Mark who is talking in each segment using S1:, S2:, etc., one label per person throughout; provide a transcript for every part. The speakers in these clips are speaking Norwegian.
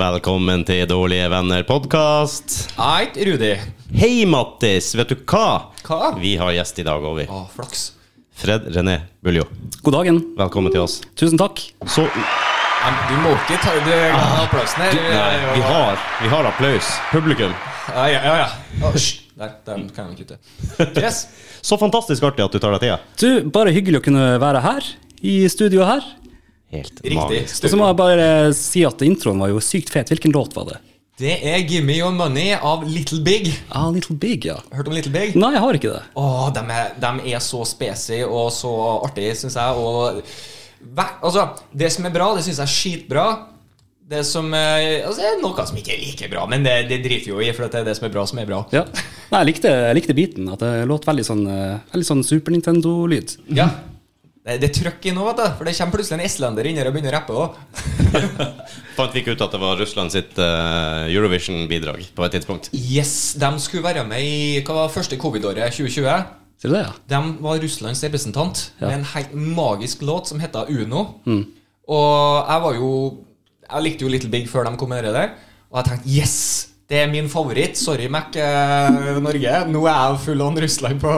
S1: Velkommen til Dårlige venner-podkast.
S2: Eit, Rudi.
S1: Hei, Mattis. Vet du hva?
S2: Hva?
S1: Vi har gjest i dag, Ovi.
S2: Å, flaks.
S1: Fred René Buljo.
S3: God dagen.
S1: Velkommen til oss.
S3: Tusen takk.
S1: Så
S2: Nei, men du må ikke ta du, applausen her.
S1: Ah, Nei, eh, vi har, vi har applaus. Publikum.
S2: Ja, Ah, ja, ja. ja. Å, hysj. Der, den kan jeg kutte. Yes.
S1: Så fantastisk artig at du tar deg tida.
S3: Du, bare hyggelig å kunne være her, i studio her.
S1: Helt
S2: Riktig.
S1: magisk.
S3: Og så må jeg bare si at introen var jo sykt fet. Hvilken låt var det?
S2: Det er Gimme Your Money av Little Big.
S3: Ah, Little Big, ja.
S2: Hørt om Little Big?
S3: Nei, jeg har ikke det.
S2: Å, de er, dem er så spesy og så artig, syns jeg. Og hver, altså, det som er bra, det syns jeg er skitbra. Det som eh, altså, det er Noe som ikke er like bra, men det, det driter vi jo i, for at det er det som er bra, som er bra.
S3: Ja. Nei, jeg likte, jeg likte biten. At det låt veldig sånn, eh, veldig sånn Super Nintendo-lyd.
S2: Ja. Det, det er trøkk i nå, vet du. For det kommer plutselig en islender inn her og begynner å rappe òg.
S1: Fant vi ikke ut at det var Russland sitt eh, Eurovision-bidrag på et tidspunkt?
S2: Yes, de skulle være med i hva var første covid-året, 2020.
S3: Ser du det, ja?
S2: De var Russlands representant
S3: Ja.
S2: med en helt magisk låt som heter Uno. Og jeg var jo Jeg likte jo Little Big før de kom med det der. Og jeg tenkte yes! Det er min favoritt. Sorry, Mac eh, Norge. Nå er jeg full on Russland på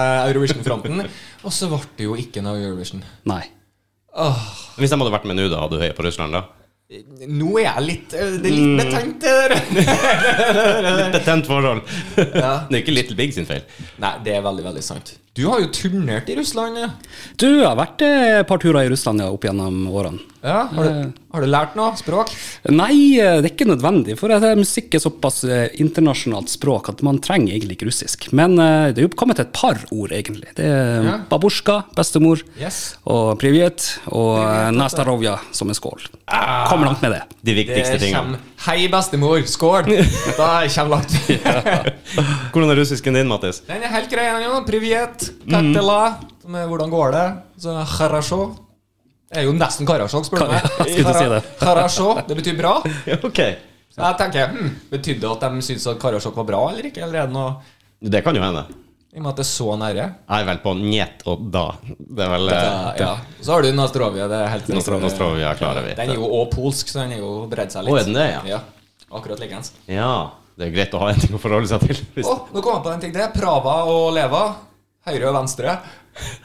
S2: 2020-Eurovision-fronten. og så ble det jo ikke noe Eurovision.
S3: Nei.
S2: Åh.
S1: Hvis de hadde vært med nå, da hadde du høyet på Russland, da?
S2: Nå er jeg litt eh, Det er litt betenkt, det der.
S1: Litt betent forhold.
S2: Eh. Ja.
S1: det er ikke Little Big sin feil.
S2: Nei, det er veldig, veldig sant. Du har jo turnert i Russland. Ja,
S3: Du, jeg har vært eh, et par turer i Russland ja, opp gjennom årene.
S2: ja har, du, har du lært noe språk?
S3: Nei, eh, det er ikke nødvendig, for at, eh, musikk er såpass eh, internasjonalt språk at man trenger egentlig ikke russisk. Men eh, det er jo kommet et par ord, egentlig. Det er
S2: Ja.
S3: babusjka, bestemor,
S2: Yes.
S3: og privet, og eh, nastarovja, som er skål.
S2: Ah.
S3: Kom langt med det.
S1: De viktigste tingene.
S2: kommer Hei, bestemor. Skål! Da kommer langt.
S1: Hvordan er russisken din, Mattis?
S2: Den er helt grei, den jo. Privet. Kaktela. Med hvordan går det? Så Harasjå. Det er jo nesten Karasjok, spør du meg.
S3: Ja, jeg skulle si det.
S2: Kara- Karasjå. Det betyr bra.
S1: Ok.
S2: Så jeg tenker, hm, Betydde det at de syntes at Karasjok var bra, eller ikke? Eller er det noe
S1: Det kan jo hende.
S2: I og med at det er så nære?
S1: Jeg er vel på njet og da. Det er vel eh,
S2: Ja, ja. Så har du Nostrovia. Det er helt
S1: Nostro- Nostrovia klarer vi.
S2: Den er jo også polsk, så den er jo bredd seg litt.
S1: Å, er den det, ja?
S2: Akkurat likeens.
S1: Ja. Det er greit å ha en ting å forholde seg til.
S2: Å, nå kom jeg på en ting til. Prava og Leva. Høyre og venstre.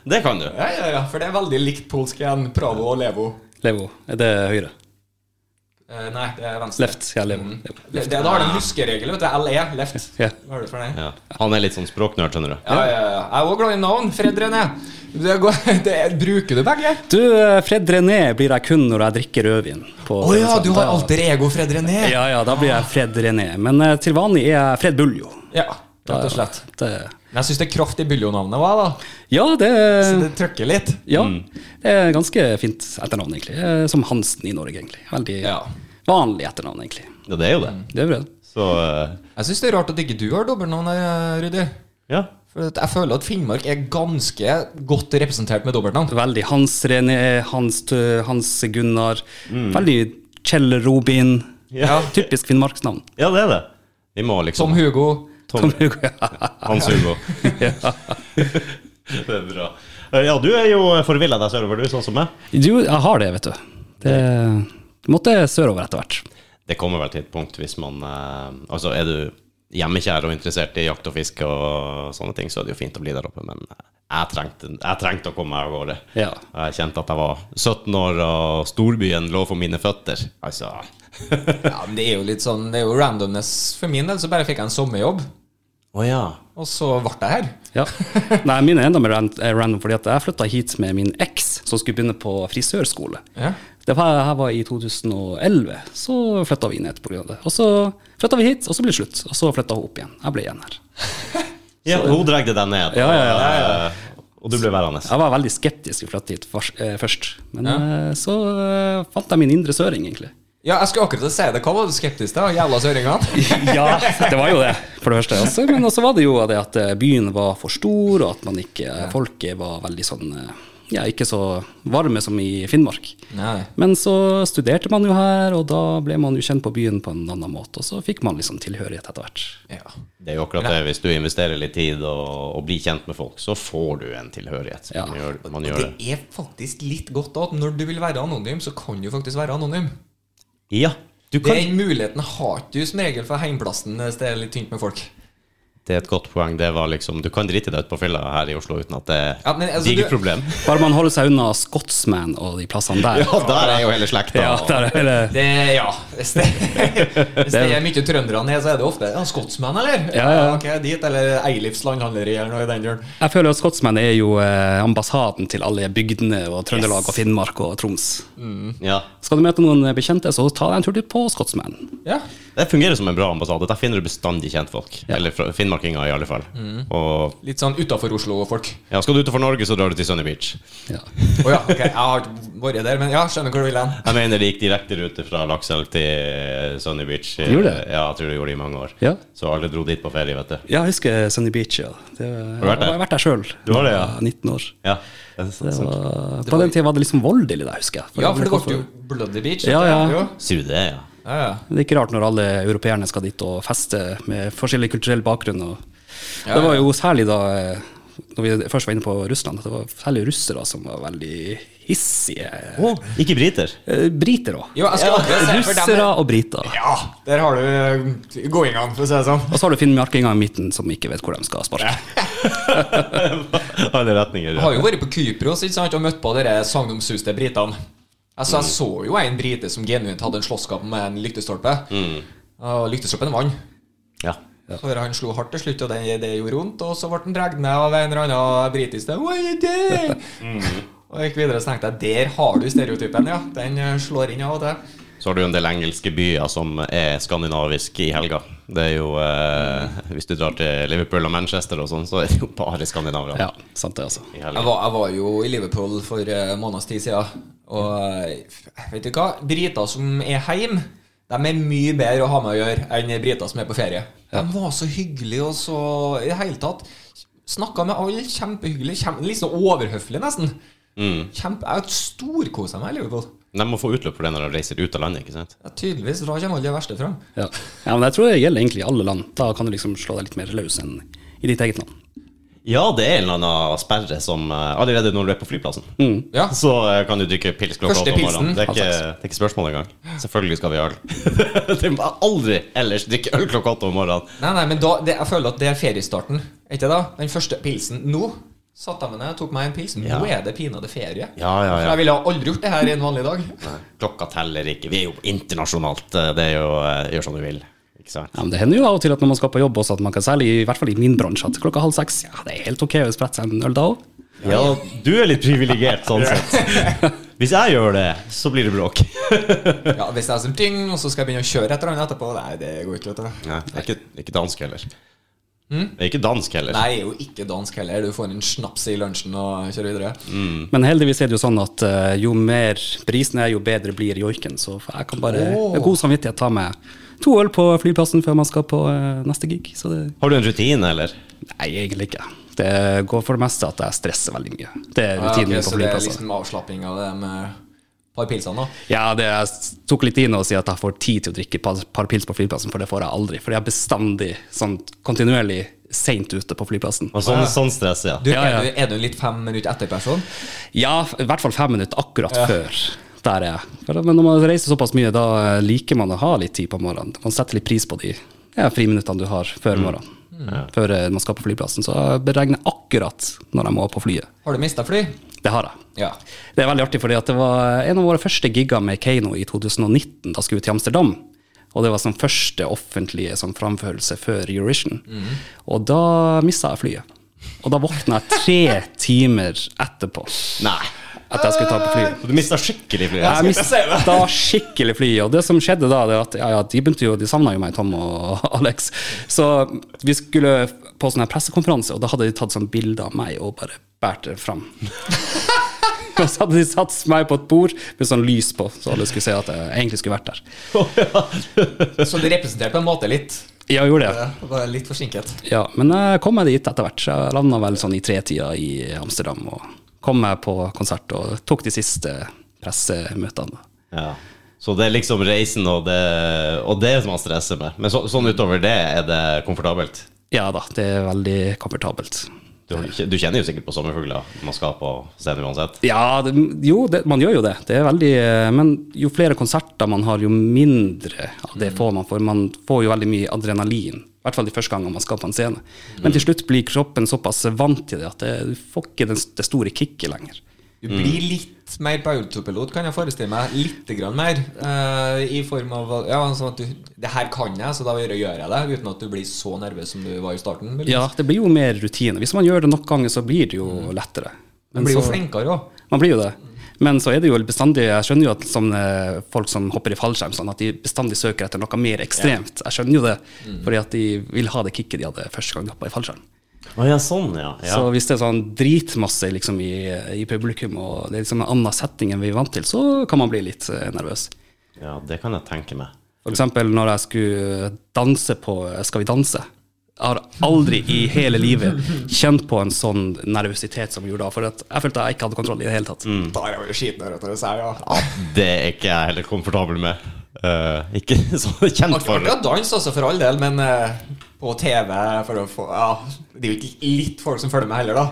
S1: Det kan du.
S2: Ja, ja, ja, for det er veldig likt polsk igjen. Pravo og Levo.
S3: Levo, er det høyre?
S2: Eh, nei, det er venstre. Mm.
S3: Left, ja, levo. levo.
S2: Det, det, da har du en huskeregel, vet du. LE, left.
S3: Ja.
S2: Hva er det for det?
S1: Ja. Han er litt sånn språknerd, skjønner du.
S2: Ja, ja, ja. Jeg er òg glad i navn. Fred René. Det går, det, bruker du begge?
S3: Du, eh, Fred René blir jeg kun når jeg drikker rødvin. Å
S2: Å ja, du har alter ego, Fred René.
S3: Ja, ja, da blir jeg Fred René. Men eh, til vanlig er jeg Fred Buljo.
S2: ja rett og slett.
S3: Det,
S2: Men jeg syns det er kraft i Buljo-navnet òg, da.
S3: ja, det
S2: Så det trykker litt.
S3: Ja, det er ganske fint etternavn, egentlig. Eh, Som Hansen i Norge, egentlig. Veldig
S2: Ja.
S3: vanlig etternavn, egentlig.
S1: Ja, det er jo det.
S3: Det er bra.
S1: Så eh,
S2: Jeg syns det er rart at ikke du har dobbeltnavn, eh, Rudi.
S1: ja.
S2: For at jeg føler at Finnmark er ganske godt representert med dobbeltnavn.
S3: Veldig Hans René, Hans, Tø- Hans Gunnar. Veldig Kjell Robin.
S1: Ja.
S3: Typisk finnmarksnavn.
S1: ja, det er det. Vi må liksom
S2: Som Hugo.
S1: Tom,
S3: Kom, Hugo. Ja.
S1: Hans Hugo. det er bra. Eh, Ja, du er jo forvilla deg sørover, du, sånn som meg.
S3: Jo, jeg har det, vet du. Det måtte sørover etter hvert.
S1: Det kommer vel til et punkt hvis man eh, Altså, er du hjemmekjær og interessert i jakt og fiske og sånne ting, så er det jo fint å bli der oppe, men eh, jeg trengte, jeg trengte å komme meg av gårde.
S3: Ja.
S1: Og Jeg kjente at jeg var 17 år, og storbyen lå for mine føtter. Altså Å
S2: Ja, men Det er jo litt sånn, det er jo randomness. For min del så bare fikk jeg en sommerjobb,
S1: ja.
S2: og så ble jeg her.
S3: Ja. Nei, mine er enda mer ran- eh, random, fordi at jeg flytta hit med min eks, som skulle begynne på frisørskole.
S2: Ja.
S3: Det var, her var i 2011. Så flytta vi ned pga. det. Og så flytta vi hit, og så ble det slutt. Og så flytta hun opp igjen. Jeg ble igjen her.
S1: ja hun dregde deg ned.
S3: Ja, ja, ja,
S1: og, eh, Og du ble værende.
S3: Jeg var veldig skeptisk til å flytte hit fars- eh, først. Men eh, så eh, fant jeg min indre søring, egentlig.
S2: Ja, jeg skulle akkurat si det. Hva var du skeptisk til? Jævla søringene?
S3: Ja, det var jo det, for det første. Også. Men også var det jo det at eh, byen var for stor, og at man ikke, eh, folket var veldig sånn eh, Ja, ikke så varme som i Finnmark.
S2: Nei.
S3: Men så studerte man jo her, og da ble man jo kjent på byen på en annen måte. Og så fikk man liksom tilhørighet etter hvert.
S2: Ja.
S1: Det er jo akkurat det. Hvis du investerer litt tid og, og blir kjent med folk, så får du en tilhørighet.
S3: Ja.
S1: Man gjør, man
S2: Og
S1: gjør det.
S2: det er faktisk litt godt at når du vil være anonym, så kan du faktisk være anonym.
S1: Ja, du kan.
S2: Den muligheten har ikke du som regel for heimplassen hvis det er eh, litt tynt med folk.
S1: Det er et godt poeng. Det var liksom, du kan drite deg ut på fylla her i Oslo uten at det er
S2: Ja, men altså,
S1: digert
S2: du-
S1: problem.
S3: Bare man holder seg unna Scotsman og de plassene der.
S1: Ja, der er jo hele slekta.
S3: Ja, der er det.
S2: Det, ja, hvis det, hvis det er mye trøndere ned, så er det ofte ja, skotsmenn, eller?
S3: Ja, ja.
S2: Ok, dit, eller Eilifs landhandleri, eller noe i den duren.
S3: Jeg føler at Scotsman er jo eh, ambassaden til alle bygdene og Trøndelag og Finnmark og Troms.
S1: Ja.
S3: Skal du møte noen bekjente, så ta deg en tur til på Scotsman.
S2: Ja.
S1: Det fungerer som en bra ambassade. Der finner du bestandig kjentfolk. Eller fra- finnmarkinger, i alle fall. Og
S2: Litt sånn utafor Oslo-folk.
S1: ja, skal du utenfor Norge, så drar du til Sunny Beach.
S3: Ja.
S2: Å ja, ok, jeg har ikke vært der, men ja, skjønner hvor du vil hen.
S1: Jeg mener det gikk direkte rute fra Lakselv til eh, Sunny Beach.
S3: Gjorde det?
S1: Ja, jeg tror det gjorde det i mange år.
S3: Ja.
S1: Så alle dro dit på ferie, vet du.
S3: Ja, jeg husker Sunny Beach. Ja. Det,
S1: du vært der?
S3: Jeg har vært der sjøl.
S1: Du har det, ja.
S3: 19 år.
S1: Ja, det er
S3: Det
S1: sant.
S3: var, på den tida var det liksom voldelig der, husker jeg.
S2: Ja, for det ble jo Bloody Beach.
S3: Ja, ja.
S2: Jo.
S1: Sude, ja.
S2: ja, ja.
S3: Det er ikke rart når alle europeerne skal dit og feste med forskjellig kulturell bakgrunn. Og
S2: Ja,
S3: det var
S2: ja.
S3: jo særlig da eh, når vi først var inne på Russland, at det var særlig russere som var veldig hissige.
S1: Å, ikke briter.
S3: Eh, Briter òg.
S2: Jo, jeg skal akkurat se for dem
S3: Russere og briter.
S2: Ja, der har du eh, gåingene, for å si det sånn.
S3: Og så har du finnmarkinger i midten som ikke vet hvor de skal sparke.
S1: Alle retninger.
S2: Jeg
S1: Ja.
S2: har jo vært på Kypros ikke sant, og møtt på dere sagnomsuste britene.
S3: Mm.
S2: Altså, jeg så jo en brite som genuint hadde en slåsskamp med en lyktestolpe.
S3: Mm.
S2: Og lyktestolpen vant.
S1: ja.
S2: For han slo hardt til slutt, og det, det gjorde vondt. Og så ble han dratt med av en eller annen britisk det, «What you doing?» Og jeg gikk videre og så tenkte jeg, der har du stereotypen, ja. Den eh, slår inn av og til.
S1: Så har du en del engelske byer som er skandinaviske i helga. Det er jo eh, Hvis du drar til Liverpool og Manchester og sånn, så er det jo bare skandinavere
S3: Ja, sant det, altså.
S1: i
S2: Jeg
S1: helga.
S2: var, jeg var jo i Liverpool for eh, en måneds tid siden, og eh, vet du hva? Briter som er hjemme, de er mye bedre å ha med å gjøre enn briter som er på ferie. De var så hyggelige og så I det hele tatt. Snakka med alle, kjempehyggelig. Kjem, litt sånn overhøflig, nesten. Kjempe, jeg storkosa meg i Liverpool.
S1: De må få utløp for det når de reiser ut av landet, ikke sant?
S2: Ja, tydeligvis. Da kommer alle det verste fram.
S3: Ja. ja, men jeg tror det gjelder egentlig i alle land. Da kan du liksom slå deg litt mer løs enn i ditt eget land.
S1: Ja, det er en eller annen sperre som eh, Allerede når du er på flyplassen,
S2: Ja.
S1: så eh, kan du drikke pils klokka
S2: Første
S1: åtte om morgenen.
S2: pilsen.
S1: Det er, ikke, det er ikke spørsmål engang. Selvfølgelig skal vi ha øl. De må aldri ellers drikke øl klokka åtte om morgenen.
S2: Nei, nei, men da, det, jeg føler at det er feriestarten. Er Ikke det da? Den første pilsen. Nå satt jeg meg ned, tok meg en pils. Nå
S1: Ja.
S2: er det pinadø ferie.
S1: Ja, ja,
S2: For
S1: ja.
S2: jeg ville aldri gjort det her en vanlig dag.
S1: Klokka teller ikke. Vi er jo internasjonalt. eh, Det er jo eh, gjør som du vil. Ikke sant?
S3: Ja, men Det hender jo av og til at når man skal på jobb også, at man kan særlig, i hvert fall i min bransje, at klokka halv seks ja, det er helt ok å sprette seg en øl da òg.
S1: Ja, du er litt privilegert sånn sett. Hvis jeg gjør det, så blir det bråk.
S2: Ja, Hvis jeg som ting, og så skal jeg begynne å kjøre et eller annet etterpå Nei, det går ikke. vet du
S1: Nei, jeg er ikke, ikke dansk heller. Jeg er ikke dansk heller.
S2: Nei, jeg er jo ikke dansk heller. Du får en snaps i lunsjen og kjører videre.
S3: Men heldigvis er det jo sånn at eh, jo mer prisen er, jo bedre blir joiken. Så jeg kan bare med god samvittighet ta med to øl på flyplassen før man skal på eh, neste gig. Så det
S1: Har du en rutine, eller?
S3: Nei, egentlig ikke. Det går for det meste at jeg stresser veldig mye. Det er
S2: Ja, Ah, ok,
S3: rutinen min
S2: så
S3: på
S2: det er
S3: flyplasser.
S2: liksom avslapping av det med et par pilser nå?
S3: Ja, det jeg s- tok litt inn å si at jeg får tid til å drikke et par, par pils på flyplassen, for det får jeg aldri. For jeg er bestandig sånn kontinuerlig seint ute på flyplassen.
S1: Og sånn, sånn stress, ja.
S2: Du,
S3: Ja, ja.
S2: Er, du, er du en litt fem minutter etter-person?
S3: Ja, f- i hvert fall fem minutter akkurat før. Der er jeg. For da- Men når man reiser såpass mye, da eh, liker man å ha litt tid på morgenen. Man setter litt pris på de ja, friminuttene du har før morgenen. Før eh, man skal på flyplassen. Så jeg beregner akkurat når jeg må på flyet.
S2: Har du mista fly?
S3: Det har jeg.
S2: Ja.
S3: Det er veldig artig, fordi at det var en av våre første gigger med Keiino i 2019. Da skulle vi til Amsterdam. Og det var sånn første offentlige sånn framførelse før Eurovision. Og da mista jeg flyet. Og da våkna jeg tre timer etterpå.
S1: Nei.
S3: at jeg skulle ta på flyet.
S1: Du mista skikkelig flyet.
S3: Jeg
S2: jeg si det.
S3: mista skikkelig flyet. Og det som skjedde da, det er at ja, ja, de begynte jo, de savna jo meg, Tom og Alex. Så vi skulle på sånn her pressekonferanse, og da hadde de tatt sånn bilde av meg og bare båret det fram. Og så hadde de satt meg på et bord med sånn lys på, så alle skulle se at jeg egentlig skulle vært der.
S2: Så du representerte på en måte litt.
S3: Ja, jeg gjorde det.
S2: Ja, Var litt forsinket.
S3: Ja, men jeg kom meg dit etter hvert. Så Jeg landa vel sånn i tretida i Amsterdam og kom meg på konsert og tok de siste pressemøtene.
S1: Ja. Så det er liksom reisen og det, og det som man stresser med. Men så, sånn utover det, er det komfortabelt?
S3: Ja da, det er veldig komfortabelt.
S1: Du, har ikke- du kjenner jo sikkert på sommerfugler når man skal på scenen uansett.
S3: Ja, det, jo, det, man gjør jo det. det er veldig, eh, men jo flere konserter man har, jo mindre av
S2: Mm.
S3: det får man. For man får jo veldig mye adrenalin. I hvert fall de første gangene man skal på en scene.
S2: Mm.
S3: Men til slutt blir kroppen såpass vant til det at det, du får ikke den, det store kicket lenger.
S2: Du blir
S3: Mm.
S2: litt mer på autopilot, kan jeg forestille meg. Litt grann mer. eh, I form av ja, sånn at du, Det her kan jeg, så da gjør jeg det. Uten at du blir så nervøs som du var i starten. muligens.
S3: Ja, det blir jo mer rutine. Hvis man gjør det nok ganger, så blir det jo lettere.
S2: Du Mm. blir jo Mm.
S3: så-
S2: flinkere òg.
S3: Man blir jo det. Men så er det jo bestandig Jeg skjønner jo at sånne folk som hopper i fallskjerm, sånn at de bestandig søker etter noe mer ekstremt. Jeg skjønner jo det,
S2: Mm.
S3: fordi at de vil ha det kicket de hadde første gang de hoppa i fallskjerm.
S1: Å ja, sånn, ja. ja.
S3: Så hvis det er sånn dritmasse liksom, i, i publikum, og det er liksom en annen setting enn vi er vant til, så kan man bli litt eh, nervøs.
S1: ja det kan jeg tenke meg.
S3: For eksempel når jeg skulle danse på Skal vi danse. Jeg har aldri i hele livet kjent på en sånn nervøsitet som jeg gjorde da. For at jeg følte jeg ikke hadde kontroll i det hele tatt.
S1: Mm.
S2: Da er jeg jo skiten når jeg sier ja.
S1: Ja, det er ikke jeg heller komfortabel med. Eh, ikke sånn kjent
S2: Ak-
S1: for det.
S2: Akkurat dans også, altså, for all del, men eh, på TV for å få, ja, Det er jo ikke litt folk som følger med heller, da.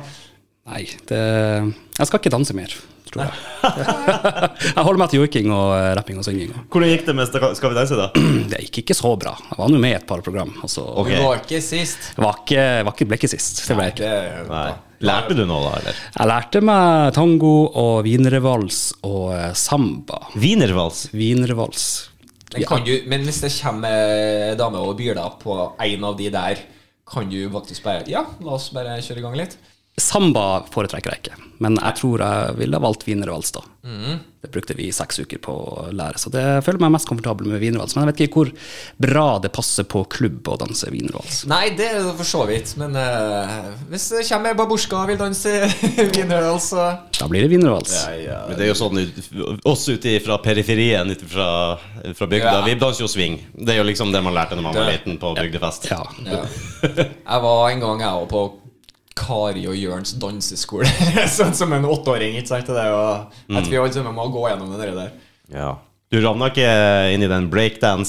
S3: Nei, det, jeg skal ikke danse mer, tror jeg. jeg holder meg til joiking og eh, rapping og synging.
S1: Hvordan gikk det med Sta- Skal vi danse, da?
S3: Det gikk ikke så bra. Jeg var nå med i et par program. Og så
S1: Ok.
S2: Du var ikke sist.
S3: var ikke, var ikke, ble ikke sist. Det ble jeg ikke.
S2: Det,
S1: Nei. Lærte du noe, da, eller?
S3: Jeg lærte meg tango og wienervals og eh, samba.
S1: Wienervals.
S3: Wienervals.
S2: men, kan du, men hvis det kommer ei dame og byr deg på en av de der, kan du faktisk bare Ja, la oss bare kjøre i gang litt.
S3: Samba foretrekker jeg ikke, men jeg tror jeg ville ha valgt wienervals da. Det brukte vi seks uker på å lære, så det jeg føler meg mest komfortabel med wienervals. Men jeg vet ikke hvor bra det passer på klubb å danse wienervals.
S2: Nei, det er det for så vidt, men eh, hvis det kommer ei babusjka og vil danse wienerøl, så
S3: Da blir det wienervals.
S1: Men det er jo sånn ut- oss ute fra periferien, ute fra, fra bygda.
S2: Ja.
S1: Vi danser jo swing. Det er jo liksom det man lærte når man var
S2: Det-
S1: liten på bygdefest.
S3: Ja.
S2: Ja. Jeg var en gang jeg var på Kari og Jørns danseskole. sånn som en åtteåring. ikke sant? Det er jo, jeg tror vi alle sammen må gå gjennom det der.
S1: Ja. Du ravna ikke inn i den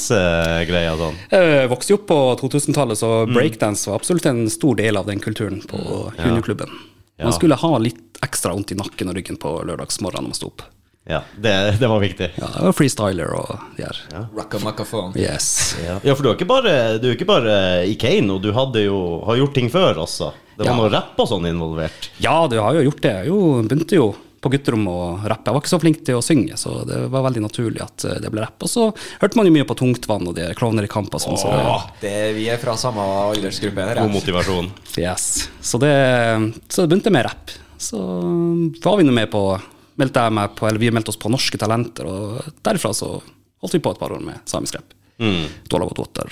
S1: breakdance-greia sånn?
S3: Jeg Eh, vokste jo opp på 2000-tallet, så breakdance var absolutt en stor del av den kulturen på hundeklubben.
S1: Ja.
S3: Man skulle ha litt ekstra vondt i nakken og ryggen på lørdagsmorgenen når man sto opp.
S1: Ja, det, det var viktig.
S3: Ja, jeg var freestyler og de her.
S2: Rocka-macka-phone.
S3: Yes.
S1: Ja. for du er ikke bare, du er ikke bare i Kane, og du hadde jo, har gjort ting før også. Det var
S3: Ja.
S1: noe rapp og sånn involvert.
S3: Ja, du har jo gjort det. Jeg jo, begynte jo på gutterom å rappe. Jeg var ikke så flink til å synge, så det var veldig naturlig at eh, det ble rapp. Og så hørte man jo mye på Tungtvann og de her Klovner i kamp og sånn. Så det,
S2: Åh, det, vi er fra samme aldersgruppe. her, ja.
S1: God motivasjon.
S3: Yes. Så det, så det begynte med rapp. Så var vi nå med på meldte jeg meg på, eller Vi meldte oss på Norske Talenter, og derfra så holdt vi på et par år med samisk rapp. Mm. Water.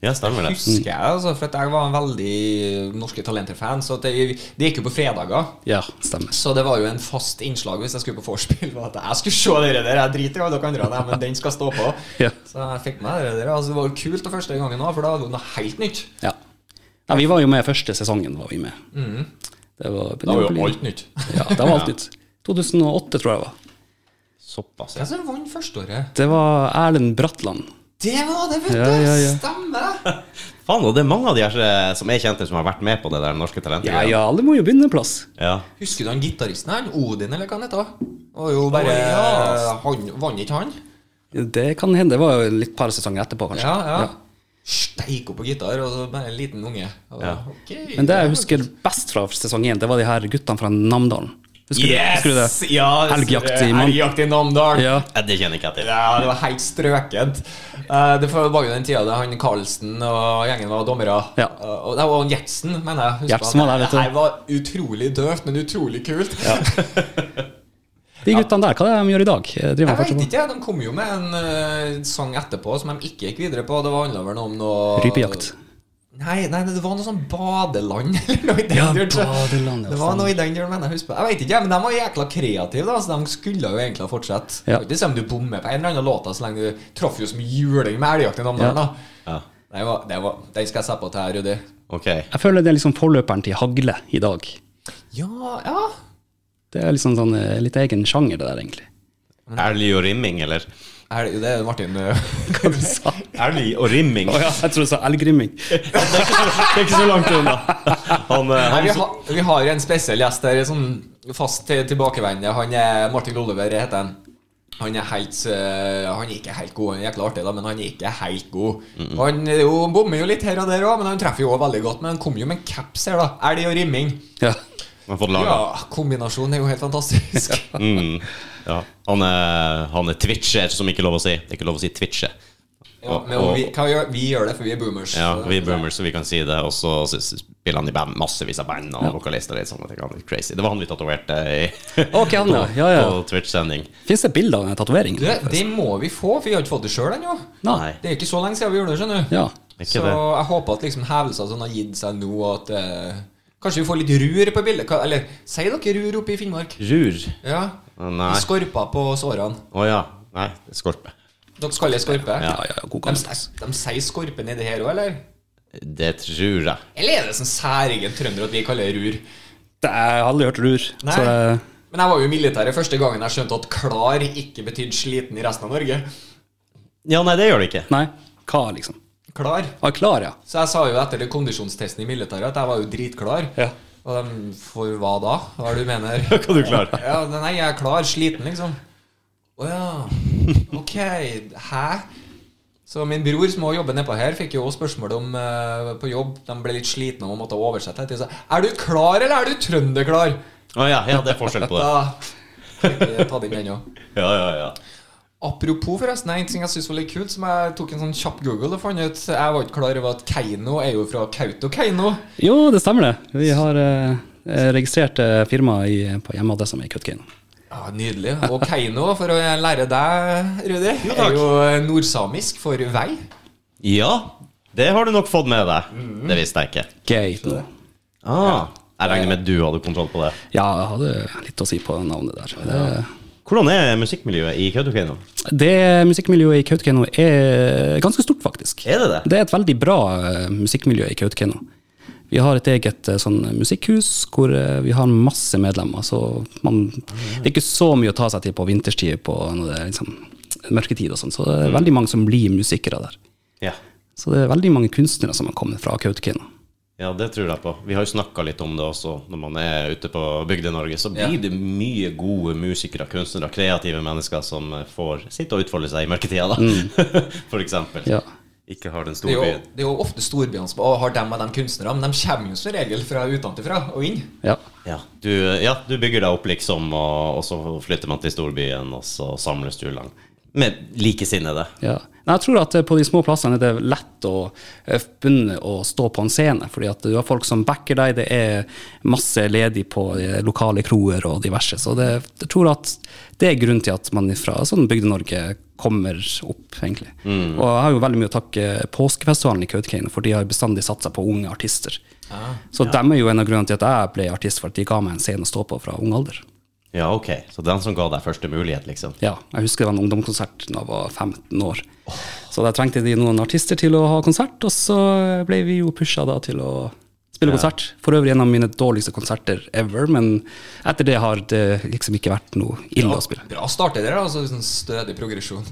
S1: Ja, stemmer det.
S2: Husker jeg, altså, for at jeg var en veldig eh, Norske Talenter-fan. Så at det, det gikk jo på fredager.
S3: Ja, stemmer.
S2: Så det var jo en fast innslag hvis jeg skulle på vorspiel. var At jeg skulle se dere der, jeg driter i alle dere andre, nei, men den skal stå på.
S3: Ja.
S2: Så jeg fikk med dere der. Altså, det var jo kult det første gangen òg, for da var det jo noe helt nytt.
S3: Ja. ja. Vi var jo med første sesongen. var vi med. Det Mm. var,
S2: Da var jo alt nytt.
S3: Ja, det var alt nytt. 2008, tror jeg det var.
S1: Såpass, ja.
S2: Hvem som vant førsteåret?
S3: Det var Erlend Bratland.
S2: Det var det, vet du!
S3: Ja, ja, ja.
S2: Stemmer!
S1: Faen, og det er mange av de her eh, som er kjente, som har vært med på det der norske talentet.
S3: Ja, ja, alle må jo begynne en plass.
S1: Ja.
S2: Husker du han gitaristen her? Odin, eller hva han heter? Var jo bare
S1: ja.
S2: han, Vant ikke han?
S3: Det kan hende. Det var jo litt par sesonger etterpå, kanskje.
S2: Ja, ja. Steik opp på gitar, og så bare en liten unge. Og, ok.
S3: Men det jeg husker best fra sesong én, det var de her guttene fra Namdalen. Husker, du, husker du det?
S2: Ja,
S3: Helgjakt i Mann-
S2: Helgjakt i Namdalen.
S3: Ja.
S1: Eh, Det kjenner ikke jeg til.
S2: Ja, det var helt strøkent. Eh, Det var jo den tida da han Karlsen og gjengen var dommere.
S3: Ja.
S2: Eh, Og det var han Gjertsen, mener jeg. Husker at
S3: Gjertsen var der, vet du.
S2: Det her var utrolig døvt, men utrolig kult.
S3: De guttene der, hva er det de gjør i dag? Driver
S2: Jeg
S3: de fortsatt
S2: vet
S3: med-
S2: ikke, De kom jo med en eh, sang etterpå som de ikke gikk videre på. Det var handla vel om noe
S3: Rypejakt.
S2: Nei, nei, det var noe sånn badeland eller noe i den
S3: Ja,
S2: duren, tror jeg.
S3: badeland, ja,
S2: Det var
S3: stemmer.
S2: noe i den duren, mener jeg husker på. Jeg vet ikke, men de var jækla kreative, da, så de skulle jo egentlig ha fortsatt.
S3: Ja.
S2: Det er ikke som om du bommer på en eller annen låt, da, så lenge du traff jo som juling med elgjakt i Namdalen,
S3: Ja.
S2: da.
S1: Ja.
S2: Det var, det var, den skal jeg se på til her, Rudi.
S1: Ok.
S3: Jeg føler det er liksom forløperen til hagle i dag.
S2: Ja, ja.
S3: Det er liksom sånn eh, litt egen sjanger, det der, egentlig.
S1: Elg og rimming, eller?
S2: Er det, det er Martin eh,
S1: Elg og rimming.
S3: Å ja, jeg tror du sa elgrimming.
S1: Det er ikke så langt unna. Han, eh,
S2: Nei,
S1: han,
S2: vi, har, vi har en spesiell gjest her, sånn fast til- tilbakevendende. Han er Martin Oliver, heter han. Han er helt eh, Han er ikke helt god, han er jækla artig, da, men han er ikke helt god. Han er jo, bommer jo litt her og der òg, men han treffer jo også veldig godt. Men han kom jo med en caps her, da. Elg og rimming.
S3: Ja.
S1: han har fått laga.
S2: Ja, kombinasjonen er jo helt fantastisk.
S1: Mm. Ja. Han, er, han er twitcher, som ikke er lov å si. Det er ikke lov å si twitche.
S2: Ja, men vi, hva gjør, vi gjør det, for vi er boomers.
S1: Ja, vi er boomers, så vi kan si det. Og så s- s- spiller han i band, massevis av band og vokalister. og Litt sånne ting. Han er litt crazy. Det var han vi tatoverte i
S3: Ok, han, ja. Ja, ja.
S1: på Twitch-sending.
S3: Fins det bilder av den
S2: Du,
S3: tatoveringen?
S2: det må vi få, for vi har ikke fått det sjøl ennå.
S1: Nei.
S2: Det er ikke så lenge siden vi gjorde det, skjønner du.
S3: Ja.
S1: Ikke
S2: Så
S1: det.
S2: jeg håper at liksom hevelser sånn har gitt seg nå, og at eh, kanskje vi får litt rur på bildet. Ka- Eller sier dere rur oppe i Finnmark?
S1: Rur.
S2: Ja.
S1: Nei.
S2: Skorper på sårene.
S1: Å ja. Nei, det er skorpe.
S2: Dere kaller det skorpe?
S3: Ja, ja, ja, god
S2: De,
S3: gammel.
S2: de sier skorpe nedi her òg, eller?
S1: Det tror jeg.
S2: Eller er det sånn særegent trønder at vi kaller det rur?
S3: Det- Jeg har aldri hørt rur.
S2: Nei.
S3: Så det-
S2: Men jeg var jo i militæret første gangen jeg skjønte at klar ikke betydde sliten i resten av Norge.
S1: Ja, nei, det gjør det ikke.
S3: nei. Hva, liksom?
S2: Klar.
S3: Ah, klar, ja.
S2: Så jeg sa jo etter det kondisjonstesten i militæret at jeg var jo dritklar.
S3: Ja.
S2: Og de For hva da? Hva er det du mener?
S1: Hva du klarer.
S2: Ja, nei, jeg er klar, sliten liksom Å ja, ok, hæ? Så min bror som også jobber nedpå her Fikk jo også spørsmål om eh, på jobb De ble litt slitne om å måtte oversette etter, så, Er du klar, eller er du trøndeklar?
S1: Å ja, ja, det er forskjell på det.
S2: Da kan jeg ikke ta den ennå
S1: Ja, ja, ja.
S2: Apropos forresten, en ting jeg synes var litt kult Som jeg tok en sånn kjapp Google og fant ut Jeg var ikke klar over at Keino er jo fra Kautokeino
S3: Jo, det stemmer det. Vi har eh, registrert eh, firma i, på hjemmeadressa mi i Kautokeino.
S2: Ja, Nydelig. Og Keino, for å lære deg, Rudi,
S1: takk.
S2: er jo eh, nordsamisk for vei.
S1: Ja, det har du nok fått med deg. Det visste jeg ikke.
S3: Geito.
S1: Mhm. Ah, jeg regner med at du hadde kontroll på det.
S3: Ja, jeg hadde litt å si på navnet der. Det,
S1: Hvordan er musikkmiljøet i Kautokeino?
S3: det musikkmiljøet i Kautokeino er ganske stort, faktisk.
S1: Er det det?
S3: Det er et veldig bra eh, musikkmiljø i Kautokeino. Vi har et eget eh, sånn musikkhus hvor eh, vi har masse medlemmer. Så man, det er ikke så mye å ta seg til på vinterstid på når det er liksom, mørketid og sånn. Så det er veldig mange som blir musikere der.
S1: Ja.
S3: Så det er veldig mange kunstnere som har kommet fra Kautokeino.
S1: ja, det tror jeg på. Vi har jo snakka litt om det også. Når man er ute på Bygde-Norge, så blir det mye gode musikere, kunstnere, kreative mennesker som får sitte og utfolde seg i mørketida, da. For eksempel.
S3: Ja.
S1: Ikke har den
S2: Det er
S1: store
S2: jo,
S1: byen.
S2: det er jo ofte storbyene som «Å, har dem og dem kunstnere, men de kommer jo som regel fra utenfra og inn.
S3: Ja.
S1: Ja du, ja, du bygger deg opp, liksom, og, og så flytter man til storbyen, og så samles du langt med likesinnede.
S3: Ja. Nei, jeg tror at eh, på de små plassene er det lett å eh, begynne å stå på en scene, fordi at du har folk som backer deg, det er masse ledig på eh, lokale kroer og diverse, så det, jeg tror at det er grunnen til at man fra sånn Bygde-Norge kommer opp, egentlig. Og jeg har jo veldig mye å takke Påskefestivalen i Kautokeino, for de har bestandig satsa på unge artister. så dem er jo en av grunnene til at jeg ble artist, for at de ga meg en scene å stå på fra ung alder.
S1: Ja, ok. Så den som ga deg første mulighet, liksom.
S3: Ja, jeg husker det var en ungdomskonsert da jeg var 15 år. Så da trengte de noen artister til å ha konsert, og så ble vi jo pusha da til å spille konsert. For øvrig en av mine dårligste konserter ever, men etter det har det liksom ikke vært noe ille å spille.
S2: Bra starter dere, altså sånn stødig progresjon.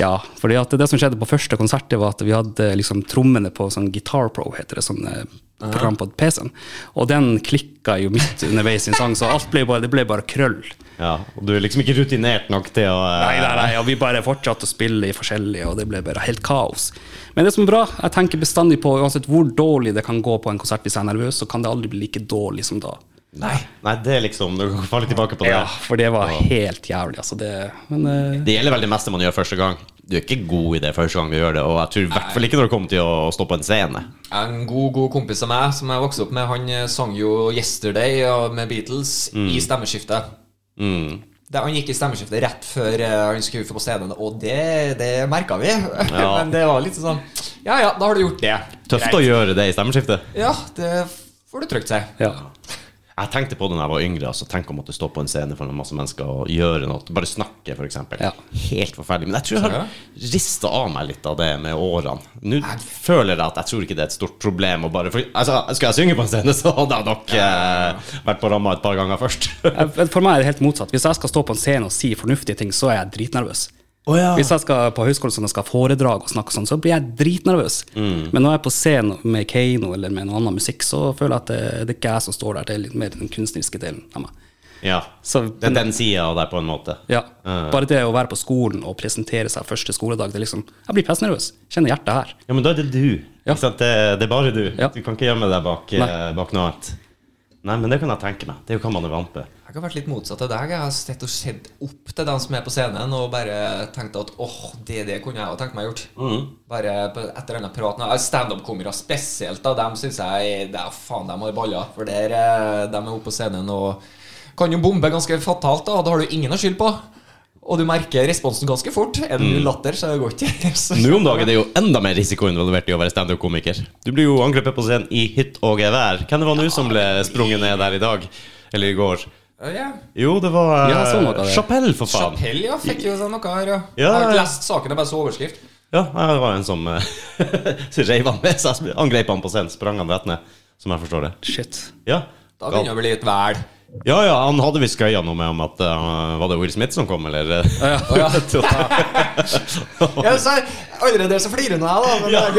S3: Ja, fordi at det som skjedde på første konsert, det var at vi hadde liksom trommene på sånn Guitar Pro, heter det, sånn eh, program på PC-en. Og den klikka jo midt underveis i en sang, så alt ble bare, det ble bare krøll.
S1: Ja, og du er liksom ikke rutinert nok til å eh,
S3: Nei, nei, nei, og vi bare fortsatte å spille i forskjellige, og det ble bare helt kaos. Men det som er bra, jeg tenker bestandig på uansett hvor dårlig det kan gå på en konsert hvis jeg er nervøs, så kan det aldri bli like dårlig som da.
S2: Nei.
S1: Nei, det er liksom Du kan falle tilbake på det.
S3: Ja, for det var helt jævlig, altså. Det, men eh,
S1: Det gjelder vel det meste man gjør første gang. Du er ikke god i det første gang du gjør det, og jeg tror i hvert fall ikke når det kommer til å stå på en scene.
S2: En god god kompis av meg som jeg vokste opp
S1: Mm.
S2: med, han eh, sang jo 'Yesterday' av- med Beatles i stemmeskiftet. det, han gikk i stemmeskiftet rett før eh, han skulle ut på scenen, og det, det merka vi.
S1: Ja.
S2: Men det var litt sånn Ja ja, da har du gjort det.
S1: Tøft å gjøre det i stemmeskiftet.
S2: Ja, det får du trygt si.
S3: Ja.
S1: Jeg tenkte på det da jeg var yngre. Altså, tenk å måtte stå på en scene foran masse mennesker og gjøre noe. Bare snakke, f.eks.
S3: Ja.
S1: Helt forferdelig. Men jeg tror jeg har rista av meg litt av det med årene. Nå føler jeg at jeg tror ikke det er et stort problem å bare for, altså, Skal jeg synge på en scene, så hadde jeg nok eh, vært på ramma et par ganger først.
S3: Jeg- For meg er det helt motsatt. Hvis jeg skal stå på en scene og si fornuftige ting, så er jeg dritnervøs. Hvis jeg skal på høyskolen sånn, og skal ha foredrag og snakke sånn, så blir jeg dritnervøs. Men når jeg er på scenen med Keiino eller med en annen musikk, så føler jeg at det, det er ikke jeg som står der, det er litt mer den kunstneriske delen av meg.
S1: Ja.
S3: Så-
S1: det er den sida av deg, på en måte.
S3: Ja.
S1: Eh.
S3: Bare det å være på skolen og presentere seg første skoledag, det er liksom Jeg blir pestnervøs. Kjenner hjertet her.
S1: Ja, men da er det du.
S3: Ja.
S1: Ikke sant? Det, det er bare du.
S3: Ja.
S1: Du kan ikke gjemme deg bak, eh,
S3: Nei.
S1: bak noe annet. Nei, men det kan jeg tenke meg. Det er jo hva man er vant med.
S2: Jeg har vært litt motsatt av deg. Jeg har sett og sett opp til dem som er på scenen, og bare tenkt at åh, det, det kunne jeg jo tenkt meg gjort.
S1: Mm.
S2: Bare på et eller annet prat. Nå, Standup-komikere spesielt, da, dem syns jeg det er faen, de har baller. For der, eh, dem er oppe på scenen og kan jo bombe ganske fatalt, da, og da har du ingen å skylde på. Og du merker responsen ganske fort. Er det mye latter, så går det ikke. Så-
S1: Nå om dagen er det Mm. jo enda mer risiko involvert i å være standup-komiker. Du blir jo angrepet på scenen i hytt og gevær. Hvem det var nå som ble sprunget ned der i dag? Eller i går?
S2: Ja.
S1: Jo, det var eh,
S3: Ja, jeg så noe av det.
S1: Chappelle, for faen.
S2: Chapelle, ja. Fikk jo seg noe her, ja.
S1: Ja,
S2: Jeg har ikke
S1: ja.
S2: lest saken, det er bare så overskrift.
S1: Ja, det var en som eh, så reiv han med seg. så Angrep han på scenen, sprang han rett ned. Som jeg forstår det.
S3: Shit.
S1: Ja.
S2: Da begynner det å bli litt vel.
S1: Ja, ja, han hadde visst gøya noe med om at eh, Var det Will Smith som kom, eller? Ja,
S2: ja. Ja, så er- allerede så flirer nå jeg, da. Men, det er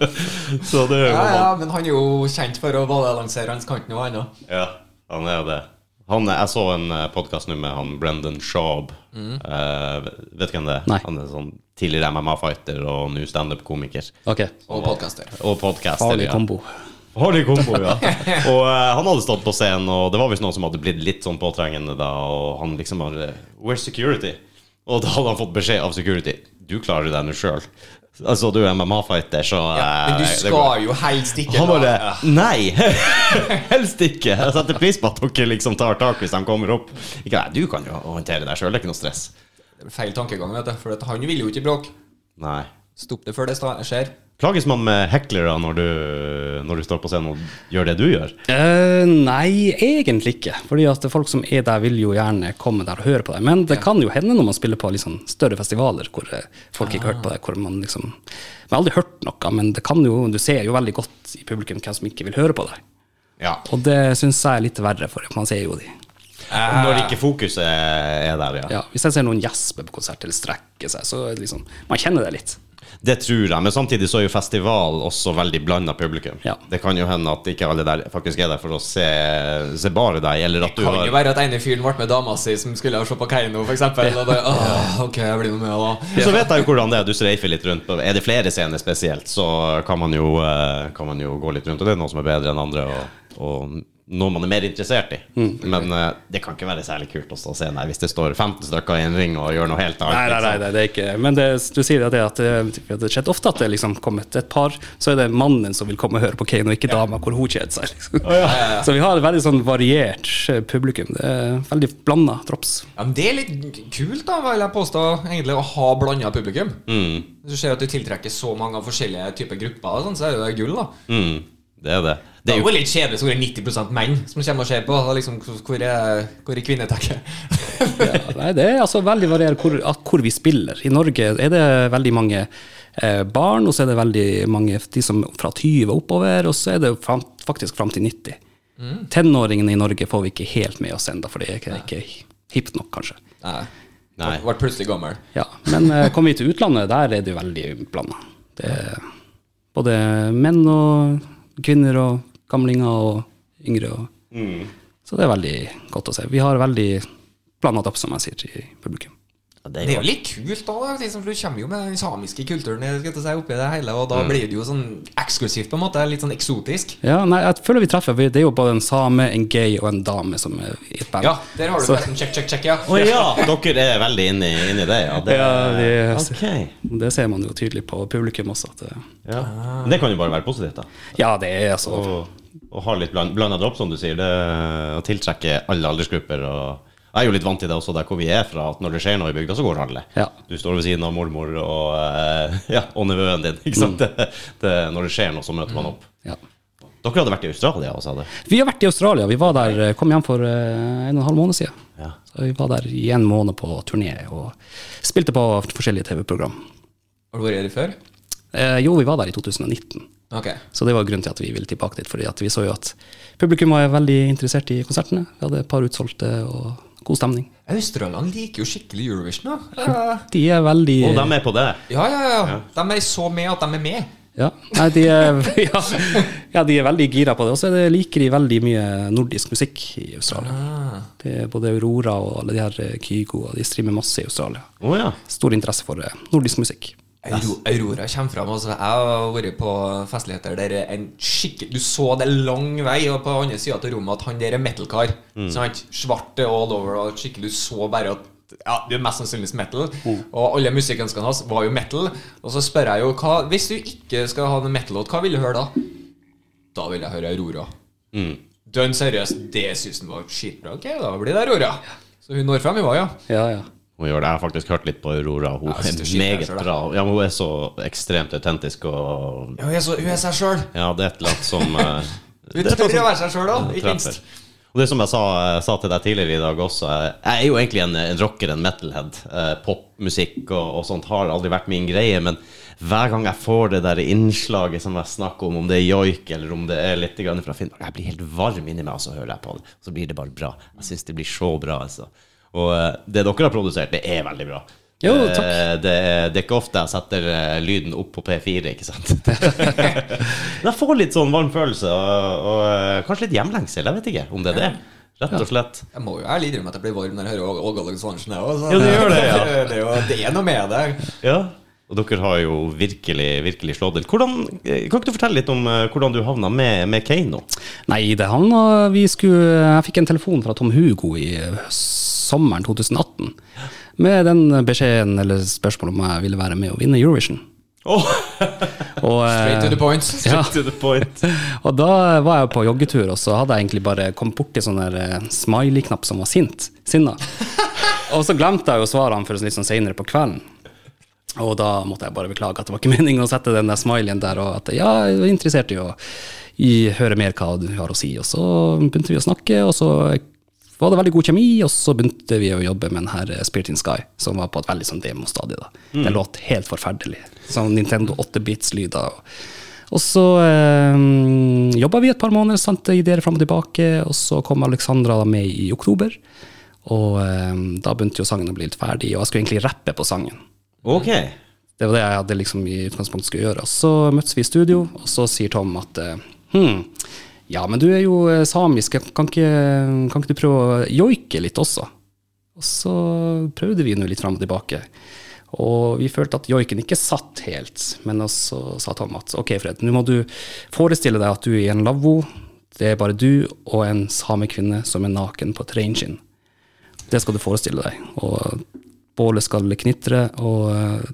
S2: greit.
S1: Så det er jo
S2: ja, ja, men han er jo kjent for å balansere hans kant nå, han òg.
S1: Ja, han er jo det. Han, jeg så en podkast nå med han Brendan Schaub.
S2: Mm.
S1: Eh, vet du hvem det er?
S3: Nei.
S1: Han er sånn tidligere MMA-fighter og nå standup-komiker.
S3: OK.
S2: Og podkaster.
S1: Og podcaster.
S3: Farlig
S1: ja.
S3: kombo.
S1: Farlig kombo, ja. og eh, han hadde stått på scenen, og det var visst noen som hadde blitt litt sånn påtrengende da, og han liksom bare Where's security? Og da hadde han fått beskjed av security Du klarer deg nå sjøl. Altså, du er MMA-fighter, så eh,
S2: Men du
S1: det går.
S2: skal jo helst ikke
S1: Han
S2: da.
S1: bare Nei! Helst ikke. Jeg setter pris på at dere liksom tar tak hvis de kommer opp. Ikke nei, du kan jo håndtere deg sjøl, det er ikke noe stress.
S2: Det er Feil tankegang, vet du. For at han vil jo ikke bråke.
S1: Nei.
S2: Stopp det før det sta- skjer.
S1: Plages man med hecklere når du, når du står på scenen og gjør det du gjør?
S3: Eh, nei, egentlig ikke. Fordi at folk som er der, vil jo gjerne komme der og høre på deg. Men det kan jo hende når man spiller på litt sånn større festivaler hvor eh, folk ikke har hørt på deg. Hvor man liksom Man har aldri hørt noe, men det kan jo, du ser jo veldig godt i publikum hvem som ikke vil høre på deg.
S1: Ja.
S3: Og det syns jeg er litt verre, for man ser jo de.
S1: Når ikke fokuset er der, ja.
S3: Ja, hvis jeg ser noen gjespe på konsert eller strekke seg, så er det liksom Man kjenner det litt.
S1: Det tror jeg, men samtidig så er jo festival også veldig blanda publikum.
S3: Ja.
S1: Det kan jo hende at ikke alle der faktisk er der for å se, se bare deg, eller at du
S2: Kan jo
S1: har
S2: være at ene fyren ble med dama si som skulle se på Keiino, f.eks. Og bare åh, OK, jeg blir med, da.
S1: Så vet jeg jo hvordan det er, du streifer litt rundt. på- Er det flere scener spesielt, så kan man jo, eh, kan man jo gå litt rundt. Og det er noen som er bedre enn andre, og, og noe man er mer interessert i. Men eh, det kan ikke være særlig kult å stå scenen her hvis det står 15 stykker i en ring og gjør noe helt annet.
S3: Nei, nei, nei, nei, det er ikke Men det, du sier at det, at det, det skjedde ofte at det liksom kommet et par, så er det mannen som vil komme og høre på Kane, og ikke dama hvor hun kjeder seg. Liksom. Så vi har et veldig sånn variert eh, publikum. Det er veldig blanda drops.
S2: Ja, men Det er litt kult, da, vil jeg påstå, egentlig, å ha blanda publikum.
S1: Mm.
S2: Hvis du ser at du tiltrekker så mange av forskjellige typer grupper, og sånn, så er det jo gull, da.
S1: liksom. Mm, det er det.
S2: Det
S1: det er
S2: er
S1: jo,
S2: jo litt kjedelig så det er 90 menn som kommer og ser på. og Liksom, hvor er, hvor er kvinnetekket?
S3: Ja, nei, det er altså veldig variert hvor, at- hvor vi spiller. I Norge er det veldig mange eh, barn, og så er det veldig mange de som er fra 20 og oppover, og så er det fram, faktisk fram til 90. Mm. Tenåringene i Norge får vi ikke helt med oss ennå, for det er ikke, ikke hipt nok, kanskje.
S2: Nei.
S1: Nei.
S2: Ble plutselig gammel.
S3: Ja, men eh, kommer vi til utlandet, der er det jo veldig blanda. Det er både menn og kvinner og gamlinger og yngre. Og, Så det er veldig godt å se. Vi har veldig blanda opp, som jeg sier, i publikum.
S1: det
S2: Det
S1: er
S2: er
S1: jo
S2: jo litt kult, da. da, Liksom, for du kommer jo med den samiske kulturen skal jeg til å si, oppi det hele, og da blir det jo sånn eksklusivt, på en måte. Litt sånn eksotisk.
S3: Ja, nei, jeg føler vi treffer. Vi- Det er jo både en same, en gay og en dame som er i et band.
S2: Ja, der har du
S3: Så-
S2: forresten check, check, check, ja.
S1: Å ja! Dere er veldig inne i, inne i det, ja. Det,
S3: Ja, vi-
S1: Ok.
S3: Det ser man jo tydelig på publikum også. At, det-
S1: ja. Men Det kan jo bare være positivt, da.
S3: ja, det er altså
S1: Og, og ha litt bland, blanda dropp, som du sier. Det, å tiltrekke alle aldersgrupper. Og Jeg er jo litt vant til det også der hvor vi er fra, at når det skjer noe i bygda, så går alle.
S3: Ja.
S1: Du står ved siden av mormor og, eh, ja, og nevøen din. Ikke sant?
S2: Mm.
S1: Det, det, når det skjer noe, så møter man opp.
S3: Ja.
S1: Dere hadde vært i Australia og sa det?
S3: Vi har vært i Australia. Vi var der, eh, kom hjem for eh, en og en halv måned siden.
S1: Ja.
S3: Så vi var der i en måned på turné og spilte på forskjellige TV-program.
S2: Har du vært her før?
S3: Eh, jo, vi var der i 2019.
S2: Ok.
S3: Så det var grunnen til at vi ville tilbake dit, fordi at vi så jo at publikum var veldig interessert i konsertene. Vi hadde et par utsolgte og god stemning.
S2: Australierne liker jo skikkelig Eurovision, da. Eh,
S3: De er veldig
S1: Og de er på det?
S2: Ja, ja, ja. De er så med at de er med.
S3: ja, nei, de er, ja, ja, de er veldig gira på det. Og så er det- liker de veldig mye nordisk musikk i Australia.
S2: Ah.
S3: Det er både Aurora og alle de her eh, Kygo, og de streamer masse i Australia.
S1: Å ja.
S3: Stor interesse for eh, nordisk musikk.
S2: Auro- Aurora kommer fram. Altså, jeg har vært på festligheter der en skikke, du så det lang vei, og på andre sida til rommet at han der er metal-kar.
S1: Mm.
S2: sant? Svart all over, og skikkelig du så bare at ja, det er mest sannsynligvis metal.
S1: Mm.
S2: Og alle musikkønskene hans var jo metal. Og så spør jeg jo hva Hvis du ikke skal ha en metal-låt, hva vil du høre da? Da vil jeg høre Aurora.
S1: Mm.
S2: Dønn seriøst, det syns han var skitbra. Ok, da blir det Aurora. Så hun når fram i var, ja.
S3: Ja, ja.
S1: Hun gjør det. Jeg har faktisk hørt litt på Aurora. Hun
S2: Ja, jeg synes det
S1: er
S2: er skikkelig
S1: meget
S2: selv, da.
S1: bra. Ja, men hun er så ekstremt autentisk og
S2: Hun er så- hun er seg sjøl.
S1: Ja, det er et eller annet som eh,
S2: Hun
S1: det er et eller annet
S2: tør
S1: som-
S2: å være seg sjøl òg, ikke minst.
S1: treffer. Og det som jeg sa, sa til deg tidligere i dag også, jeg- jeg er jo egentlig en, en rocker, en metalhead. Eh, Popmusikk og, og sånt har aldri vært min greie, men hver gang jeg får det der innslaget som jeg snakker om, om det er joik eller om det er litt grann fra Finnmark, jeg blir helt varm inni meg, og så hører jeg på det. Så blir det bare bra. Jeg syns det blir så bra, altså. Og eh, det dere har produsert, det er veldig bra.
S3: Jo,
S1: Eh,
S3: takk.
S1: Det, er- det er ikke ofte jeg setter eh, lyden opp på P4, ikke sant? Men jeg får litt sånn varm følelse, og, og eh, kanskje litt hjemlengsel. Jeg vet ikke om det er det. Rett og slett.
S2: Jeg må jo ærlig innrømme at jeg blir varm når jeg hører Åge Alexandersen Andersen. Jeg, også, så-
S1: Ja, det gjør det, ja.
S2: det, er jo, det er noe med det.
S1: Ja. Og dere har jo virkelig virkelig slått til. Hvordan, eh, kan ikke du fortelle litt om eh, hvordan du havna med, med Keiino?
S3: Nei, det havna vi skulle Jeg fikk en telefon fra Tom Hugo i sommeren 2018 med den beskjeden eller spørsmålet om jeg ville være med å vinne Eurovision.
S1: Oh,
S3: Og, eh,
S2: Straight to the point.
S3: Ja.
S1: to the point.
S3: og da var jeg på joggetur, og så hadde jeg egentlig bare kommet borti sånn der eh, smiley-knapp som var sint. Sinna. Og så glemte jeg jo svarene for litt sånn seinere på kvelden. Og da måtte jeg bare beklage at det var ikke meningen å sette den der smileyen der, og at ja, jeg var interessert i å i, høre mer hva du har å si. Og så begynte vi å snakke, og så var det veldig god kjemi, og så begynte vi å jobbe med den her eh, Spirit in Sky, som var på et veldig sånn demostadie. da. Det låt helt forferdelig. Sånn Nintendo 8-bits-lyder. Og så eh, jobba vi et par måneder, sendte ideer fram og tilbake, og så kom Alexandra da med i oktober. Og eh, da begynte jo sangen å bli litt ferdig, og jeg skulle egentlig rappe på sangen.
S1: Ok.
S3: Det var det jeg hadde liksom i utgangspunktet skulle gjøre. Og så møttes vi i studio, og så sier Tom at eh, hm, ja, men du er jo eh, samisk, kan ikke, kan ikke du prøve å joike litt også? Og så prøvde vi nå litt fram og tilbake. Og vi følte at joiken ikke satt helt, men så sa Tom at ok, Fred, nå må du forestille deg at du er i en lavvo, det er bare du og en samekvinne som er naken på et reinskinn. Det skal du forestille deg. Og bålet skal knitre, og eh,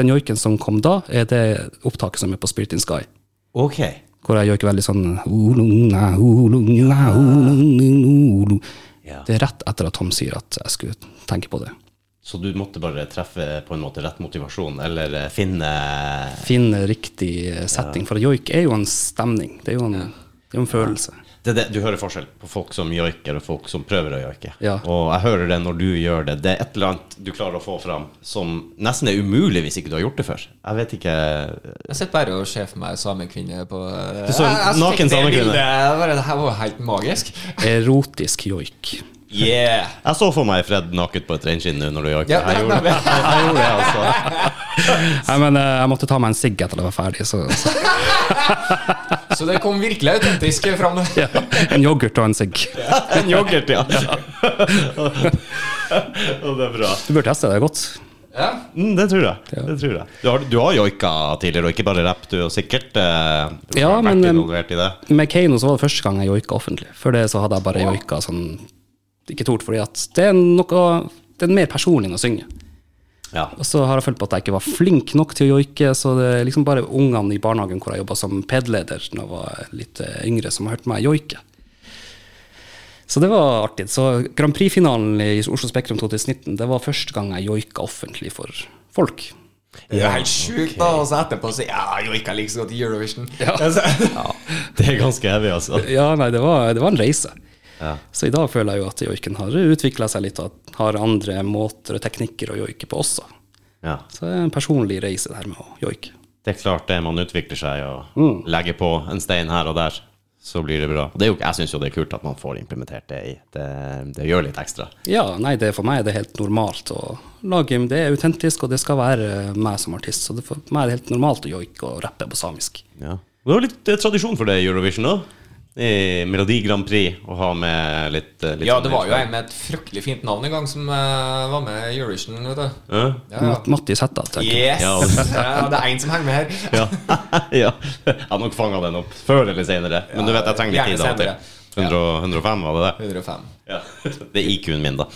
S3: den joiken som kom da, er det opptaket som er på Spirit in Sky.
S1: Ok.
S3: Hvor jeg joiker veldig sånn «Ulunga, ulunga, ulunga, ulu».
S1: Ja.
S3: Det er rett etter at Tom sier at jeg skulle tenke på det.
S1: Så du måtte bare treffe på en måte rett motivasjon, eller eh, finne
S3: Finne riktig eh, setting, for joik er jo en stemning. Det er jo en, det er jo en følelse.
S1: det, er det, Du hører forskjell på folk som joiker, og folk som prøver å joike.
S3: Ja.
S1: Og jeg hører det når du gjør det. Det er et eller annet du klarer å få fram som nesten er umulig hvis ikke du har gjort det før. Jeg vet ikke
S2: Jeg sitter bare og ser for meg samekvinne på eh,
S1: Du så en
S2: Jeg- jeg
S1: naken
S2: fikk det
S1: samekvinne.
S2: bildet, det var- Det her var jo helt magisk.
S3: Erotisk joik.
S2: Yeah!
S1: Jeg så for meg Fred naket på et reinskinn nå når du joiker.
S2: Ja,
S1: jeg, gjorde det. jeg gjorde det, altså.
S3: Nei, men eh, jeg måtte ta meg en sigg etter jeg var ferdig, så, så
S2: Så det kom virkelig autentisk fram.
S3: ja. En yoghurt og en sigg.
S1: En yoghurt, ja. Og det er bra.
S3: Du bør teste det, det er godt.
S2: Ja.
S1: Mm, det tror jeg. Det tror jeg. Du, har, du har joika tidligere, og ikke bare rapp. Du har sikkert eh, du
S3: Ja,
S1: har vært
S3: men, eh,
S1: involvert i det.
S3: Med Keiino så var det første gang jeg joika offentlig. Før det så hadde jeg bare joika sånn Ikke tort, fordi at det er noe Det er mer personlig enn å synge.
S1: Ja.
S3: Og så har jeg følt på at jeg ikke var flink nok til å joike, så det er liksom bare ungene i barnehagen E hvor jeg jobba som PED-leder da jeg var litt eh, yngre, som har hørt meg joike. Så det var artig. Så Grand Prix-finalen i Oslo Spektrum 2019, det var første gang jeg joika offentlig for folk.
S2: Det er jo helt sjukt, da. Og så etterpå så Ja, jo, ikke like så godt i Eurovision. Altså,
S1: Det er ganske heavy, altså.
S3: Ja, nei, det var, det var en reise.
S1: Ja.
S3: Så i dag føler jeg jo at joiken har utvikla seg litt, og at har andre måter og teknikker å joike på også.
S1: Ja.
S3: Så det er en personlig reise, det her med å joike.
S1: Det er klart det, man utvikler seg og legger på en stein her og der, så blir det bra. Det er jo, jeg syns jo det er kult at man får implementert det i. Det, det gjør litt ekstra.
S3: Ja, nei, det for meg er det helt normalt å lage Det er autentisk, og det skal være meg som artist. Så det for meg er det helt normalt å joike og rappe på samisk.
S1: Ja. Det var litt eh, tradisjon for det i Eurovision òg. I Melodi Grand Prix å ha med litt, eh, litt
S2: ja,
S1: sånn-
S2: det var jo en med et fryktelig fint navn en gang som eh, var med i Eurovision, vet du.
S1: Ja.
S2: Ja, ja.
S3: Mat- Mattis Hetta, tenker jeg.
S2: Yes!
S1: Ja.
S2: Ja, det er én som henger med her.
S1: Ja. ja. Jeg har nok fanga den opp før eller senere. Men du vet, jeg trenger litt tid
S2: gjerne
S1: av og til. 100, 105, var det det?
S2: 105.
S1: Ja. Det er IQ-en min, da.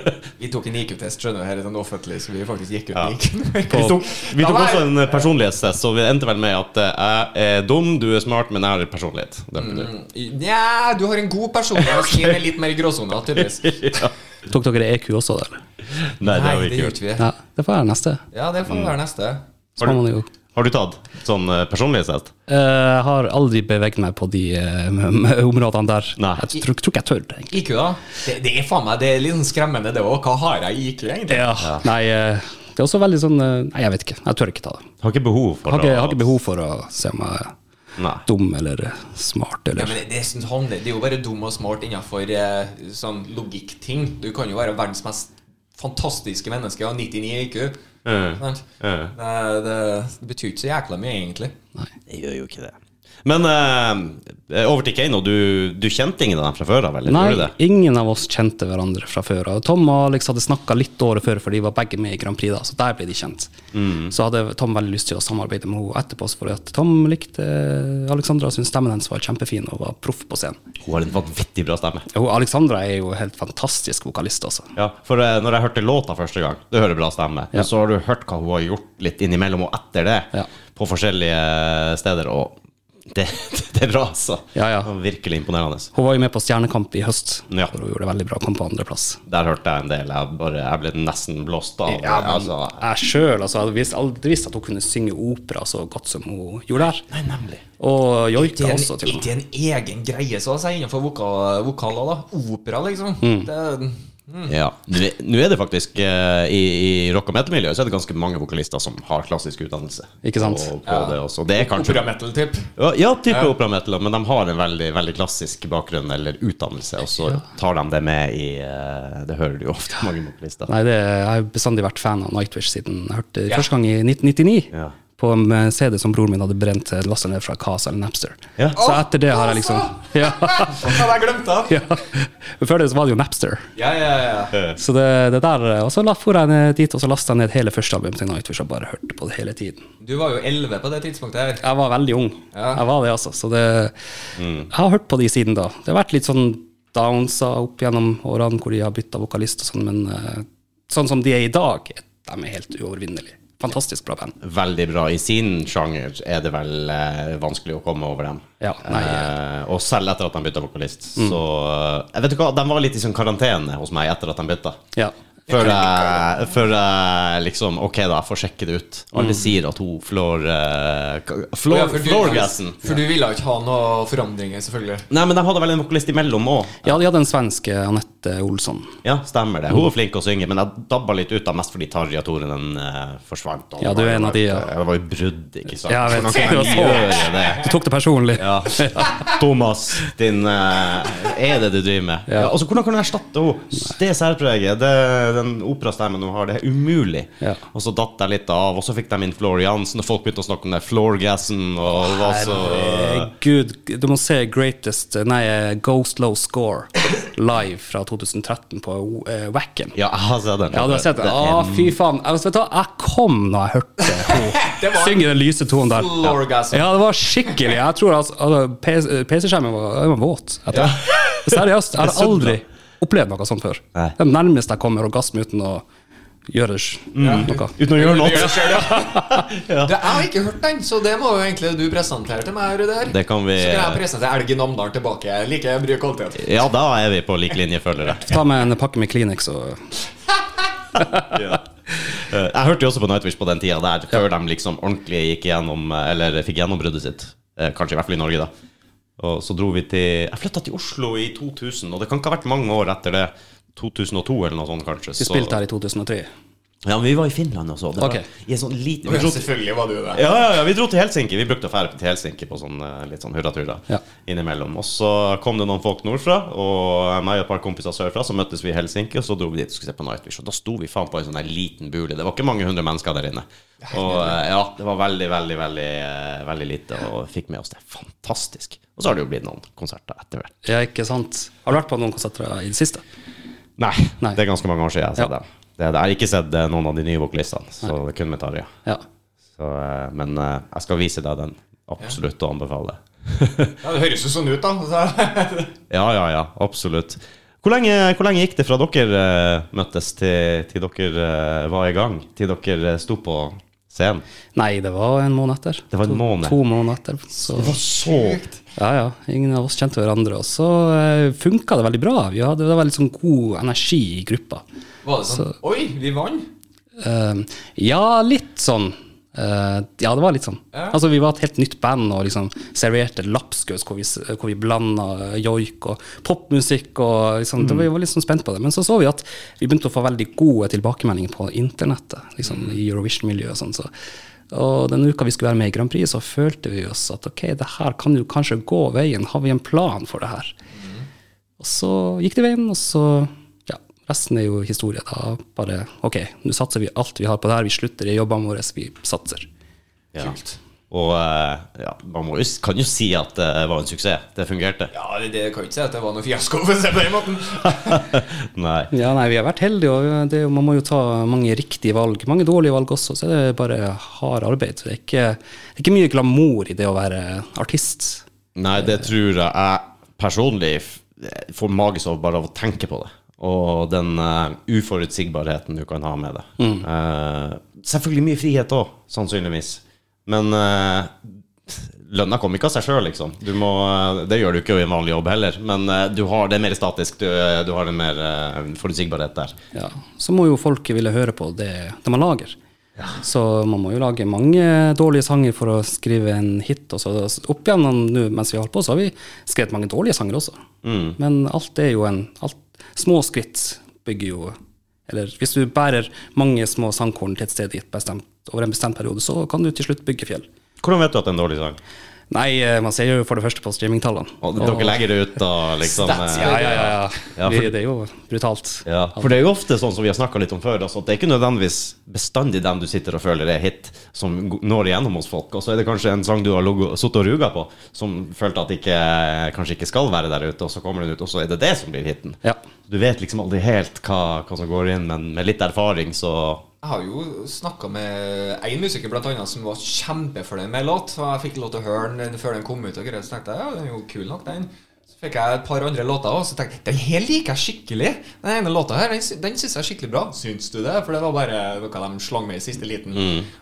S2: Vi tok en IQ-test, skjønner du, her i den offentlige, så vi faktisk gikk ut
S1: Ja.
S2: med IQ-en.
S1: Vi tok, vi
S2: Da
S1: tok
S2: var
S1: også
S2: jeg-
S1: en personlighetstest, så vi endte vel med at eh, jeg er dum, du er smart, men jeg har personlighet. Det
S3: Mm.
S1: er du.
S2: Nja, du har en god person, men min er litt mer i gråsona, tydeligvis.
S3: Tok dere EQ også, da? eller?
S1: Nei, det har vi
S2: Nei, det
S1: ikke Mm.
S2: gjorde
S1: gjort.
S2: vi.
S3: Ja, det får være neste.
S2: Ja, det får være neste.
S3: Så har man jo
S1: Har du tatt sånn eh, personlighetstest?
S3: Eh, Jeg har aldri beveget meg på de eh, m- m- områdene der.
S1: Nei.
S3: Jeg tror, tror ikke jeg tør det, egentlig.
S2: IQ, da? Det, det er faen meg det er litt sånn skremmende, det òg. Hva har jeg i IQ, egentlig?
S3: Ja. Nei, eh, det er også veldig sånn eh, Nei, jeg vet ikke. Jeg tør ikke ta det.
S1: Har ikke behov for
S3: Jeg har ikke, jeg har
S1: å-
S3: ikke behov for å se om jeg er
S1: Nei.
S3: dum eller eh, smart
S2: Ja,
S3: eller
S2: men det, det, synes han, det det er jo bare dum og smart innenfor eh, sånn logikkting. Du kan jo være verdens mest fantastiske menneske og 99 IQ.
S1: Eh,
S2: sant?
S1: eh.
S2: Det, det betyr ikke så jækla mye, egentlig.
S1: Det gjør jo ikke det. Men eh, over til Keiino. Du, du kjente ingen av dem fra før av, eller?
S3: Nei,
S1: Gjorde du det?
S3: ingen av oss kjente hverandre fra før av. Tom og Alex hadde snakka litt året før, for de var begge med i Grand Prix da, så der ble de kjent. Så hadde Tom veldig lyst til å samarbeide med henne etterpå, fordi at Tom likte Alexandra og syntes stemmen hennes var kjempefin og var proff på scenen.
S1: Hun har en vanvittig bra stemme.
S3: Jo, Alexandra er jo helt fantastisk vokalist, altså.
S1: Ja, for eh, når jeg hørte låta første gang, du hører bra stemme, men så har du hørt hva hun har gjort litt innimellom og etter det,
S3: Ja.
S1: på forskjellige steder, og det, det er bra, altså.
S3: Ja, ja.
S1: Det var Virkelig imponerende.
S3: Hun var jo med på Stjernekamp i høst,
S1: Ja.
S3: hvor hun gjorde det veldig bra, kom på andreplass.
S1: Der hørte jeg en del. Jeg, bare, jeg ble nesten blåst av.
S3: Ja, men-
S1: altså,
S3: Jeg sjøl altså, hadde visst- aldri visst at hun kunne synge opera så godt som hun gjorde der.
S1: nei, nemlig.
S3: Og joika
S2: Til en,
S3: også, til og med.
S2: til en egen greie, så å si, innenfor voka- vokaler. da Opera, liksom.
S1: Mm.
S2: Det,
S1: Ja. Nå nå er det faktisk eh, I, i rock og metal-miljøet så er det ganske mange vokalister som har klassisk utdannelse.
S3: Ikke sant?
S1: Og på det også. Det er kanskje
S2: opera metal typ
S1: Ja, ja type opera-metal, men de har en veldig, veldig klassisk bakgrunn eller utdannelse, og så tar de det med i eh, Det hører du jo ofte mange vokalister.
S3: Nei, det, jeg har bestandig vært fan av Nightwish siden jeg hørte det
S2: Ja.
S3: første gang i 1999.
S1: Ja.
S3: På en eh, CD som broren min hadde brent eh, lastet ned fra Casa eller Napster.
S1: Ja.
S3: Så etter det har jeg liksom ja,
S2: Hva hadde jeg glemt av?
S3: ja. Før det så var det jo Napster.
S2: Ja, ja, ja.
S3: Så det, det der, eh, og så la- for jeg ned dit og så lastet jeg ned hele første album til Nightwish og bare hørte på det hele tiden.
S2: Du var jo 11 på det tidspunktet her.
S3: Jeg var veldig ung.
S2: Ja.
S3: Jeg var det, altså. Så det,
S1: Mm.
S3: jeg har hørt på de siden da. Det har vært litt sånn downsa opp gjennom årene hvor de har bytta vokalist og sånn, men eh, sånn som de er i dag, de er helt uovervinnelige. Fantastisk bra band.
S1: Veldig bra. I sin sjanger er det vel eh, vanskelig å komme over dem.
S3: Ja, nei, Mm.
S1: Eh, og selv etter at de bytta vokalist, så eh, Vet du hva, de var litt i sånn karantene hos meg etter at de bytta.
S3: ja.
S1: Før jeg, før jeg liksom Ok, da, jeg får sjekke det ut.
S3: Mm.
S1: Alle sier at hun flår eh, k-
S2: Ja,
S1: Flår
S2: for du-
S1: Florgassen.
S2: For du ville ikke ha noe forandringer, selvfølgelig.
S1: Nei, men de hadde vel en vokalist imellom òg.
S3: ja, de hadde en svensk, eh, Anette Olsson.
S1: Ja, stemmer det. Hun var flink å synge, men jeg dabba litt ut av mest fordi Tarjei Torenen eh, forsvant. og
S3: Ja,
S1: det var
S3: du er
S1: jo
S3: en av de, ja.
S1: et- Det var jo brudd, ikke sant.
S3: Ja, jeg vet.
S1: Hvordan kan man
S3: Det var så-
S1: gjøre det?
S3: Du tok det personlig.
S1: Eh. Ja. Thomas, din eh, Er det du driver med? Ja. altså, hvordan kan du erstatte henne? Det særpreget, det, den operastemmen hun har, det er umulig.
S3: Ja.
S1: Og så datt jeg litt av, og så fikk de inn Floriansen, og folk begynte å snakke om det Florgassen, og det var så
S3: Herregud, Eh, du må se Greatest eh, Nei, eh, Ghost Low Score live fra 2013 på eh, Wacken.
S1: Ja, altså, jeg har sett den.
S3: Ja, du har sett det.
S1: er
S3: Å, fy faen. Jeg, vet du, hva? jeg kom da jeg hørte
S2: Det
S3: henne
S2: var-
S3: synge den lyse tonen der.
S2: Florgasm.
S3: Ja, det var skikkelig. Jeg tror altså, altså, PC PC-skjermen var, den var våt. etter det. Seriøst, jeg har
S1: Det er så
S3: aldri opplevd noe sånt før.
S1: Nei.
S3: Det er nærmest jeg kommer orgasme uten å gjøre det sj- noe.
S1: Uten å gjøre
S2: Du
S1: noe.
S2: gjør det selv, ja. Du, jeg har ikke hørt den, så det må jo egentlig du presentere til meg. Ruder.
S1: Det kan vi
S2: Så kan jeg presentere Elgen Namdalen tilbake. Jeg liker jeg bryr kvalitet.
S1: Ja, da er vi på lik linje, føler jeg.
S3: Ta med en pakke med Kleenex og
S1: Ja. Eh, Jeg hørte jo også på Nightwish på den tida der, før de liksom ordentlig gikk gjennom, eller fikk gjennombruddet sitt. Eh, Kanskje i hvert fall i Norge, da. Og så dro vi til Jeg flytta til Oslo i 2000, og det kan ikke ha vært mange år etter det. 2002 eller noe sånt, kanskje.
S3: Vi spilte her i 2003.
S1: Ja, men vi var i Finland også. og Det
S3: Ok.
S1: var i en sånn liten
S2: Ja,
S1: vi dro, til-
S2: selvfølgelig var du det.
S1: ja, ja, ja, vi dro til Helsinki. Vi brukte å dra til Helsinki på sånn eh, litt sånn hurraturer
S3: Ja.
S1: innimellom. Og så kom det noen folk nordfra, og meg og et par kompiser sørfra, så møttes vi i Helsinki, og så dro vi dit og skulle se på Nightwish. Og da sto vi faen på en sånn der liten bule. Det var ikke mange hundre mennesker der inne. Og eh, ja, det var veldig, veldig, veldig, eh, veldig lite, og fikk med oss det. Fantastisk. Og så har det jo blitt noen konserter etter hvert.
S3: Ja, ikke sant? Har du vært på noen konserter i det siste?
S1: Nei,
S3: Nei.
S1: det er ganske mange år siden jeg har sett
S3: Ja.
S1: dem. Det, jeg har ikke sett eh, noen av de nye vokalistene, så det er kun med Tarjei.
S3: Ja.
S1: Så, eh, men eh, jeg skal vise deg den. Absolutt å anbefale.
S2: Ja, det høres jo sånn ut, da. Så.
S1: Ja, ja, ja. Absolutt. Hvor lenge, hvor lenge gikk det fra dere eh, møttes til, til dere eh, var i gang? Til dere eh, sto på scenen?
S3: Nei, det var en måned etter.
S1: Det var en
S3: To-
S1: måned.
S3: To måneder etter. Så
S1: Så
S3: ja, ja. Ingen av oss kjente hverandre. Og så uh, funka det veldig bra. Vi hadde, det var litt sånn god energi i gruppa.
S2: Var det sånn Oi, vi vant!
S3: Eh, ja, litt sånn. Eh, ja, det var litt sånn.
S2: Ja.
S3: Altså, vi var et helt nytt band og liksom serverte lapskaus hvor vi, s- hvor vi blanda joik og popmusikk. og liksom, det var- Vi var litt sånn spent på det. Men så så vi at vi begynte å få veldig gode tilbakemeldinger på internettet. liksom I Eurovision-miljøet og sånn. Så. Og den uka vi skulle være med i Grand Prix, så følte vi oss at ok, det her kan jo kanskje gå veien. Har vi en plan for det her? Og så gikk det veien, og så ja, resten er jo historie. Da bare OK, nå satser vi alt vi har på det her. Vi slutter i jobbene våre, vi satser.
S1: ja. Og eh, ja, man må jo, s- kan jo si at eh, det var en suksess. Det fungerte.
S2: Ja, det, det kan jo ikke si at det var noe fiasko, for å si det på den måten.
S1: Nei.
S3: Ja, nei, vi har vært heldige, og det, er jo- man må jo ta mange riktige valg. Mange dårlige valg også, så det er bare hard arbeid. Så Det er ikke, det er ikke mye glamour i det å være artist.
S1: Nei, det tror jeg jeg personlig f- får magesår bare av å tenke på det. Og den eh, uforutsigbarheten du kan ha med det. Eh, selvfølgelig mye frihet òg, sannsynligvis. Men eh, lønna kommer ikke av seg sjøl, liksom. Du må, eh, det gjør du ikke i en vanlig jobb heller. Men eh, du har, det er mer statisk. Du, eh, du har en mer eh, forutsigbarhet der.
S3: Ja, så må jo folk ville høre på det, det man lager. Så man må jo lage mange dårlige sanger for å skrive en hit. Og så opp igjennom nå mens vi har holdt på, så har vi skrevet mange dårlige sanger også.
S1: Mm.
S3: Men alt er jo en alt, Små skritt bygger jo Eller hvis du bærer mange små sangkorn til et sted i et bestemt, over en bestemt periode, så kan du til slutt bygge fjell.
S1: Hvordan vet du at det er en dårlig sang?
S3: Nei, eh, man ser jo for det første på streamingtallene.
S1: Og dere legger det ut, da, liksom.
S2: Stats,
S1: eh,
S3: Ja, ja, ja.
S1: Ja,
S3: ja
S1: for-
S3: vi, det er jo brutalt.
S1: Ja, for det er jo ofte sånn som vi har snakka litt om før, altså, at det er ikke nødvendigvis bestandig dem du sitter og føler er hit, som g- når igjennom hos folk. Og så er det kanskje en sang du har ligget- sittet og ruga på, som følte at ikke, kanskje ikke skal være der ute, og så kommer den ut, og så er det det som blir hiten.
S3: Ja.
S1: Du vet liksom aldri helt hva, hva som går inn, men med litt erfaring, så
S2: Jeg har jo snakka med én musiker blant annet, som var kjempefornøyd med en låt. Og jeg fikk lov til å høre den før den kom ut, og greier, så tenkte jeg ja, den er jo kul nok, den. Så fikk jeg et par andre låter også, så tenkte jeg den her liker jeg skikkelig. Den ene låta her, den, sy- den syns jeg er skikkelig bra. Syns du det? For det var bare noe de slang med i siste liten.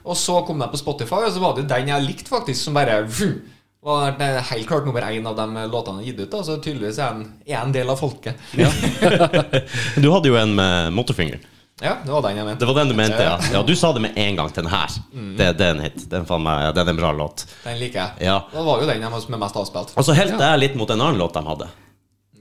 S2: Og så kom jeg på Spotify, og så var det jo den jeg likte, faktisk, som bare vroom, var den eh, helt klart nummer én av de låtene jeg har gitt ut. Da. Så tydeligvis er den er en del av folket. Ja.
S1: Du hadde jo en med motorfingeren.
S2: det var den jeg mente.
S1: Det var den du mente, ja. ja du sa det med en gang til den her.
S2: Mm.
S1: Det, det er en hit. Den, faen meg, det er en bra låt.
S2: Den liker jeg.
S1: Ja.
S2: Det var jo den jeg var- som er mest avspilt.
S1: Og så helte jeg litt mot en annen låt de hadde.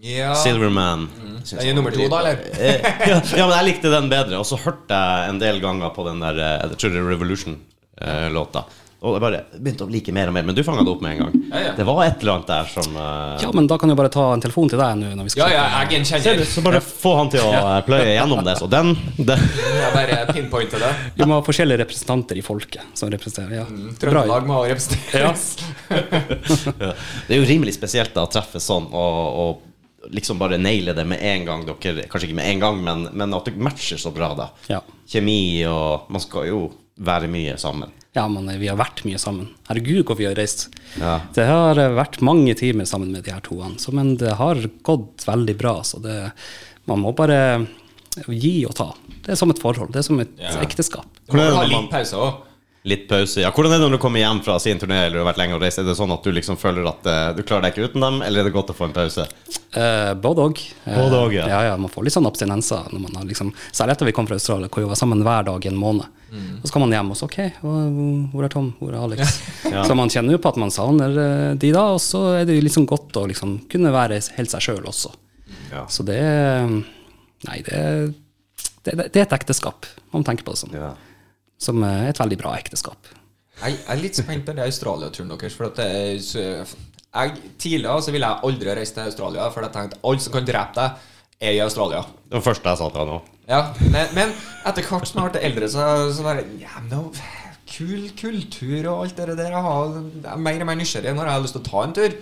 S2: Ja.
S1: Silverman.
S2: Den Mm. er nummer to, da, eller?
S1: Eh, ja, ja, men jeg likte den bedre. Og så hørte jeg en del ganger på den der eh, jeg tror det er Revolution-låta. Og jeg bare begynte å like mer og mer. Men du fanga det opp med en gang.
S2: Ja, ja.
S1: Det var et eller annet der som eh,
S3: ja, men da kan jeg bare ta en telefon til deg nå når vi skal
S2: Ja, ja, jeg gjenkjenner.
S1: Så bare få han til å eh, pløye gjennom det. Så den, den
S2: Jeg bare pinpointer det.
S3: Vi må ha forskjellige representanter i folket som representerer. Ja. Bra.
S2: Mm, Trøndelag må også representeres.
S1: Det er jo rimelig spesielt da å treffe sånn og, og liksom bare naile det med en gang. Dere, kanskje ikke med en gang, men, men at dere matcher så bra, da.
S3: Ja.
S1: Kjemi og Man skal jo være mye sammen.
S3: ja, men eh, vi har vært mye sammen. Herregud, hvor vi har reist.
S1: Ja.
S3: Det har eh, vært mange timer sammen med de her toene, så, men det har gått veldig bra. Så det, man må bare å gi og ta. Det er som et forhold. Det er som et ekteskap.
S2: Du må
S1: Hvordan er det
S2: ha
S1: når man-
S2: litt pause òg.
S1: Litt pause. Ja, hvordan er det når du kommer hjem fra sin turné eller du har vært lenge og reist? Er det sånn at du liksom føler at eh, du klarer deg ikke uten dem, eller er det godt å få en pause?
S3: Eh, både òg.
S1: Både og, ja.
S3: ja. ja. Man får litt sånn abstinenser. Når man har liksom, særlig etter vi kom fra Australia, hvor vi var sammen hver dag i en måned. Og så kan man hjem og så OK, og hvor er Tom? Hvor er Alex? Så man kjenner jo på at man savner eh, de da, og så er det jo liksom godt å liksom kunne være helt seg sjøl også.
S1: Ja.
S3: Så det eh, Nei, det, det, det er et ekteskap, om man tenker på det sånn.
S1: Ja.
S3: Som er et veldig bra ekteskap.
S2: Jeg, jeg er litt spent på den Australia-turen deres. For at det er, så, jeg, tidligere så ville jeg aldri reist til Australia, for jeg tenkte alle som kan drepe deg, er i Australia.
S1: Det var det første jeg sa til han òg.
S2: Ja, men, men etter hvert som jeg har blitt eldre, så, så bare ja, men det er jo Kul kultur og alt det der. Jeg, har, jeg er mer og mer nysgjerrig når jeg har lyst til å ta en tur.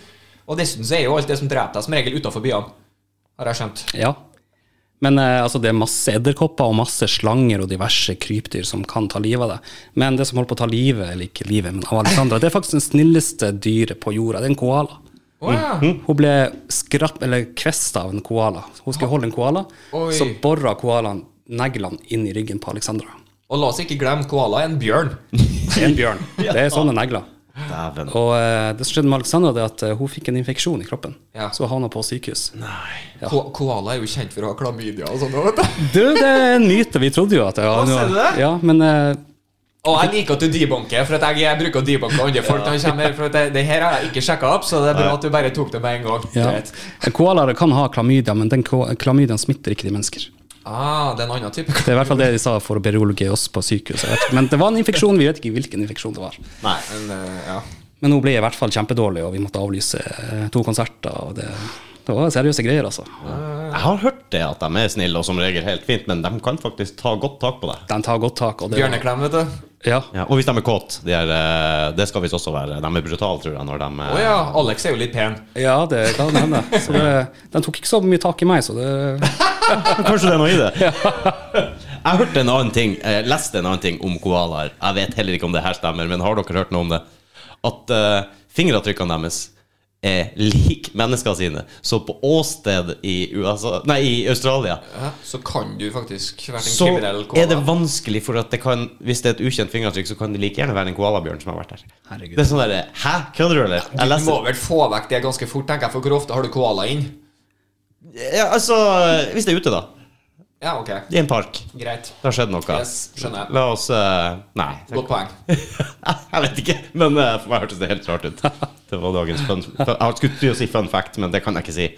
S2: Og dessuten så er jo alt det som dreper deg, som regel utafor byene. Har jeg skjønt.
S3: Ja. Men eh, altså, det er masse edderkopper og masse slanger og diverse krypdyr som kan ta livet av deg. Men det som holder på å ta livet, eller ikke livet, men av Alexandra, det er faktisk den snilleste dyret på jorda. Det er en koala.
S2: Å ja.
S3: Hun ble skrapp, eller kvesta av en koala. Hun skulle holde en koala,
S2: Oi.
S3: så borra koalaen neglene inn i ryggen på Alexandra.
S2: Og la oss ikke glemme koala er en bjørn.
S3: En bjørn. Det er sånne negler.
S1: Dæven.
S3: Og eh, det som skjedde med Alexandra, det er at eh, hun fikk en infeksjon i kroppen.
S2: Ja.
S3: Så hun havna på sykehus. Ja.
S2: Ko koala er jo kjent for å ha klamydia og sånn. vet du.
S3: Du, det er en myte. Vi trodde jo at det var
S2: Å, ser du det?
S3: Ja, men eh,
S2: Og jeg liker at du debunker, for at jeg, jeg bruker å debunke andre folk. når de kommer, for at det, det her har jeg ikke sjekka opp, så det er bra at du bare tok det med en gang.
S3: Ja.
S2: Greit.
S3: Koalaer kan ha klamydia, men den ko- klamydiaen smitter ikke de mennesker.
S2: Ah, det er en annen type.
S3: Det er i hvert fall det de sa for å berolige oss på sykehuset. jeg vet ikke. Men det var en infeksjon, vi vet ikke hvilken infeksjon det var.
S1: Nei.
S2: Men, eh, ja.
S3: Men hun ble i hvert fall kjempedårlig, og vi måtte avlyse eh, to konserter. Og det, det var seriøse greier, altså.
S1: Jeg har hørt det at de er snille og som regel helt fint, men de kan faktisk ta godt tak på deg.
S3: De tar godt tak. Og det,
S2: Bjørneklem, vet du.
S3: ja.
S1: Ja, og hvis de er kåte. De er, eh, det skal visst også være. De er brutale, tror jeg, når de eh,
S2: Å ja, Alex er jo litt pen.
S3: ja, det kan hende. Så det, de tok ikke så mye tak i meg, så det
S1: Kanskje det er noe i det. Jeg hørte en annen ting, eh, leste en annen ting om koalaer. Jeg vet heller ikke om det her stemmer, men har dere hørt noe om det? At eh, fingeravtrykkene deres er lik mennesker sine. Så på åsted i, USA, nei, i Australia
S2: Ja, så kan du faktisk være en
S1: så
S2: kriminell koala.
S1: er det vanskelig, for at det kan, hvis det er et ukjent fingeravtrykk, så kan det like gjerne være en koalabjørn som har vært her.
S3: Herregud.
S1: Det er sånn derre Hæ, kødder du, eller? Jeg
S2: Du må
S1: leser
S2: vel få vekk det ganske fort, tenker jeg, for hvor ofte har du koala inn?
S1: ja, Altså, hvis det er ute, da.
S2: Ja, ok.
S1: I en park.
S2: Greit.
S1: Det har skjedd noe.
S2: Yes, skjønner jeg.
S1: La oss eh, Nei.
S2: Godt poeng.
S1: jeg vet ikke, men eh, for meg hørtes det helt rart ut. Det var dagens fun Jeg har skutt til å si fun fact, men det kan jeg ikke si.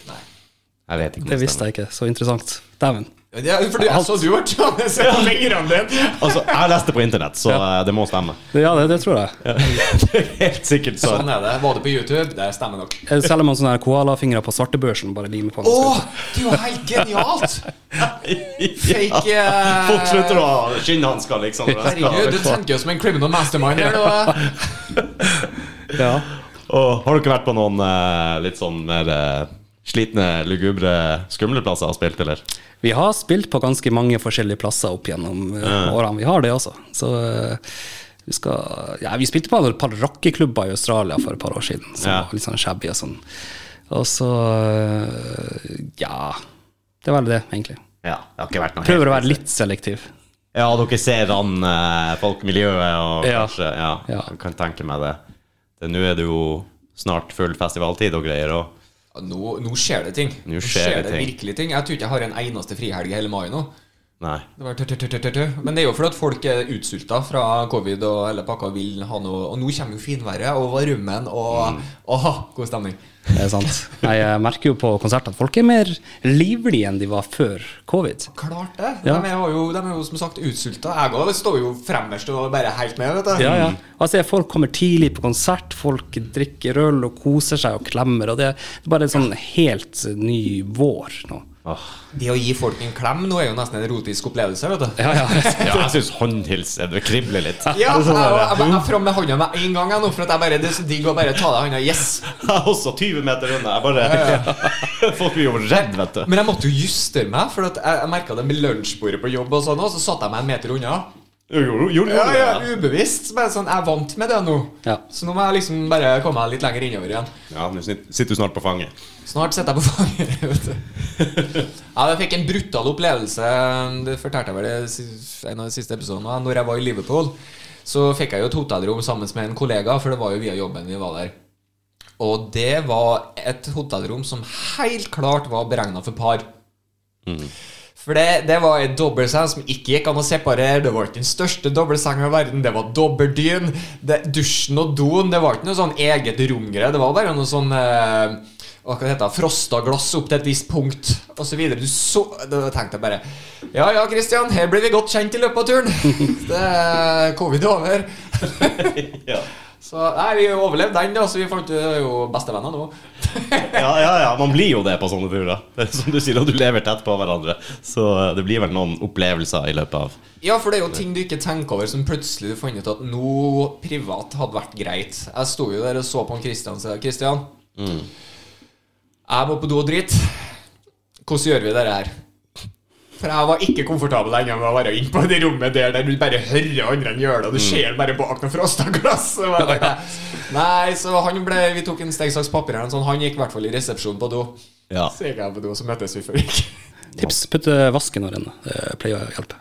S1: Jeg vet ikke om
S3: Det visste jeg ikke. Så interessant. Dæven.
S2: Ja, for jeg så du var tjane seg fingrene dine.
S1: Altså, jeg leste på internett, så eh, det må stemme.
S3: Ja, det, det tror jeg.
S1: Helt sikkert så.
S2: Sånn er det. Var det på YouTube? Det stemmer nok.
S3: Eh, Selger man sånne her koalafingre på svartebørsen, bare limer på den.
S2: Å, det er jo helt genialt!
S1: Ja.
S2: Fake eh,
S1: Folk slutter å ha skinnhansker, liksom. når jeg skal-
S2: Herregud, du tenker jo som en criminal mastermind her nå.
S3: Ja.
S1: Og har dere vært på noen eh, litt sånn mer eh, slitne, lugubre, skumle plasser og spilt, eller?
S3: Vi har spilt på ganske mange forskjellige plasser opp gjennom eh, årene. Vi har det også. Så eh, vi skal Ja, vi spilte på et par rockeklubber i Australia for et par år siden, som
S1: Ja.
S3: var litt sånn shabby og sånn. Og så eh, Ja. Det er vel det, egentlig.
S1: Ja, det har ikke vært noe
S3: Prøver å
S1: helt-
S3: være litt selektiv.
S1: Ja, dere ser an eh, folk i miljøet, og
S3: Ja.
S1: kanskje Ja,
S3: Ja.
S1: jeg kan tenke meg det. det. Nå er det jo snart full festivaltid og greier, og
S2: Ja, Nå, nå skjer det ting.
S1: Nå skjer det ting.
S2: virkelig ting. Jeg tror ikke jeg har en eneste frihelg i hele mai nå.
S1: Nei.
S2: Det var tø, tø, tø, tø, tø, tø. Men det er jo fordi at folk er utsulta fra covid og hele pakka vil ha noe. Og nå kommer jo finværet og varmen og Åh, god stemning.
S3: Det er sant. Nei, Jeg merker jo på konserter at folk er mer livlige enn de var før covid.
S2: Klart det.
S3: Ja.
S2: De, er jo, de er jo som sagt utsulta. Jeg òg står jo fremmerst og bare helt med, vet du.
S3: Ja, ja. Altså, folk kommer tidlig på konsert, folk drikker øl og koser seg og klemmer. Og det er bare en sånn helt ny vår nå.
S1: Åh.
S2: Det å gi folk en klem nå er jo nesten en erotisk opplevelse, vet du.
S3: Ja, ja.
S1: Ja, jeg syns håndhilsen det kribler litt.
S2: Ja,
S1: Det er
S2: jeg,
S1: sånn
S2: jeg,
S1: der,
S2: jeg, jeg fram med hånda med en gang, jeg, nå, for at jeg bare, det er så digg å bare ta deg i hånda. Yes!
S1: Jeg er også 20 meter unna. Jeg bare Folk blir jo redd, vet du.
S2: Men jeg måtte jo justere meg, for at jeg, jeg merka det med lunsjbordet på jobb, og sånn også, så satte jeg meg en meter unna.
S1: Jo, jo, jo, jo,
S2: Ja, ja,
S1: ja.
S2: ubevisst. Men sånn, jeg er vant med det nå.
S3: Ja.
S2: Så nå må jeg liksom bare komme meg litt lenger innover igjen.
S1: Ja, nå sit- sitter du snart på fanget.
S2: Snart sitter jeg på fanget. Vet du. Ja, jeg fikk en brutal opplevelse. Det fortalte jeg vel i si- en av de siste episodene. også. Når jeg var i Liverpool, så fikk jeg jo et hotellrom sammen med en kollega, for det var jo via jobben vi var der. Og det var et hotellrom som helt klart var beregna for par. For det, det var en dobbeltseng som ikke gikk an å separere. Det var ikke den største dobbeltsenga i verden. Det var dobbeltdyn. Det, dusjen og doen. Det var ikke noe sånn eget romgreie. Det var bare noe sånn eh, hva kan det hete, frosta glass opp til et visst punkt, osv. Du så Da tenkte jeg bare Ja ja, Christian, her blir vi godt kjent i løpet av turen. Det er covid over.
S1: Ja.
S2: Så nei, vi overlevde den, da, så vi fant vi er jo bestevenner nå.
S1: ja, ja, ja. Man blir jo det på sånne turer. Det er Som du sier, og du lever tett på hverandre. Så eh, det blir vel noen opplevelser i løpet av
S2: Ja, for det er jo ting du ikke tenker over som plutselig du fant ut at noe privat hadde vært greit. Jeg sto jo der og så på han Kristian og sa Kristian, Mm. jeg må på do og drite. Hvordan gjør vi dette her? For jeg var ikke komfortabel ennå med å være inne på det rommet der der du bare hører andre enn gjør det, og du ser bare bak noen frosta glass. Og jeg bare, Nei, så han ble Vi tok en steg, saks, papir her, sånn. han gikk i hvert fall i resepsjonen på do.
S1: Ja.
S2: Så gikk jeg på do, så møttes vi før vi gikk.
S3: Tips putte vasken over enden. Det pleier å hjelpe.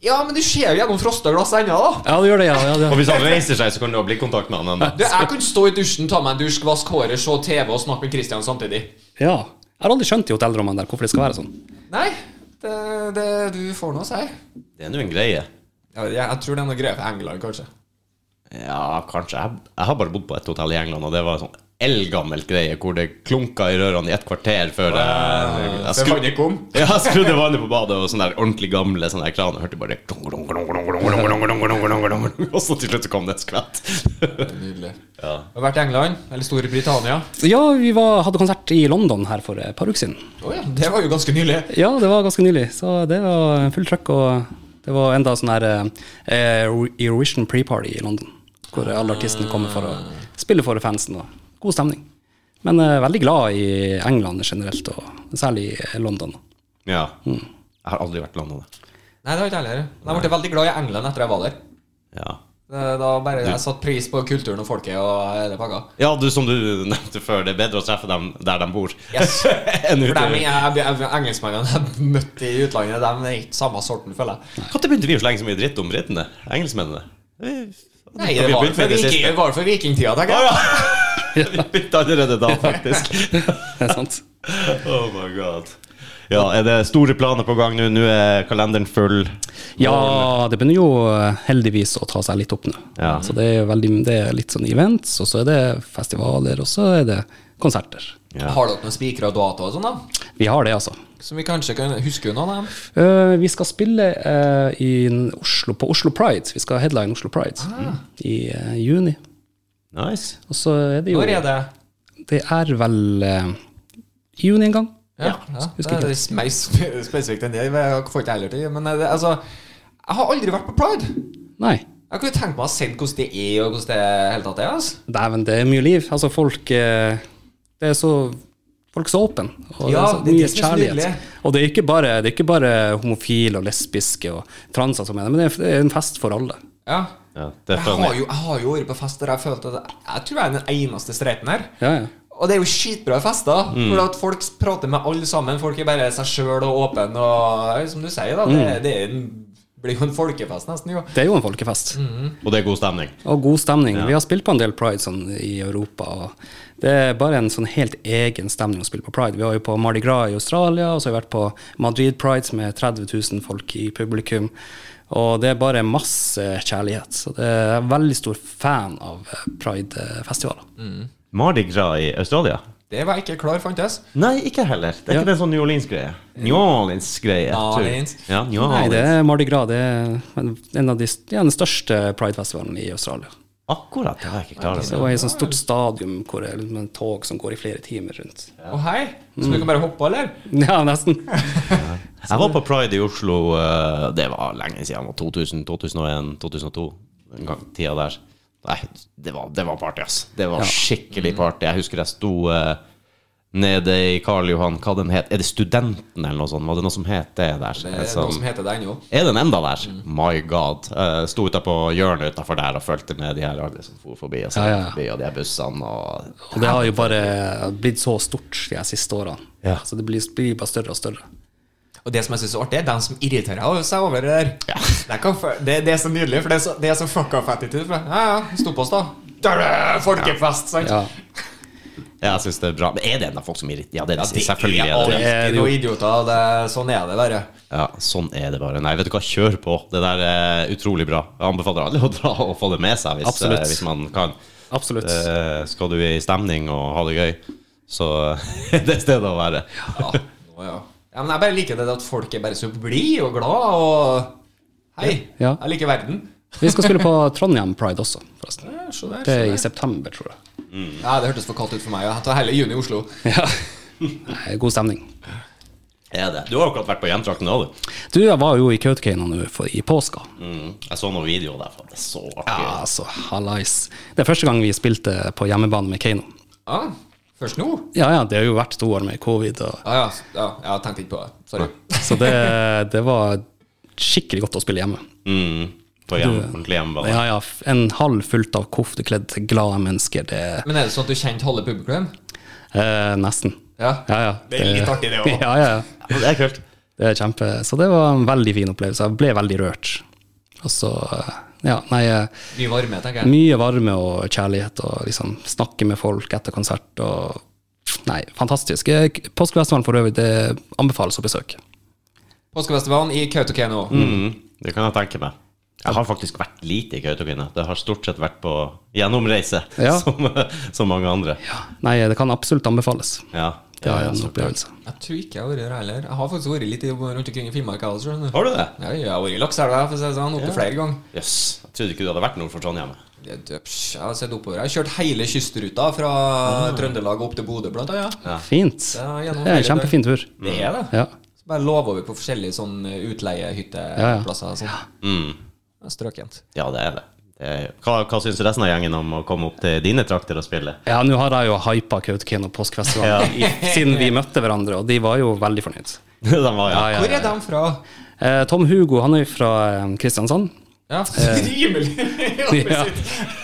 S2: Ja, men du ser jo gjennom frosta glass ennå, da.
S3: Ja, det gjør det, ja. ja
S1: Og
S3: det.
S1: hvis han reiser seg, så kan du ha blikkontakt med han. Men
S2: Du, jeg kan stå i dusjen, ta meg en dusj, vaske håret, se TV og snakke med Christian samtidig.
S3: ja. Jeg har aldri skjønt i hotellrommene der hvorfor det skal være sånn.
S2: Nei, det, det, du får nå si.
S1: det er nå en greie.
S2: Ja, jeg, jeg tror det er noe greier for England, kanskje.
S1: Ja, kanskje. Jeg, jeg har bare bodd på et hotell i England, og det var en sånn eldgammel greie hvor det klunka i rørene i et kvarter før jeg, jeg,
S2: Det
S1: skru,
S2: vannet kom.
S1: ja, jeg skrudde vannet på badet, og sånne der ordentlig gamle sånne der kraner hørte bare klung, klung, klung, klung, klung, klung, klung, klung, klung, klung, klung, klung. Og så til slutt så kom det en skvett.
S2: Nydelig.
S1: Ja.
S2: Har vært i England, eller Storbritannia.
S3: Ja, vi var, hadde konsert i London her for et par uker siden.
S2: Å ja, det var jo ganske nylig.
S3: Ja, det var ganske nylig, så det var full trøkk. Og det var enda sånn her eh, Eurovision pre-party i London, hvor alle artistene kommer for å spille for fansen. Og god stemning. Men eh, veldig glad i England generelt, og særlig i London.
S1: ja. Jeg har aldri vært i landet.
S2: Nei, det var ikke jeg heller. Men Jeg ble veldig glad i England etter jeg var der.
S1: Ja.
S2: Det- Da bare jeg satt pris på kulturen og folket og hele pakka.
S1: ja, du som du nevnte før, det er bedre å treffe dem der de bor.
S2: Yes.
S1: Enn
S2: For
S1: ute.
S2: dem, jeg, jeg, jeg, Engelskmennene jeg møtte i utlandet, de er ikke samme sorten, føler jeg.
S1: Når begynte vi å slenge så mye dritt om britene? Engelskmennene? Vi-
S2: Nei,
S1: vi
S2: det var
S1: begynte med
S2: for,
S1: det siste.
S2: viking, var for vikingtida, tenker jeg.
S1: Vi begynte allerede da, faktisk.
S3: Det er sant.
S1: Oh my god. Ja, er det store planer på gang nå? Nå er kalenderen full.
S3: Ja, det begynner jo eh, heldigvis å ta seg litt opp nå.
S1: Ja.
S3: Så det er, veldig, det er litt sånn events, og så er det festivaler, og så er det konserter.
S1: Ja.
S2: Har dere noen spikere og datoer og sånn, da?
S3: Vi har det, altså.
S2: Som vi kanskje kan huske unna dem?
S3: Eh, vi skal spille eh, i en Oslo, på Oslo Pride. Vi skal headline Oslo Pride
S2: Ah.
S3: i eh, juni.
S1: Nice.
S3: Og så er det jo
S2: Når er det?
S3: Det er vel eh, i juni en gang.
S2: Ja, ja. Det
S3: husker ikke.
S2: er litt mer sp- spesifikt enn det. Jeg får ikke heller til. Men eh, det, altså, jeg har aldri vært på Pride.
S3: Nei.
S2: Jeg kunne tenkt meg å ha sett hvordan det er, og hvordan det hele tatt er. Altså.
S3: Dæven, det er mye liv. Altså, folk eh, Det er så Folk er så åpne. Og
S2: Ja,
S3: det
S2: det er det
S3: er så
S2: som
S3: mye
S2: er så nydelig.
S3: kjærlighet. Og det er ikke bare, det er ikke bare homofile og lesbiske og transer som er det, men det er- det er en fest for alle.
S2: Ja.
S1: Ja, det er
S2: Jeg
S1: funny.
S2: har, jo, jeg har jo vært på fest der jeg følte at jeg, jeg tror jeg er den eneste streiten her.
S3: Ja, ja.
S2: Og det er jo skitbra fester, for at folk prater med alle sammen. Folk er bare seg sjøl og åpne, og eh, som du sier, da. Det, det er en, blir jo en folkefest, nesten, jo.
S3: Det er jo en
S2: Mm.
S3: folkefest.
S1: Og det er god stemning.
S3: Og god stemning. Vi har spilt på en del pride sånn, i Europa. Og det er bare en sånn helt egen stemning å spille på pride. Vi var jo på Mardi Gras i Australia, og så har vi vært på Madrid Pride med 30 000 folk i publikum. Og det er bare masse kjærlighet. Så det er jeg er veldig stor fan av eh, pridefestivaler.
S1: Mardi Gras i Australia?
S2: Det var jeg ikke klar fantes.
S1: Nei, ikke heller. Det er
S3: Ja.
S1: ikke det en sånn New Orleans-greie. New Orleans-greie. tror jeg.
S2: Orleans.
S1: Ja, New
S3: Nei, det
S1: Orleans.
S3: er Mardi Gras. Det er en av de, ja, den største pridefestivalen i Australia.
S1: Akkurat det var jeg ikke klar
S3: Det
S1: over.
S3: var et sånt stort stadium hvor det er liksom en tog som går i flere timer rundt.
S2: Å hei, så du kan bare hoppe, eller?
S3: Ja, nesten.
S1: Jeg var på Pride i Oslo, eh, det var lenge siden. det var 2000, 2001, 2002. En gang tida der. Nei, det var, det var party, ass. Det var skikkelig party. Jeg husker jeg sto eh, nede i Karl Johan, hva den het Er det Studenten eller noe sånt? Var det noe som het det der?
S2: Det er
S1: Et sånn-
S2: Eh, noe som heter det ennå.
S1: er den enda der? My god. Uh, sto utapå hjørnet utafor der og fulgte med de her alle som for forbi, og, så
S3: Ja, ja, ja.
S1: forbi, og de her bussene og
S3: Og det har jo bare blitt så stort de her siste årene.
S1: Ja.
S3: Så det blir, blir bare større og større.
S2: Og det som jeg synes er artig, er dem som irriterer seg over det der. Det, kan, fø- det, det er så nydelig, for det er så, det er så fuck off attitude. For, ja, ja, stopp oss, da. Der er det Folkefest, sant?
S3: Ja.
S1: Ja, jeg syns det er bra. Men er det enda folk som irriterer? Ja, det er det,
S2: det
S1: selvfølgelig.
S2: er
S1: Er det. det.
S2: alltid noen idioter. Det, sånn er det bare.
S1: Ja, sånn er det bare. Nei, vet du hva, kjør på. Det der er utrolig bra. Jeg anbefaler alle å dra og få det med seg hvis,
S3: Absolutt.
S1: eh, hvis man kan.
S3: Absolutt.
S1: Eh, skal du i stemning og ha det gøy, så det er stedet å være.
S2: Ja, nå, ja. ja, men jeg bare liker det at folk er bare så blide og glad og Hei,
S3: Ja.
S2: jeg liker verden.
S3: Vi skal spille på Trondheim Pride også, forresten.
S2: Ja, så der,
S3: Det
S2: så
S3: er
S2: der.
S3: i september, tror jeg.
S2: ja, det hørtes for kaldt ut for meg. ja. Jeg tar heller juni i Oslo.
S3: Ja. Nei, god stemning.
S1: Er det. Du har jo akkurat vært på hjemtrakten òg, du.
S3: Du, jeg var jo i Kautokeino nå for- i påska.
S1: Mm. Jeg så noen videoer derfra. Det er så artig.
S3: Ja, altså, hallais. Det er første gang vi spilte på hjemmebane med Keiino.
S2: Ja, Først nå?
S3: Ja, ja, det har jo vært to år med covid, og,
S2: Ja, ja, s- ja, jeg tenkte ikke på det. Sorry.
S3: så det, det var skikkelig godt å spille hjemme.
S1: Mm. På hjem, ordentlig hjemmebane.
S3: Ja, ja, f- en halv fullt av koftekledde, glade mennesker, det
S2: Men er det sånn at du kjente halve publikum?
S3: eh, Nesten.
S2: Ja.
S3: Ja, ja.
S2: Det er litt artig, det også.
S3: Ja, ja, ja.
S1: Ja, Det er kult.
S3: Det er kjempe, så det var en veldig fin opplevelse. Jeg ble veldig rørt. Og så, ja, nei, eh,
S2: Mye varme, tenker jeg.
S3: mye varme og kjærlighet, og liksom snakke med folk etter konsert, og nei, fantastisk. Eh, Påskefestivalen for øvrig, det anbefales å besøke.
S2: Påskefestivalen i Kautokeino.
S1: Mm, det kan jeg tenke meg. Jeg har faktisk vært lite i Kautokeino. Det har stort sett vært på gjennomreise,
S3: Ja.
S1: som, som mange andre.
S3: Nei, eh, det kan absolutt anbefales.
S1: Ja.
S3: Det
S1: Ja,
S3: er
S1: ja,
S3: en
S1: så-
S3: opplevelse.
S2: Jeg tror ikke jeg har vært der heller. Jeg har faktisk vært litt i- rundt omkring i Finnmark. jeg også, skjønner du.
S1: Har du det?
S2: Ja, jeg har vært i Lakselva for å si det sånn, oppe flere ganger.
S1: Jøss. Yes. Jeg trodde ikke du hadde vært nord for Trondheim.
S2: Det- det- psj, Jeg har sett oppover. Jeg har kjørt hele kystruta fra Trøndelag og opp til Bodø, blant annet. Ja.
S3: Fint.
S2: Ja, gjennom
S3: Det er en
S2: hele
S3: kjempefin tur.
S2: Det er det.
S3: Ja.
S2: Så bare lov over på forskjellige sånn
S3: Ja, ja.
S2: utleiehytteplasser. og Sånn.
S1: Mm.
S2: Det er Strøkent.
S1: Ja, det er det. det er, hva hva syns resten av gjengen om å komme opp til dine trakter og spille?
S3: Ja, nå har jeg jo hypa Kautokeino påskefestivalen i- siden vi møtte hverandre, og de var jo veldig fornøyd.
S1: De var, ja.
S2: Hvor er de fra?
S3: Eh, Tom Hugo, han er jo fra eh, Kristiansand.
S2: Ja, Rimelig!
S3: Ja.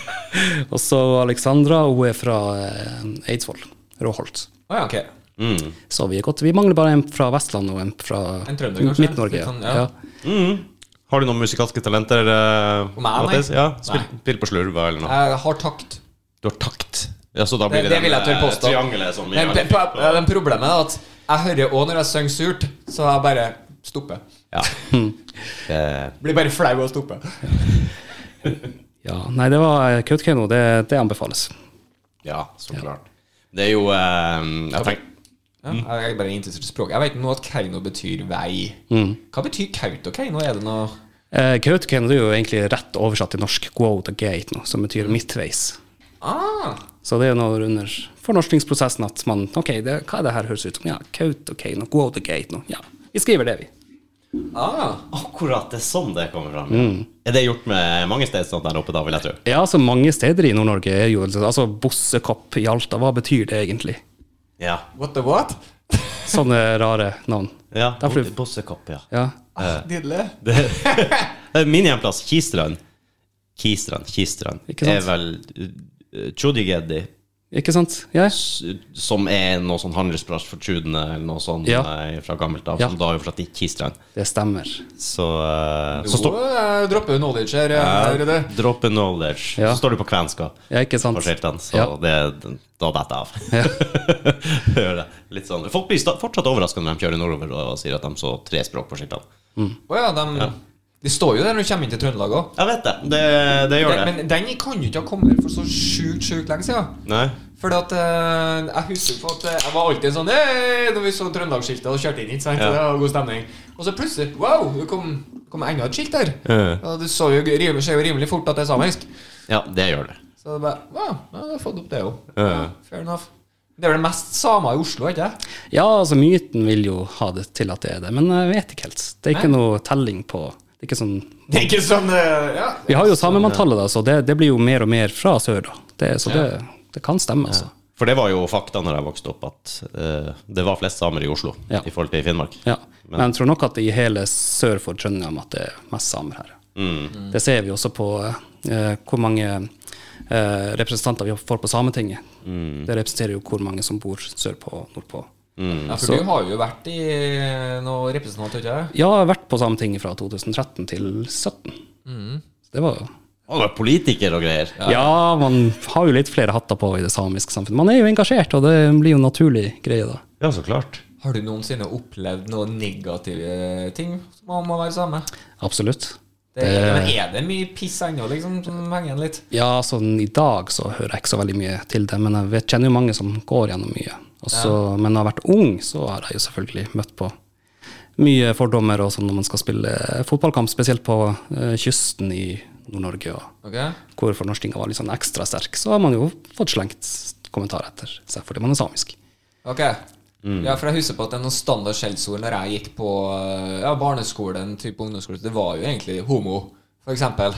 S3: Og så Alexandra, hun er fra eh, Eidsvoll, Råholt.
S2: Å ja, ok.
S1: Mm.
S3: Så vi er godt. Vi mangler bare en fra Vestland og en fra
S2: En trønder, kanskje?
S3: Midt-Norge.
S2: Litt sånn,
S3: ja.
S2: ja.
S3: Ja.
S1: Mm. Har du noen musikalske talenter? eh,
S2: Om jeg, nei?
S1: Mathias? Ja, spill,
S2: Nei.
S1: spill på slurva eller noe.
S2: Jeg har takt.
S1: Du har takt. Ja, så da blir
S2: Det,
S1: det,
S2: det vil jeg
S1: den,
S2: tørre
S1: eh,
S2: påstå.
S1: triangelet som vi
S2: Men
S1: alle
S2: pe-
S1: fikk
S2: pe-
S1: på-
S2: men problemet er at jeg hører òg når jeg synger surt, så jeg bare stopper.
S1: Ja. Eh,
S2: Blir bare flau og stopper.
S3: ja. Nei, det var Kautokeino. Det, det anbefales.
S1: Ja, så klart. Det er jo eh, jeg tenk,
S2: Ja, jeg er bare interessert i språk. Jeg vet nå at Kauno betyr vei.
S1: Mm.
S2: Hva betyr Kautokeino? Er det noe
S3: Eh, Kautokeino det er jo egentlig rett oversatt til norsk go the gate, nå, som
S2: Mm.
S3: betyr midtveis.
S2: ah,
S3: Så det er noe under fornorskningsprosessen at man OK, det, hva er det her høres ut som? Ja, Kautokeino, go the gate nå. Ja, vi skriver det, vi.
S2: ah.
S1: Akkurat det er sånn det kommer fram.
S2: Mm.
S1: Er det gjort med mange steder sånn der oppe, da, vil jeg tro?
S3: Ja, altså mange steder i Nord-Norge er jo altså Bossekopp i Alta, hva betyr det egentlig?
S1: Ja.
S2: What the what?
S3: Sånne rare navn.
S1: ja.
S3: Da får du-
S1: Bossekopp, ja.
S3: Ja.
S2: Ah, Nydelig.
S1: Det, det er Eh, min hjemplass, Kistrand. Kistrand, Kistrand.
S3: Ikke sant?
S1: Er vel uh, Chudigeddi,
S3: Ikke sant? Ja.
S1: s- som er noe sånn handelsplass for Tudene, eller noe sånt
S3: Ja.
S1: eh, fra gammelt av,
S3: Ja.
S1: som da er jo fra Kistrand.
S3: Det stemmer.
S1: Så, eh,
S2: Så
S1: så står
S2: dropper knowledge her. eh, Røde.
S1: Drop in knowledge.
S3: Ja.
S1: Så står det på kvenskap.
S3: Ja, ikke sant?
S1: på skiltene, så
S3: Ja.
S1: det, da detter jeg av. Gjør det. Litt sånn. Folk blir sta- fortsatt overraska når de kjører nordover og sier at de så tre språk på skiltene.
S2: Å ja, de, de står jo der når du kommer inn til Trøndelag òg.
S1: Jeg vet det. Det, det gjør det.
S2: Men den kan jo ikke ha kommet for så sjukt, sjukt lenge siden.
S1: Nei.
S2: Fordi at eh, Jeg husker på at eh, jeg var alltid sånn «Hei!» Når vi så Trøndelagsskiltet og kjørte inn hit, sant?
S1: Ja.
S2: det var god stemning. Og så plutselig wow, det kom, kom enda et skilt der.
S1: Ja.
S2: Og du så jo, rimelig- ser jo rimelig fort at det er samisk.
S1: Ja, det gjør det.
S2: Så det bare wow, ja, jeg har fått opp det jo
S1: Ja.
S2: Fair enough. Det er vel mest samer i Oslo, ikke det?
S3: Ja, altså myten vil jo ha det til at det er det, men jeg vet ikke helt. Det er ikke noe telling på det er ikke sånn,
S2: Det er ikke sånn eh, ja.
S3: Vi har jo samemanntallet, da, så det, det blir jo mer og mer fra sør, da. Det, så det, det kan stemme, altså.
S1: For det var jo fakta når jeg vokste opp, at eh, det var flest samer i Oslo
S3: Ja.
S1: i forhold til i Finnmark.
S3: Ja. Men jeg tror nok at i hele sør for Trøndelag at det er mest samer her. Det ser vi også på eh, hvor mange eh, representanter vi får på Sametinget. Det representerer jo hvor mange som bor sørpå og nordpå.
S2: Mm. Ja, for du har jo vært i noen representant, har du ikke det?
S3: Ja, jeg har vært på Sametinget fra 2013 til 2017. Det var jo
S1: Og det var politiker og greier.
S3: ja. man har jo litt flere hatter på i det samiske samfunnet. Man er jo engasjert, og det blir jo en naturlig greie da.
S1: Ja, så klart.
S2: Har du noensinne opplevd noen negative ting som om å være same?
S3: Absolutt.
S2: Det, men er det mye piss ennå, liksom, som henger igjen litt?
S3: Ja, sånn i dag så hører jeg ikke så veldig mye til det, men jeg vet, kjenner jo mange som går gjennom mye. Og så- Men når jeg har vært ung, så har jeg jo selvfølgelig møtt på mye fordommer og sånn når man skal spille fotballkamp, spesielt på eh, kysten i Nord-Norge, og
S2: Ok?
S3: hvor fornorskinga var litt sånn ekstra sterk, så har man jo fått slengt kommentarer etter seg fordi man er samisk.
S2: Ok. Ja, for jeg husker på at det er noen standard skjellsord når jeg gikk på eh, ja, barneskolen, type ungdomsskole. Det var jo egentlig homo, for eksempel.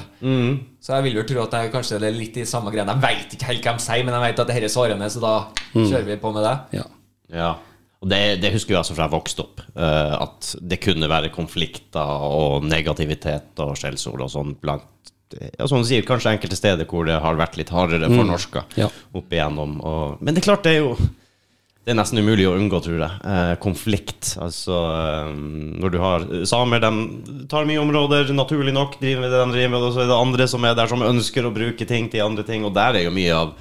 S2: Så jeg vil jo tro at det er kanskje det er litt i samme greiene. Jeg veit ikke helt hva de sier, men jeg veit at dette er sårende, så da kjører vi på med det.
S3: Ja.
S1: Ja. Og det, det husker jeg altså fra jeg vokste opp, eh, at det kunne være konflikter og negativitet og skjellsord og sånn blant ja, som du sier, kanskje enkelte steder hvor det har vært litt hardere for norska
S3: Mm. Ja.
S1: opp igjennom. Og, men det er klart, det er jo Det er nesten umulig å unngå, tror jeg. Eh, konflikt. Altså eh, når du har eh, samer, de tar mye områder, naturlig nok, driver med det de driver med, og så er det andre som er der som ønsker å bruke ting til andre ting, og der er jo mye av,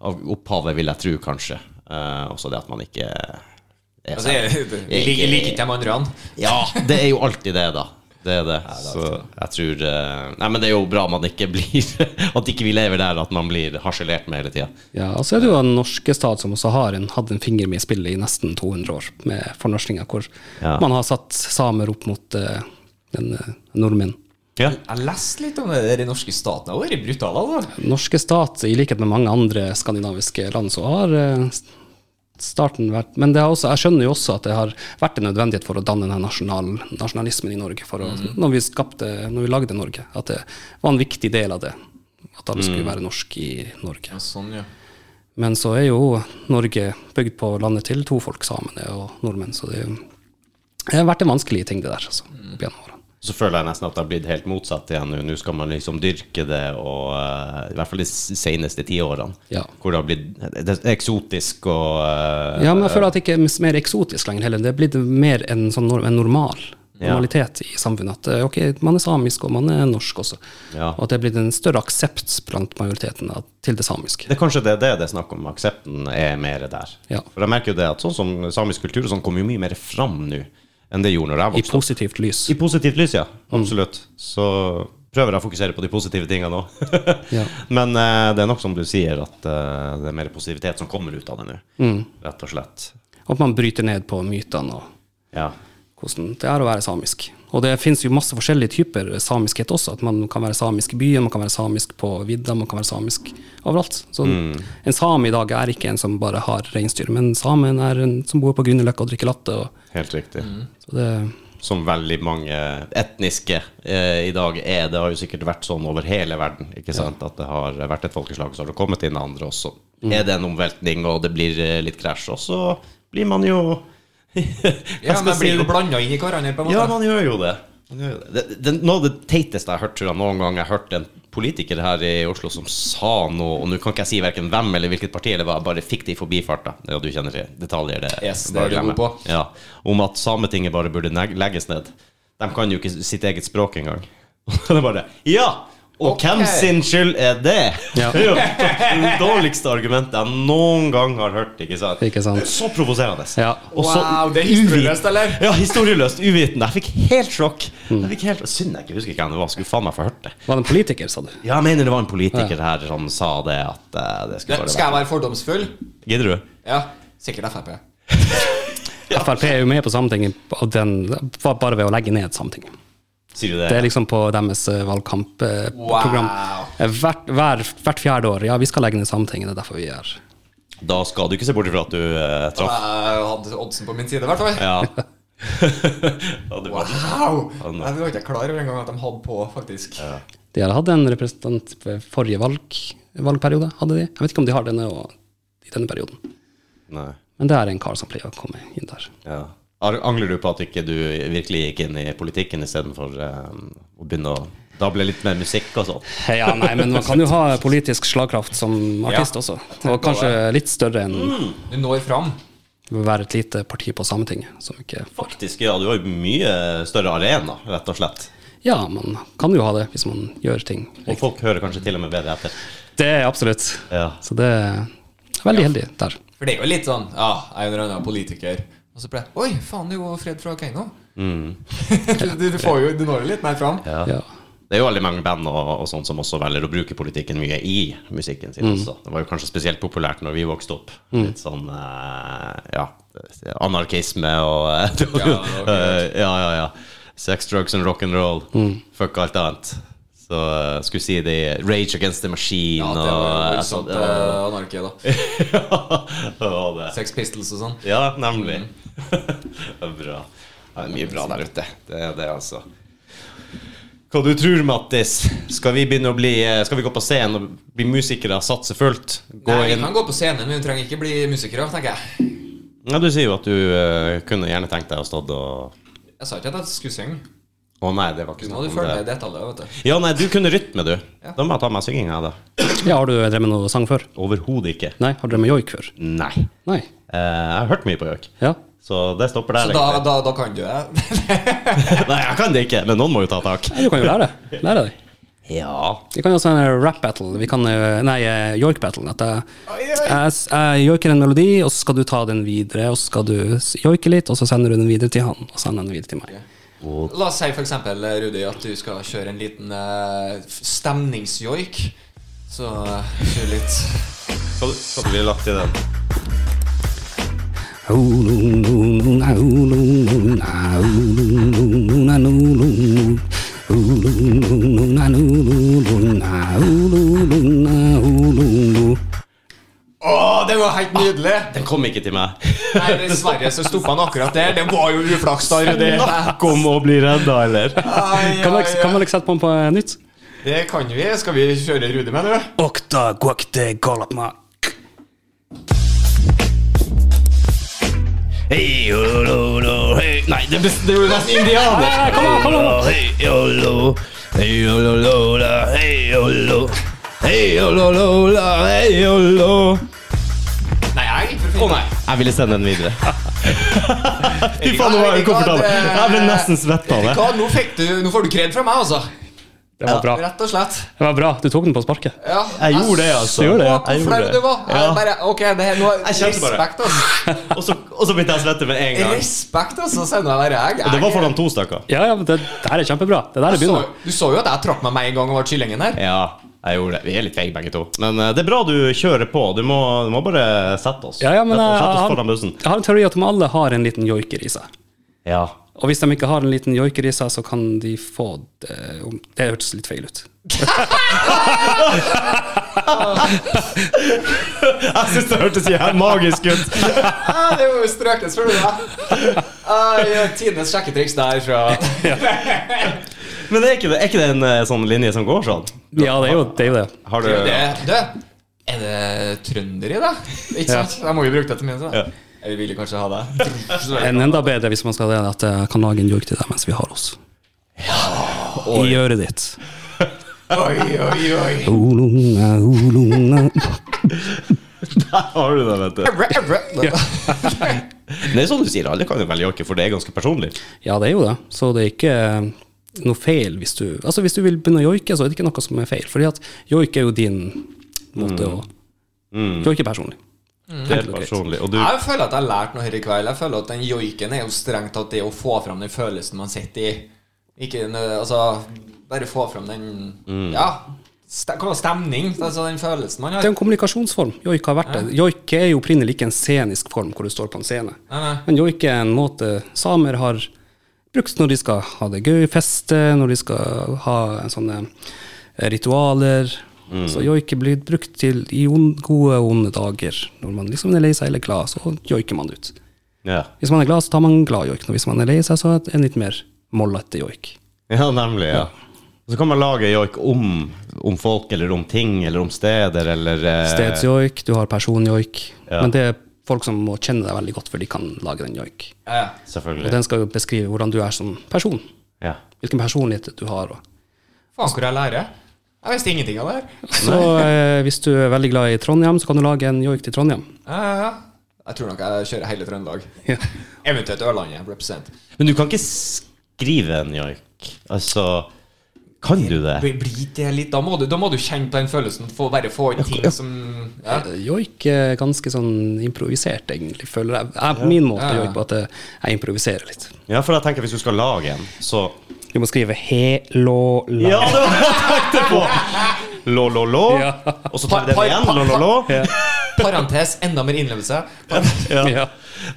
S1: av opphavet, vil jeg tro, kanskje. Eh, også det at man ikke er
S2: Altså, jeg, jeg,
S1: ikke-
S2: liker ikke de andre. han.
S1: ja, det er jo alltid det, da. Det er det. Så jeg tror eh, Nei, men det er jo bra man ikke blir At ikke vi lever der at man blir harselert med hele tida.
S3: ja, og så er det jo en norske stat som også har en, hadde en finger med i spillet i nesten 200 år, med fornorskinga, hvor
S1: Ja.
S3: man har satt samer opp mot eh, den eh, nordmenn.
S1: Ja.
S2: Jeg leste litt om det der i norske staten. Det har vært brutalt, altså.
S3: norske stat, i likhet med mange andre skandinaviske land, så har eh, starten vært Men det har også, jeg skjønner jo også at det har vært en nødvendighet for å danne denne nasjonal, nasjonalismen i Norge for å, når, vi skapte, når vi lagde Norge. At det var en viktig del av det. At alle skulle være norsk i Norge.
S2: Sånn, ja.
S3: Men så er jo Norge bygd på landet til to folk, samene og nordmenn, så det, er jo- det har vært en vanskelig ting, det der. Altså, opp gjennom årene.
S1: Så føler jeg nesten at det har blitt helt motsatt igjen nå. Nå skal man liksom dyrke det, og eh, i hvert fall de s- seneste tiårene.
S3: Ja.
S1: Hvor det har blitt det er eksotisk og eh,
S3: Ja, men jeg føler at det ikke er mis- mer eksotisk lenger heller. Det er blitt mer en sånn nor- en normal
S1: Ja.
S3: normalitet i samfunnet. At eh, ok, man er samisk, og man er norsk også.
S1: Ja.
S3: Og at det er blitt en større aksept blant majoriteten av- til det samiske.
S1: Det er kanskje det det det er snakk om. Aksepten er mer der.
S3: Ja.
S1: For jeg merker jo det at sånn som samisk kultur og sånn kommer jo mye mer fram nå enn det gjorde når jeg
S3: I Mm.
S1: vokste opp.
S3: positivt lys.
S1: I positivt lys, ja. Absolutt. Så prøver jeg å fokusere på de positive tingene nå.
S3: Ja.
S1: Men eh, det er nok som du sier, at eh, det er mer positivitet som kommer ut av det nå.
S3: Mm.
S1: Rett og slett.
S3: Og at man bryter ned på mytene og
S1: Ja.
S3: hvordan det er å være samisk. Og det finnes jo masse forskjellige typer samiskhet også. At man kan være samisk i byen, man kan være samisk på vidda, man kan være samisk overalt. Så
S1: Mm.
S3: en same i dag er ikke en som bare har reinsdyr, men samen er en som bor på Grünerløkka og drikker latte. og
S1: Helt riktig.
S3: Så det,
S1: Som veldig mange etniske eh, i dag er. Det har jo sikkert vært sånn over hele verden. ikke sant? At det har vært et folkeslag, så har det kommet inn andre også. Er det en omveltning, og det blir eh, litt krasj, og så blir man jo Hva
S2: ja
S1: skal
S2: men
S1: jeg si?
S2: blir jo blanda inn i hverandre, på en måte.
S1: Ja, man gjør jo det. Man gjør jo det. Det, det, noe av det teiteste jeg har hørt, tror jeg noen gang jeg hørte en politiker her i Oslo som sa noe, og nå kan ikke jeg si hverken hvem eller hvilket parti, eller hva, jeg bare fikk det i forbifarta. Ja, du kjenner til detaljer, det
S2: Yes, det
S1: bare
S2: er du
S1: glemme.
S2: god
S1: Ja, om at Sametinget bare burde neg- legges ned. De kan jo ikke sitt eget språk engang. Og det er bare Ja! Og
S2: Ok.
S1: hvem sin skyld er det?
S3: Ja.
S1: Det er jo det dårligste argumentet jeg noen gang har hørt. Ikke sant?
S3: Ikke sant.
S1: Så provoserende.
S3: Ja.
S1: Og så
S2: Wow, det er historieløst,
S1: uvit-
S2: eller?
S1: ja, historieløst, uvitende. Jeg fikk helt sjokk. Jeg fikk helt, Synd jeg ikke husker hvem det var. Skulle faen meg få hørt det.
S3: var det en politiker, sa du?
S1: Ja, jeg mener det var en politiker her som sa det, at eh, det skulle
S2: Men
S1: bare
S2: Skal
S1: være
S2: jeg være fordomsfull?
S1: Gidder du?
S2: Ja. Sikkert Frp.
S3: Frp er jo med på Sametinget og den- var bare ved å legge ned Sametinget.
S1: Sier du det?
S3: Det er liksom på deres valgkampprogram.
S2: Wow.
S3: Eh, Hvert, hver, hvert fjerde år. Ja, vi skal legge ned Sametinget, det er derfor vi er her.
S1: Da skal du ikke se bort ifra at du eh,
S2: Jeg
S1: traff
S2: hadde oddsen på min side, i hvert fall.
S1: Ja. ja du, var-
S2: Wow! Jeg var ikke klar over engang at de hadde på, faktisk.
S3: De har hatt en representant ved forrige valg, valgperiode. hadde de. Jeg vet ikke om de har det nå. og i denne perioden.
S1: Nei.
S3: Men det er en kar som pleier å komme inn der.
S1: Ja. Ar- Angler du på at ikke du virkelig gikk inn i politikken istedenfor eh, å begynne å dable litt med musikk og sånn?
S3: Ja, nei, men man kan jo ha politisk slagkraft som artist
S1: Ja.
S3: også. Og kanskje litt større enn
S2: Du når fram.
S3: å være et lite parti på Sametinget som ikke
S1: Faktisk, ja. Du har jo mye større arena, rett og slett.
S3: Ja, man kan jo ha det hvis man gjør ting.
S1: Og folk hører kanskje til og med bedre etter.
S3: Det er absolutt.
S1: Ja.
S3: Så det er veldig heldig der.
S2: For det er jo litt sånn Ja, jeg er en eller annen politiker. Og så ble jeg Oi, faen, det er jo Fred fra Keiino. du, du, får jo, du når jo litt mer fram.
S1: Mm. Ja.
S3: Ja.
S1: Det er jo veldig mange band og, og sånt som også velger å bruke politikken mye i musikken sin
S2: Mm.
S1: også. Det var jo kanskje spesielt populært når vi vokste opp. Litt sånn eh, ja, anarkisme og eh,
S2: Ja, det var
S1: eh, ja, ja, ja. Sex, drugs and rock'n'roll.
S2: Mm.
S1: Fuck alt annet. Så eh, skulle si det Rage Against the Machine
S2: Ja, det var jo
S1: og
S2: sånn
S1: eh,
S2: anarki, da.
S1: ja, det var det.
S2: Sex Pistols og sånn.
S1: Ja, nemlig. det er bra. Ja, det er mye bra der ute. Det er det, altså. Hva du tror, Mattis? Skal vi begynne å bli eh, Skal vi gå på scenen og bli musikere, satse fullt? Gå
S2: Nei, vi
S1: inn
S2: kan gå på scenen, men vi trenger ikke bli musikere, tenker jeg.
S1: Ja, Du sier jo at du eh, kunne gjerne tenkt deg å stått og
S2: Jeg sa ikke at jeg skulle synge.
S1: Å nei, det var ikke
S2: Du må
S1: snakk
S2: du
S1: om
S2: følge med
S1: det.
S2: i detaljer, vet du.
S1: Ja, nei, du kunne rytme, du.
S2: Ja.
S1: Da må jeg ta meg synginga, da.
S3: ja, har du drevet med noe sang før?
S1: Overhodet ikke.
S3: Nei, har du drevet med joik før?
S1: Nei.
S3: Nei.
S1: Eh, jeg har hørt mye på joik,
S3: Ja.
S1: så det stopper der.
S2: Så da, da, da kan du det.
S1: egentlig. nei, jeg kan det ikke, men noen må jo ta tak.
S3: Nei, Du kan jo lære det. Lære deg.
S1: Ja.
S3: Vi kan jo også ha en rap battle. Vi kan, eh, nei, eh, joik battle. At jeg, jeg, s- jeg joiker en melodi, og så skal du ta den videre. Og så skal du s- joike litt, og så sender du den videre til han. Og så sender han den videre til meg.
S2: La oss si for eksempel, eh, Rudi, at du skal kjøre en liten eh, f- stemningsjoik. Så eh, kjør litt
S1: Hva hva du ville lagt i den?
S2: Å, det var helt nydelig!
S1: Den kom ikke til meg.
S2: Nei, dessverre så stoppa han akkurat der. Det var jo uflaks, da, Rudi.
S1: Snakk om å bli redda, eller?
S2: Ai,
S3: Kan man
S2: ai,
S3: ikke- kan man ikke sette på den på eh, nytt?
S2: ai. Det kan vi. Skal vi kjøre Rudi med, du?
S3: Okta guakte galapma.
S4: Hei, ho, lo,
S1: Oh,
S4: lo, hei. Nei, det blir
S2: Det er jo nesten indianer.
S4: Kom an, kom an! Hei, ho, lo. Hei, ho, lo, lo, la. Hei, ho, lo. Hei, ho, lo, lo, la. Hei, ho, lo.
S2: Nei, jeg gikk for fint.
S1: Jeg ville sende den videre. Fy
S2: faen, nå var jeg ukomfortabel. Jeg ble nesten
S1: svett
S2: Vet du hva, nå, fikk du, nå får du kred fra meg, altså.
S3: Det var bra.
S2: Rett og slett.
S3: Det var bra. Du tok den på sparket.
S2: Ja,
S1: Jeg gjorde det, altså.
S2: så
S1: Jeg gjorde det.
S2: Hvor
S1: Jeg
S2: flau
S1: gjorde det.
S2: du var. Jeg
S1: Ja.
S2: bare, ok, det her, nå,
S1: Jeg kjente bare-
S2: respekt, altså.
S1: Og så og så begynte jeg å svette med en gang.
S2: Respekt, altså, sender jeg deg jeg.
S1: Og det var foran to stykker.
S3: Ja, ja, men det, det her er kjempebra. Det er der det
S2: så,
S3: begynner.
S2: Du så jo at jeg trakk meg med en gang og var kyllingen her.
S1: Ja, jeg gjorde det. Vi er litt feige begge to. Men eh, det er bra du kjører på. Du må, du må bare sette oss.
S3: Ja, ja, men
S1: Sette
S3: jeg,
S1: oss- sette oss foran
S3: jeg,
S1: bussen.
S3: jeg har en teori at om alle har en liten joiker i seg.
S1: Ja.
S3: Og hvis de ikke har en liten joiker i seg, så kan de få det om- Det hørtes litt feil ut.
S1: Jeg syns det hørtes helt magisk ut.
S2: Ah, det var jo strøket, spør du meg. Ah, ja, Tidenes sjekketriks der fra
S1: Men er ikke det, er ikke det en eh, sånn linje som går sånn?
S3: Ja, det er jo det. Er jo det.
S1: Har du
S2: det, Du, er det trønder i det? Ikke sant? Jeg må jo bruke det til min,
S1: Ja.
S2: så. Jeg ville kanskje ha det.
S3: En enda bedre hvis man skal det, at jeg kan lage en joik til deg mens vi har oss. I øret ditt.
S2: Oi, oi, oi.
S3: Olunga, olunga.
S1: Der har du det, vet du.
S2: Brø, brø.
S1: Det er sånn du sier. Alle kan jo vel joike, for det er ganske personlig.
S3: Ja, det er jo det. Så det er ikke eh, noe feil hvis du Altså, hvis du vil begynne å joike, så er det ikke noe som er feil. Fordi at joik er jo din måte
S2: Mm.
S3: å joike personlig.
S1: Det er personlig. Og du
S2: Jeg føler at jeg har lært noe her i kveld. Jeg føler at den joiken er jo strengt tatt det å få fram den følelsen man sitter i. Ikke nø- Altså, bare få fram den Ja. Ste hva var stemning? Altså den følelsen man
S3: Det er
S2: har.
S3: en kommunikasjonsform. Joik har vært det. Joik er jo opprinnelig ikke en scenisk form hvor du står på en scene.
S2: Nei, nei.
S3: Men joik er en måte samer har brukt når de skal ha det gøy, feste, når de skal ha sånne ritualer. Så joik er blitt brukt til i on- gode og onde dager. Når man liksom er lei seg eller glad, så joiker man ut.
S1: Ja.
S3: Hvis man er glad, så tar man en glad joik. Når Hvis man er lei seg, så er det en litt mer mollete joik.
S1: Ja, nemlig. ja. Og så kan man lage joik om om folk eller om ting eller om steder eller eh,
S3: Stedsjoik, du har personjoik.
S1: Ja.
S3: Men det er folk som må kjenne deg veldig godt, for de kan lage den joik.
S2: Ja.
S3: Og
S1: Selvfølgelig.
S3: den skal jo beskrive hvordan du er som person.
S1: Ja.
S3: Hvilken personlighet du har. Og.
S2: Faen, hvor jeg lærer. Jeg visste ingenting av det her.
S3: Så eh, hvis du er veldig glad i Trondheim, så kan du lage en joik til Trondheim.
S2: Ja, ja, ja. Jeg tror nok jeg kjører hele Trøndelag.
S3: Ja.
S2: Eventuelt Ørlandet. Represent.
S1: Men du kan ikke skrive en joik. Altså Kan du det?
S2: Blir blir det litt Da må du, da må du kjenne på den følelsen. Få, bare få inn ting som ja.
S3: Eh, Joik er ganske sånn improvisert, egentlig, føler jeg. jeg på min måte
S2: Ja.
S3: joik, bare at eh, jeg improviserer litt.
S1: Ja, for jeg tenker hvis du skal lage en, så
S3: Du må skrive he-lå-la.
S1: Ja, det var det jeg tenkte på! Lå, lå, lå.
S3: Ja.
S1: Og så tar vi den igjen. Lå, lå, lå.
S2: Parentes, enda mer innlevelse.
S1: Ja.
S3: Ja.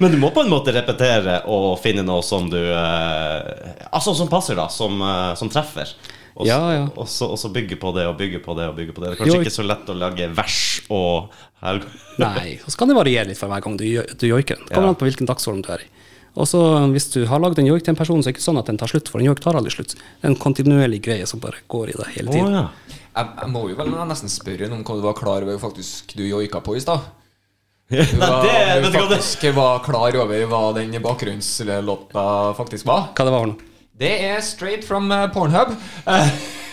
S1: Men du må på en måte repetere og finne noe som du eh, Altså som passer, da. Som, eh, som treffer. Og, s-
S3: Ja, ja.
S1: Og, så, og så bygge på det og bygge på det og bygge på det. Det er kanskje
S3: Jo,
S1: ikke så lett å lage vers og helg...
S3: Nei, og så kan det variere litt for hver gang du, jo- du joiker. Det kommer
S1: Ja.
S3: an på hvilken dagsorden du er i. Og så eh, Hvis du har lagd en joik til en person, så er det ikke sånn at den tar slutt, for en joik tar aldri slutt. Det er en kontinuerlig greie som bare går i deg hele
S1: Å
S3: tiden.
S1: ja.
S2: Jeg, jeg må jo vel nesten spørre noen om hva du var klar over faktisk du joika på i stad. Du
S1: Nei,
S2: var,
S1: det, vet
S2: du
S1: du hva det
S2: faktisk var klar over hva den bakgrunnslåta faktisk var.
S3: Hva det var for noe?
S2: Det er straight from eh, Pornhub. Eh,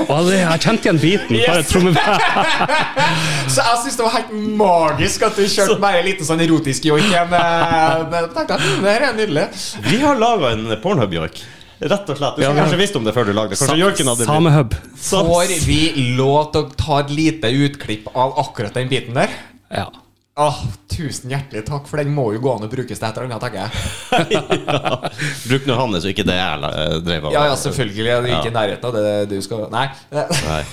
S3: Å, det, jeg kjente igjen biten. Bare
S2: Yes!
S3: tromme
S2: Så jeg syns det var helt magisk at du kjørte bare en liten sånn erotisk joik igjen. eh, men jeg tenkte at, "Mm, Det her er nydelig.
S1: Vi har laga en Pornhub-joik. Rett og slett. Du skulle
S3: vi har-
S1: kanskje visst om det før du lagde det. Kanskje joiken hadde blitt
S3: Samehub.
S1: Sa-
S2: Får vi lov til å ta et lite utklipp av akkurat den biten der?
S3: Ja.
S2: Åh, tusen hjertelig takk, for den må jo gå an å brukes til et eller annet, tenker jeg.
S1: ja. Bruk nå Hannes, og ikke det jeg la- eh, drev av.
S2: Ja, ja, selvfølgelig. Jeg er ikke i nærheten av det du skal Nei.
S1: Nei.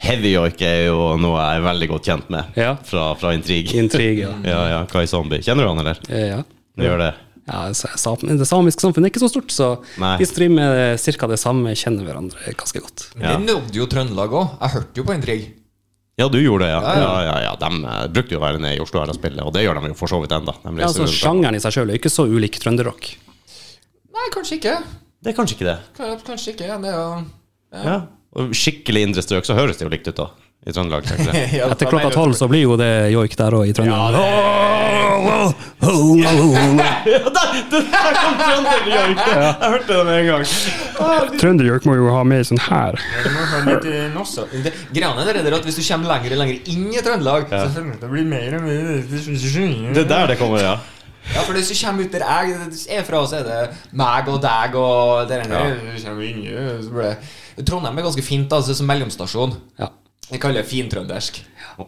S1: Heavy joik er jo noe jeg er veldig godt kjent med
S3: Ja.
S1: fra, fra Intrig.
S3: Intrigue,
S2: Mm.
S3: ja.
S1: Ja, ja, Kai Zombie. Kjenner du han, eller?
S3: Eh, ja.
S1: Du gjør det?
S3: Ja, så jeg sa- men det samiske samfunnet er ikke så stort, så
S1: Nei.
S3: vi som driver med ca. det samme, kjenner hverandre ganske godt.
S2: Men det nådde jo Trøndelag òg. Jeg hørte jo på Intrig.
S1: Ja, du gjorde det, ja.
S2: ja.
S1: ja, ja, ja. De eh, brukte jo å være nede i Oslo her og spille, og det gjør de jo for så vidt ennå.
S3: Ja, altså, sjangeren i seg sjøl er ikke så ulik trønderrock.
S2: Nei, kanskje ikke.
S1: det er kanskje ikke det.
S2: Kan- Kanskje ikke. Det er jo
S1: Ja. Og skikkelig indre strøk, så høres det jo likt ut, da. I Trøndelag, tenker jeg.
S2: Ja,
S3: Etter
S2: fra
S3: klokka
S2: meg-
S3: tolv så blir jo det joik der òg, i Trøndelag.
S1: Ja, der, der der kom Trønderjoik! Jeg hørte det med en gang.
S3: Trønderjoik må jo ha mer sånn her.
S2: Du må ha litt, eh, nosso. Det- Greiene er det at hvis du kommer lenger og lenger inn i Trøndelag så føler du at det blir mer og mer
S1: Det er der det kommer, ja.
S2: Ja, for hvis du kommer ut der jeg er fra, så er det meg og deg og det der
S1: Ja.
S2: Du kommer inn, eh, så blir det- Trondheim er ganske fint altså, som mellomstasjon.
S3: Ja.
S2: Jeg kaller det fintrøndersk.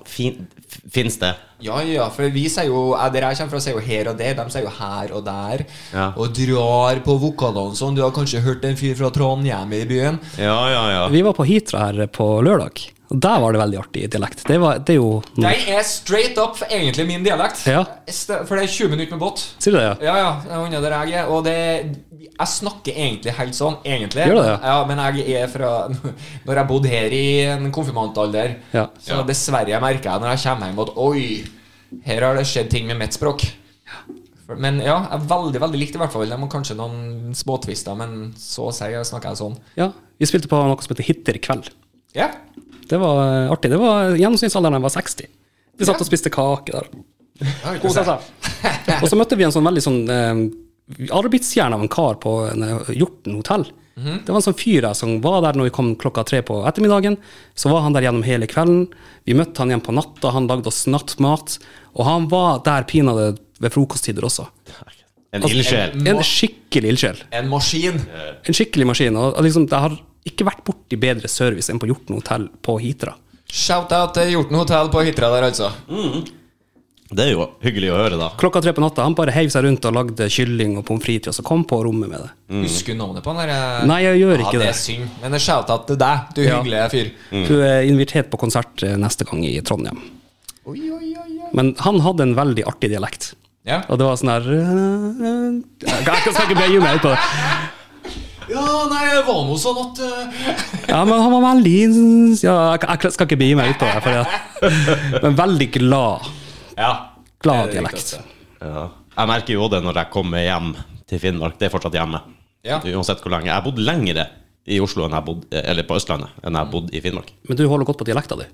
S1: Fin, f- fins det?
S2: Ja, ja, for vi sier jo eh, Der jeg kommer fra, sier jo her og der. De sier jo her og der.
S1: Ja.
S2: Og drar på vokalene sånn. Du har kanskje hørt en fyr fra Trondheim i byen?
S1: Ja, ja, ja.
S3: Vi var på Hitra her på lørdag, og der var det veldig artig dialekt. Det, var, det er jo
S2: Den er straight up egentlig min dialekt.
S3: Mm. Ja.
S2: St- For det er 20 minutter med båt.
S3: Sier du det, ja?
S2: Ja, ja. det er Unna der jeg er. Og det Jeg snakker egentlig helt sånn, egentlig.
S3: Gjør du det,
S2: Ja, men jeg er fra Når jeg bodde her i en konfirmantalder,
S3: Ja.
S2: så dessverre merker jeg når jeg kommer hjem at oi, her har det skjedd ting med mitt språk. For- Men ja, jeg er veldig veldig likt i hvert fall. Det må kanskje noen småtvister, men så å si snakker jeg sånn.
S3: ja. Vi spilte på noe som heter Hitter i kveld.
S2: Ja.
S3: Det var eh, artig. Det var Gjennomsnittsalderen var 60. Vi satt og spiste kake der. Kosa seg. Og så møtte vi en sånn veldig sånn eh, arbeidsjern av en kar på en, eh, Hjorten hotell. Det var en sånn fyr der som var der når vi kom klokka tre på ettermiddagen. Så var han der gjennom hele kvelden. Vi møtte han igjen på natta, han lagde oss nattmat. Og han var der pinadø ved frokosttider også. Altså,
S1: En ildsjel.
S3: En skikkelig ildsjel.
S2: En maskin.
S3: En skikkelig maskin. Og og liksom, jeg har ikke vært borti bedre service enn på Hjorten hotell på Hitra.
S2: Shout-out til Hjorten hotell på Hitra der, altså.
S1: Det er jo hyggelig å høre, da.
S3: Klokka tre på natta, han bare heiv seg rundt og lagde kylling og pommes frites til oss og kom på rommet med det.
S2: Husker du navnet på han der?
S3: Nei, jeg gjør ikke
S2: ja, det.
S3: det.
S2: er synd. Men det er shout-out til deg, du
S3: Ja.
S2: hyggelige fyr.
S3: Du er invitert på konsert eh, neste gang i Trondheim.
S2: Oi, oi, oi, oi.
S3: Men han hadde en veldig artig dialekt.
S2: Ja.
S3: Og det var sånn her Jeg kan skal ikke bøye meg ut på det.
S2: ja, nei, det var noe sånn at eh,
S3: Ja, men han var veldig ja, Jeg jeg skal ikke bøye meg ut på det. For det men veldig glad.
S2: Ja.
S3: Glad
S2: Det er
S3: dialekt.
S2: riktig, altså.
S1: Ja. Jeg merker jo det når jeg kommer hjem til Finnmark. Det er fortsatt hjemme.
S2: Ja.
S1: Uansett hvor lenge. Jeg har bodd lengre i Oslo enn jeg bodde, eller på Østlandet enn jeg bodde i Finnmark.
S3: Men du holder godt på dialekta di.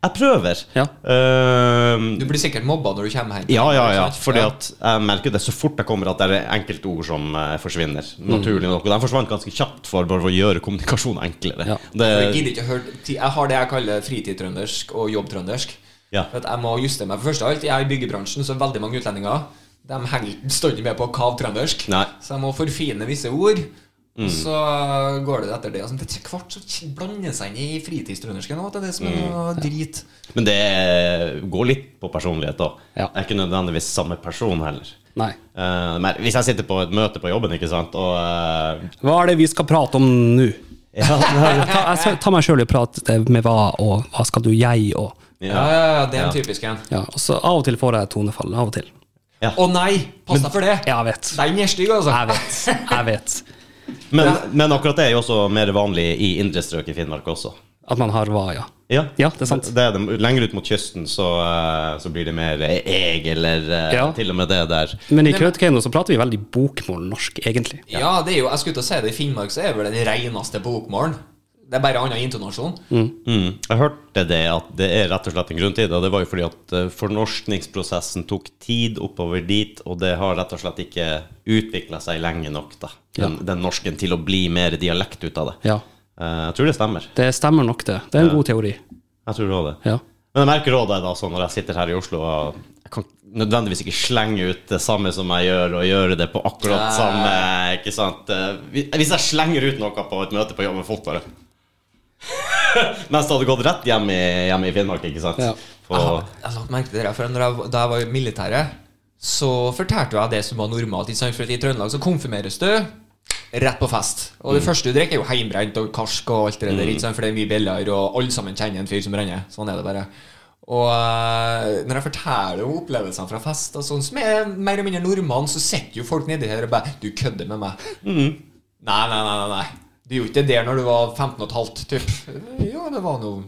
S1: Jeg prøver.
S3: Ja.
S1: Ehm,
S2: Du blir sikkert mobba når du kommer hjem.
S1: ja, ja, ja.
S2: Ikke sant?
S1: Fordi at jeg merker det så fort jeg kommer, at det er enkelte ord som eh, forsvinner. Naturlig nok. Og de forsvant ganske kjapt for bare for å gjøre kommunikasjon enklere.
S3: Ja.
S2: Jeg
S1: Det,
S2: gidder ikke å høre ti- Jeg har det jeg kaller fritidtrøndersk og jobbtrøndersk.
S1: Ja.
S2: For At jeg må justere meg. For først av alt, jeg er i byggebransjen, så veldig mange utlendinger De henger ikke stødig med på kav trøndersk.
S1: Nei. Mm.
S2: Så jeg må forfine visse ord. Og så går det etter det. Altså, etter hvert så blander seg inn i fritidstrøndersken òg. Det er det som er noe
S1: Mm.
S2: drit.
S1: men det går litt på personlighet, da.
S3: Ja.
S1: Jeg er ikke nødvendigvis samme person heller.
S3: Nei.
S1: Eh, men hvis jeg sitter på et møte på jobben, ikke sant, og eh,
S3: Hva er det vi skal prate om nå? ta, jeg skal, ta meg sjøl i prat med hva og hva skal du jeg og
S2: Ja, ja, ja, det er en typisk en.
S3: ja, og så Av og til får jeg tonefall. Av og til.
S2: Å nei! Pass deg for det!
S3: Jeg vet.
S2: Den er stygg, altså.
S3: Jeg vet. Jeg vet.
S1: men, men akkurat det er jo også mer vanlig i indre strøk i Finnmark også.
S3: At man har hva, ja.
S1: Ja,
S3: Ja, det er sant.
S1: Det er det. Lenger ut mot kysten så, eh, så blir det mer eh, eg, eller eh,
S3: Ja.
S1: til og med det der.
S3: Men i Kautokeino så prater vi veldig bokmål norsk, egentlig.
S2: Ja, det er jo, jeg skulle til å si det, i Finnmark så er det vel den reineste bokmålen. Det er bare annen intonasjon.
S1: Mm. Jeg hørte det at det er rett og slett en grunn til det. og Det var jo fordi at eh, fornorskningsprosessen tok tid oppover dit, og det har rett og slett ikke utvikla seg lenge nok, da. Den, den norsken til å bli mer dialekt ut av det.
S3: Ja.
S1: Eh, jeg tror det stemmer.
S3: Det stemmer nok, det. Det er en god teori.
S1: Jeg tror også det.
S3: Ja.
S1: Men jeg merker også det da, sånn når jeg sitter her i Oslo og jeg kan nødvendigvis ikke slenge ut det samme som jeg gjør, og gjøre det på akkurat
S2: Nei.
S1: samme ikke sant? Eh, hvis- Hvis jeg slenger ut noe på et møte på jobb med folk, bare Mens det hadde gått rett hjem i, hjem i Finnmark, ikke sant?
S3: Ja.
S1: På,
S2: Jeg har lagt merke til det der, for når jeg, da jeg var i militæret, så fortalte jeg det som var normalt. Ikke sant? For at I Trøndelag så konfirmeres du rett på fest. Og det første du drikker, er jo heimbrent og karsk og alt det der, ikke sant? for det er mye billigere, og alle sammen kjenner en fyr som brenner. Sånn er det bare. Og eh, når jeg forteller om opplevelsene fra fest, og sånn, som er mer eller mindre normal, så sitter jo folk nedi her og bare 'Du kødder med meg'. Nei, nei, nei, nei, nei. Du gjorde ikke det der når du var 15 og et halvt, typ. Jo, det var noe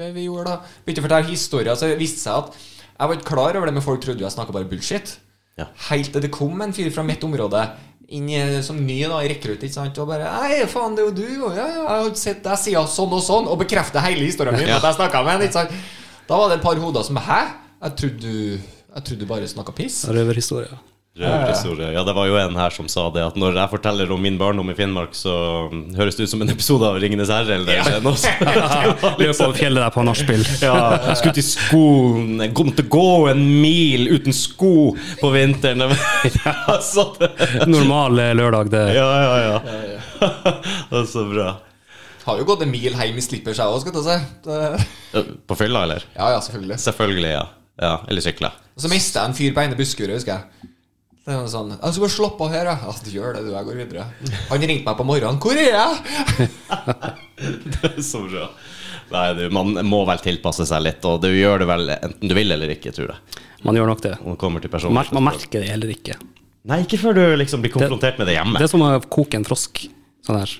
S2: det vi gjorde da. Begynte å fortelle historier, så det viste seg at jeg var ikke klar over det, men folk trodde jo jeg snakket bare bullshit.
S1: Ja.
S2: Helt til det kom en fyr fra mitt område inn i- som ny da, i rekrutt, ikke sant, og bare Hei, faen, det er jo du, og ja, ja, jeg har sett deg siden sånn og sånn, og bekrefter hele historien min, at jeg snakket med han, ikke sant. Da var det et par hoder som Hæ? Jeg trodde du Jeg trodde du bare snakket piss.
S3: Røverhistorie.
S1: Røverhistorie. Ja, det var jo en her som sa det, at når jeg forteller om min barndom i Finnmark, så høres det ut som en episode av 'Ringenes herre' eller noe sånt.
S3: Løp over fjellet der på nachspiel.
S1: Ja, jeg skulle til skolen. Jeg kom til å gå en mil uten sko på vinteren. Ja, så det.
S3: Normal eh, lørdag, det.
S1: ja, ja, ja. Det er så bra.
S2: Har jo gått en mil hjem i slippers, jeg òg, skal jeg til å si. Det-
S1: På fylla, eller?
S2: Ja, ja, selvfølgelig.
S1: Selvfølgelig, ja. ja eller sykla.
S2: Og så mista jeg en fyr på ene Buskerud, husker jeg. Så er han sånn 'Jeg skal bare slappe av her, jeg.' Ja, du gjør det, du. Jeg går videre. Han ringte meg på morgenen. 'Hvor er jeg?'
S1: Det er så bra. Nei, du, man må vel tilpasse seg litt, og du gjør det vel enten du vil eller ikke, tror jeg.
S3: Man gjør nok det.
S1: Når det kommer til
S3: Man mer- Man
S1: personen.
S3: merker det heller ikke.
S1: Nei, ikke før du liksom blir konfrontert med det hjemme.
S3: Det er som å koke en frosk sånn her,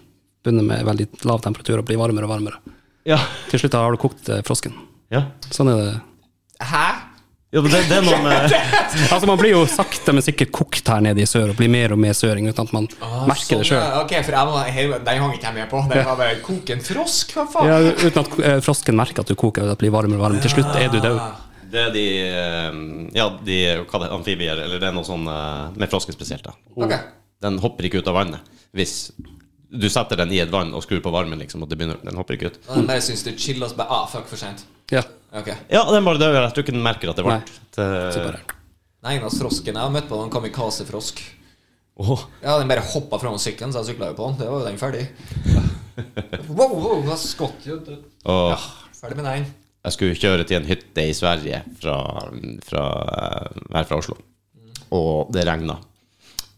S3: begynner med veldig lav temperatur og blir varmere og varmere.
S1: Ja.
S3: Til slutt har du kokt eh, frosken.
S1: ja.
S3: Sånn er det.
S2: Hæ?
S1: ja men det, det er noe med
S3: Altså, man blir jo sakte, men sikkert kokt her nede i sør, og blir mer og mer søring uten at man Ah,
S2: Ah,
S3: merker
S2: sånn,
S3: det sjøl.
S2: Ok, for jeg var, her, den hang ikke jeg med på. Den var bare 'koke en frosk', hva faen?
S3: Ja, uten at eh, frosken merker at du koker, og det blir varmere og varmere. Til slutt er du død.
S1: Det er de eh, Ja, de hva det, er, amfibier, eller det er noe sånn eh, med frosker spesielt, da.
S3: Oh.
S2: Ok.
S1: Den hopper ikke ut av vannet hvis du setter den i et vann og skrur på varmen, liksom, og det begynner, den hopper ikke ut.
S2: Og den bare syns du chiller, og så bare 'ah, fuck, for sent'.
S3: Ja.
S2: Ok.
S1: Ja, den bare dør. Jeg tror ikke den merker at det er varmt.
S3: Så bare
S2: Den eneste frosken jeg har møtt på, var en kamikaze-frosk.
S1: Åh.
S2: Ja, den bare hoppa fra sykkelen, så jeg sykla jo på den. Det var jo den ferdig. Wow, wow, hva skvatt jo
S1: Åh,
S2: Ferdig med den.
S1: Jeg skulle kjøre til en hytte i Sverige fra, fra, eh, her fra Oslo, og det regna.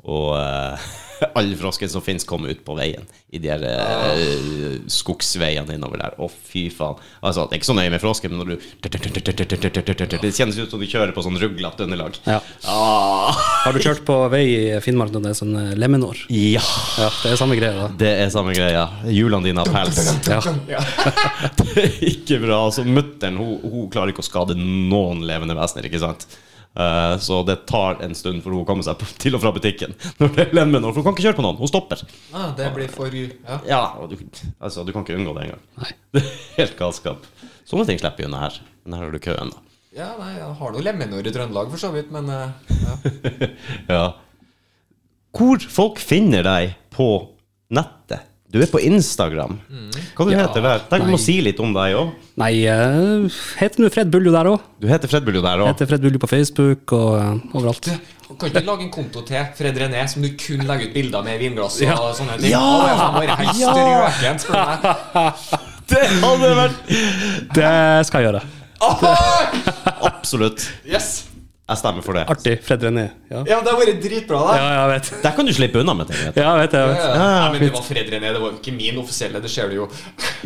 S1: Og eh, alle froskene som finnes, kom ut på veien i de her, eh, skogsveiene innover der. Å, fy faen. Altså, det er ikke så nøye med frosken, men når du Det kjennes ut som du kjører på sånn ruglete underlag. Ah.
S3: Ja. Har du kjørt på vei i Finnmark når det er sånn eh, lemenår?
S1: Ja,
S3: Ja, det er samme greia, da.
S1: det er samme greia. Hjulene dine har pels.
S2: Ja.
S1: Det er ikke bra. Altså, Mutter'n hun, hun klarer ikke å skade noen levende vesener, ikke sant? Eh, Så det tar en stund for hun å komme seg på- til og fra butikken. Når det er Lenmen, For hun kan ikke kjøre på noen. Hun stopper.
S2: Ah, det blir for ja.
S1: Ja, og du, altså, du kan ikke unngå det engang.
S3: Nei.
S1: Det er helt galskap. Sånne ting slipper vi unna her. Men her har du køen, da.
S2: ja, nei, jeg har noe lemenår i Trøndelag, for så vidt, men eh, ja.
S1: Ja. Hvor folk finner deg på nettet? Du er på Instagram. Hva du
S3: Mm. Ja,
S1: heter du der? Tenk om
S3: nei.
S1: å si litt om deg òg.
S3: Nei, eh, heter nå Fred Buljo der òg.
S1: Du heter Fredbuljo der òg.
S3: Heter Fred Buljo på Facebook og eh, overalt.
S2: Kan ikke du lage en konto til Fred René som du kun legger ut bilder med vinglass og sånne ting?
S1: Ja!
S2: Å, jeg faen bare helt
S1: Ja!
S2: strøken, spør du meg.
S1: Det hadde vært
S3: Det skal jeg gjøre.
S2: Åh!
S1: Absolutt.
S2: Yes!
S1: Jeg stemmer for det.
S3: Artig. Fred René. Ja,
S2: Ja, men det har vært dritbra, det.
S3: ja jeg vet.
S1: Der kan du slippe unna med ting. vet du.
S3: Ja, jeg vet, jeg vet.
S2: Nei, men det var Fred René, det var jo ikke min offisielle, det ser du jo.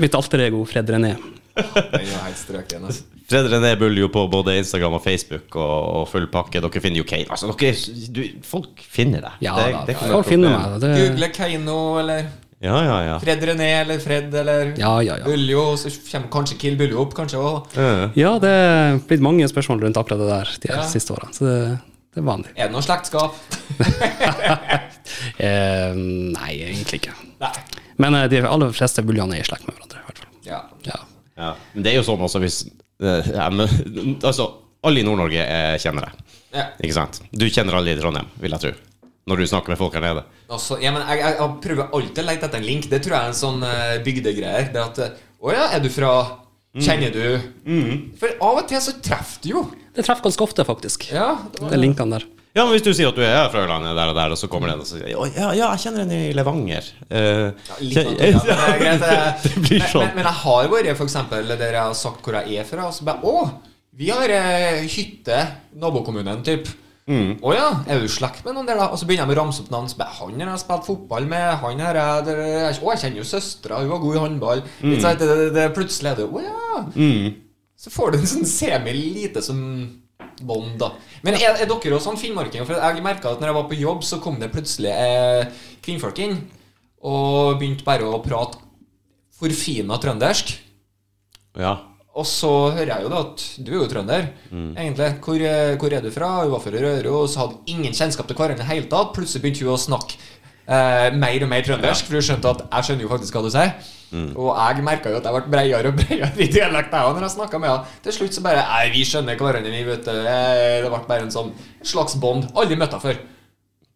S3: Mitt alter ego Fred René.
S2: Den er jo helt strøken, altså.
S1: Fred René Buljo på både Instagram og Facebook og, og full pakke. Dere finner jo Kane. Altså, dere, du, folk finner deg.
S3: Ja
S1: det,
S3: da,
S1: det kan være
S3: folk
S1: et
S3: finner
S1: problem.
S3: meg. Det,
S2: Google Keiino eller
S1: Ja, ja, ja.
S2: Fred René eller Fred eller
S3: ja, ja, ja.
S2: Buljo, så kommer kanskje Kill Buljo opp, kanskje også.
S1: Ja.
S3: ja, det er blitt mange spørsmål rundt akkurat det der de her siste åra, så det, det er vanlig.
S2: Er det noe slektskap?
S3: Eh, nei, egentlig ikke.
S2: Nei.
S3: Men eh, de aller fleste buljene er i slekt med hverandre. i hvert fall.
S2: Ja.
S3: Ja.
S1: Ja. Men det er jo sånn altså hvis eh, ja, men, Altså, alle i Nord-Norge eh, kjenner deg.
S2: ja.
S1: Ikke sant? Du kjenner alle i Trondheim, vil jeg tro. Når du snakker med folk her nede.
S2: Altså, ja, men jeg, jeg, jeg prøver alltid å lete etter en link. Det tror jeg er en sånn eh, bygdegreier. Det at eh, Å ja, er du fra Kjenner du
S1: Mm.
S2: For av og til så treffer du jo.
S3: Det treffer ganske ofte, faktisk.
S2: Ja,
S3: Det er linkene der.
S1: Ja, men Hvis du sier at du er fra Ørlandet, der og der, og så kommer det en og sier «Å, ja, ja, jeg kjenner en i Levanger. Eh,
S2: Litt av det, ja, men det er greit, eh.
S1: Det blir
S2: Men-
S1: sånn.
S2: Men, men jeg har vært for eksempel der jeg har sagt hvor jeg er fra, og så bare Å, vi har eh, hytte, nabokommunen, typ.
S1: Mm.
S2: Å ja, er du i slekt med noen der, da? Og så begynner jeg med å ramse opp navn. Så bare, han har jeg spilt fotball med. Han her er der, jeg- Å, jeg kjenner jo søstera, hun var god i håndball.
S1: Mm.
S2: Litt sånn, det, det, det, plutselig er det Å ja. Så får du en sånn semi-lite som bånd, da. Men er, er dere også sånn finnmarkinger? For jeg merka at når jeg var på jobb, så kom det plutselig eh, kvinnfolk inn og begynte bare å prate forfina trøndersk.
S1: ja.
S2: Og så hører jeg jo da at du er jo trønder,
S3: Mm.
S2: egentlig. Hvor, eh, hvor er du fra? Hun var fra Røros, hadde ingen kjennskap til hverandre i det hele tatt. Plutselig begynte hun å snakke eh, mer og mer trøndersk, for hun skjønte at jeg skjønner jo faktisk hva du sier.
S3: Mm.
S2: Og jeg merka jo at jeg ble breiere og breiere i dialekt jeg òg når jeg snakka med henne. Til slutt så bare Nei, vi skjønner hverandre, vi, vet du. Eh, Det ble bare en sånn slags bånd. Aldri møtt henne før.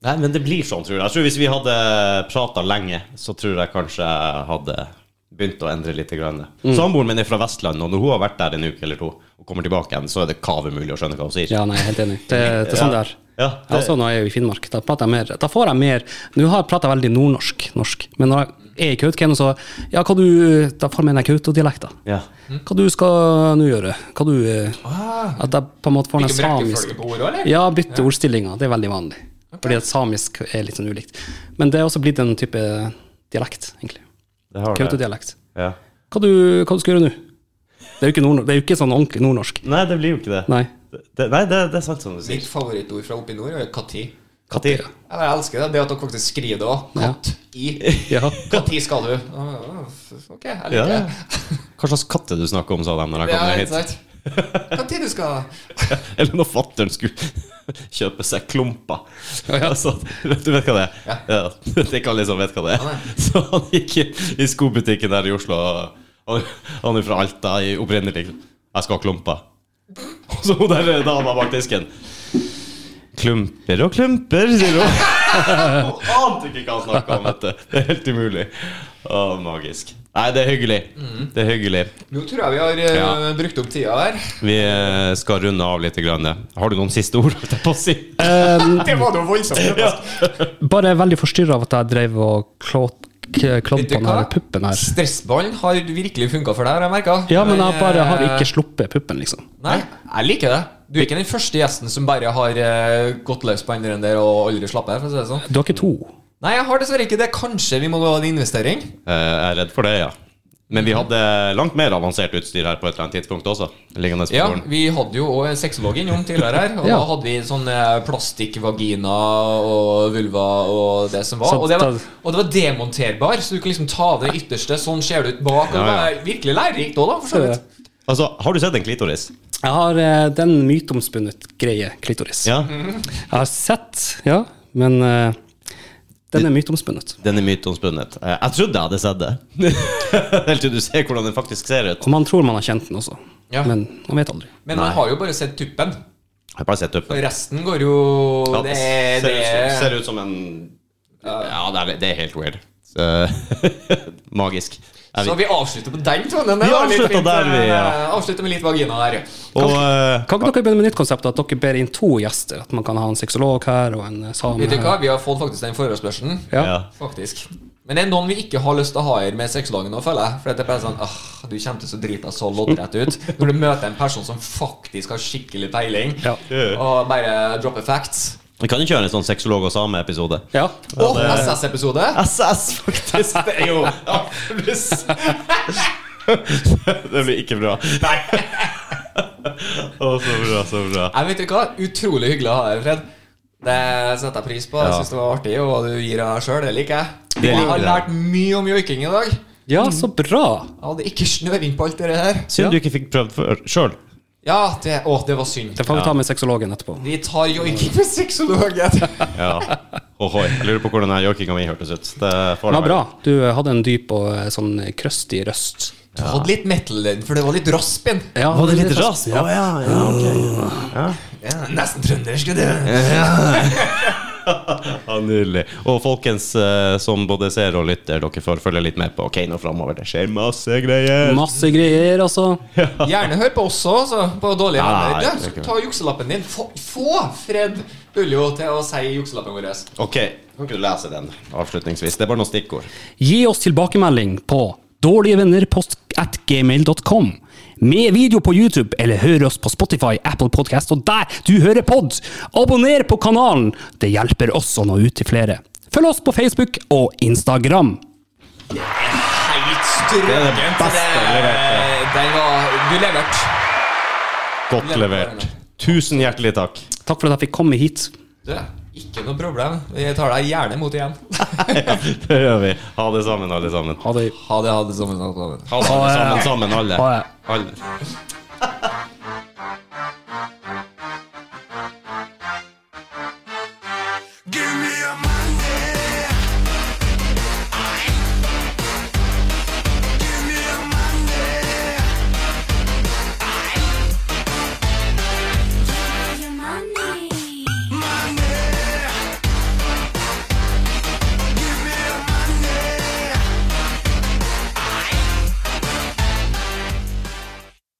S1: Nei, men det blir sånn, tror jeg. Jeg tror Hvis vi hadde prata lenge, så tror jeg kanskje jeg hadde begynt å endre litt. Grann.
S3: Mm.
S1: Samboeren min er fra Vestlandet, og når hun har vært der en uke eller to, og kommer tilbake igjen, så er det kav umulig å skjønne hva hun sier.
S3: Ja, nei, jeg er helt enig. Det, det er sånn det er.
S1: Ja,
S3: Jeg også når jeg er i Finnmark, da prater jeg mer. Da får jeg mer Nå har jeg prata veldig nordnorsk, norsk, men når jeg er i Kautokeino, så Ja, hva du Da får jeg med den Kautokeino-dialekten.
S1: Ja.
S3: Hva du skal nå gjøre? Hva du eh, At jeg på en måte får den
S2: Ikke
S3: samisk
S2: rekkefølge på ordet, eller?
S3: Ja, bytte ordstillinger. Det er veldig vanlig. Fordi at samisk er litt sånn ulikt. Men det er også blitt en type dialekt, egentlig.
S1: Det har det.
S3: Kautokeino-dialekt.
S1: Ja.
S3: Hva, du- hva du skal gjøre nå? Det er jo ikke, nordnor- det er jo ikke sånn ordentlig nordnorsk.
S1: Nei, det blir jo ikke det.
S3: Nei.
S1: Det, nei, det, det er sant som du sier.
S2: Mitt favorittord fra oppi nord er jo 'katti'.
S1: Katir.
S2: Ja, men jeg elsker det. Det at dere faktisk skriver det òg. Katt i.
S3: Ja.
S2: Når skal du? Å, Ok, jeg
S1: Ja.
S2: liker det.
S1: Hva slags katt er det du snakker om, sa de når jeg
S2: Det
S1: kom
S2: er
S1: ned hit.
S2: helt sant. Hva tid du skal
S1: Eller når fattern skulle kjøpe seg klumper. Altså, vet du vet hva det er? Ja. Det er ikke alle som vet hva det
S2: nei.
S1: er. Så han gikk i, i skobutikken der i Oslo, og han, han er fra Alta i opprinnelig. Jeg skal ha klumper. Og så hun der dama bak disken. Klumper og klumper, sier hun. Hun ante ikke hva han snakka om, vet du. Det er helt umulig. Å, magisk. Nei, det er hyggelig. Det er hyggelig.
S2: Nå tror jeg vi har eh,
S1: Ja.
S2: brukt opp tida her.
S1: Vi eh, skal runde av litt. Grann. Har du noen siste ord? holdt jeg på å si?
S2: Det var noe voldsomt. faktisk.
S3: Bare veldig forstyrra av at jeg drev og klåd på
S2: Vet du
S3: den her
S2: hva?
S3: puppen her.
S2: Stressballen har virkelig funka for deg, har jeg merka.
S3: Ja, men jeg bare har ikke sluppet puppen, liksom.
S2: Nei, jeg liker det. Du er ikke den første gjesten som bare har eh, gått løs på andre enn der og aldri slapper av. for å si det sånn.
S3: Du har ikke to?
S2: Nei, jeg har dessverre ikke det. Kanskje vi må gå en investering?
S1: Eh, Jeg er redd for det, ja. Men vi hadde langt mer avansert utstyr her på et eller annet tidspunkt også. Liggende på
S2: Ja,
S1: gården.
S2: vi hadde jo også en sexolog innom tidligere her. Og
S3: Ja.
S2: da hadde vi sånne plastikkvagina og vulva og det som var.
S3: Så
S2: Og det var,
S3: da-
S2: og det var demonterbar, så du kunne liksom ta av det ytterste. Sånn ser det ut bak. Og det
S1: Ja, ja.
S2: var virkelig lærerikt òg, da. For så vidt.
S1: Ja. Altså, har du sett en klitoris?
S3: Jeg har eh, den myteomspunnet greie klitoris.
S1: Ja.
S3: Jeg har sett, ja, men eh, den er myteomspunnet.
S1: Den er myteomspunnet. Eh, Jeg trodde jeg hadde sett det. Helt til du ser hvordan den faktisk ser ut.
S3: Og man tror man har kjent den også,
S2: Ja.
S3: men man vet aldri.
S2: Men man har jo bare sett tuppen.
S1: Jeg har bare sett opp.
S2: For resten går jo
S1: Ja,
S2: Det
S1: det
S2: er
S1: ser, ut som, ser
S2: det er-
S1: ut som en Ja, det er, det er helt weird. Så, magisk. Jeg
S2: Så vi avslutter på den tonen. det
S1: Vi
S2: var litt
S1: avslutter
S2: fint.
S1: der, vi, ja.
S2: Eh, Avslutter med litt vagina der.
S1: Og eh,
S3: Kan ikke dere begynne med nytt konsept, at dere ber inn to gjester? At man kan ha en sexolog her og en eh, same
S2: Vet du hva,
S3: her?
S2: vi har fått faktisk den forespørselen.
S3: Ja.
S1: ja.
S2: Faktisk. Men det er noen vi ikke har lyst til å ha her med sexologen nå, føler jeg. For det er bare sånn ah, Du kjentes så drita så loddrett ut. Når du møter en person som faktisk har skikkelig peiling,
S3: Ja.
S2: og bare dropper facts.
S1: Vi kan jo kjøre en sånn sexolog og same-episode.
S3: ja.
S2: Og SS-episode.
S1: SS, faktisk. Det er jo Det blir ikke bra. Nei. Å, så bra, så bra.
S2: Jeg vet ikke hva, Utrolig hyggelig å ha deg, Fred. Det setter jeg pris på. Jeg
S1: Ja.
S2: synes det var artig, og hva du gir av deg sjøl, det liker jeg. Og
S1: liker
S2: jeg har
S1: jeg.
S2: lært mye om joiking i dag.
S3: ja, så bra!
S2: Jeg hadde ikke snøring på alt det her.
S1: Synd
S3: Ja.
S1: du ikke fikk prøvd før sjøl.
S2: Ja, det, å, det var synd.
S3: Det får vi ta med sexologen etterpå.
S2: Vi tar joiking med sexologen.
S1: Ja. Ohoi. Jeg lurer på hvordan den joikinga mi hørtes ut. Det får
S3: Det var
S1: jeg
S3: bra.
S1: vel.
S3: Du eh, hadde en dyp og eh, sånn krøstig røst.
S2: Du hadde litt metal den, for det var litt rasp i den.
S3: Ja,
S1: Var det
S3: det
S1: litt
S3: var-
S1: raskt? Å, ja, ja, ok.
S2: Ja, nesten trøndersk, det.
S1: Ja, nydelig. Og folkens eh, som både ser og lytter, dere får følge litt med på OK nå framover. Det skjer masse greier.
S3: Masse greier, altså.
S2: Gjerne hør på oss også, så, på Dårlige
S1: Nei,
S2: venner.
S1: det er
S2: Du,
S1: ikke
S2: Ta jukselappen din. Få, få Fred Uljo til å si jukselappen vår.
S1: OK, kan ikke du lese den avslutningsvis? Det er bare noen stikkord.
S3: Gi oss tilbakemelding på dårligevennerpost.gmail.com med video på YouTube eller hør oss på Spotify, Apple Podcast og der du hører pod! Abonner på kanalen! Det hjelper oss å nå ut til flere. Følg oss på Facebook og Instagram.
S2: Helt strøkent.
S1: Det er det beste jeg leverte.
S2: Den var Du leverte.
S1: Godt levert. Tusen hjertelig takk.
S3: Takk for at jeg fikk komme hit.
S2: Du, ikke noe problem. Jeg tar deg gjerne imot igjen.
S1: Ja, det gjør vi. Ha det sammen, alle sammen.
S3: Ha det.
S2: Ha det, ha det sammen. Ha det.
S1: Ha det sammen, sammen, alle.
S3: Ha det.
S1: alle.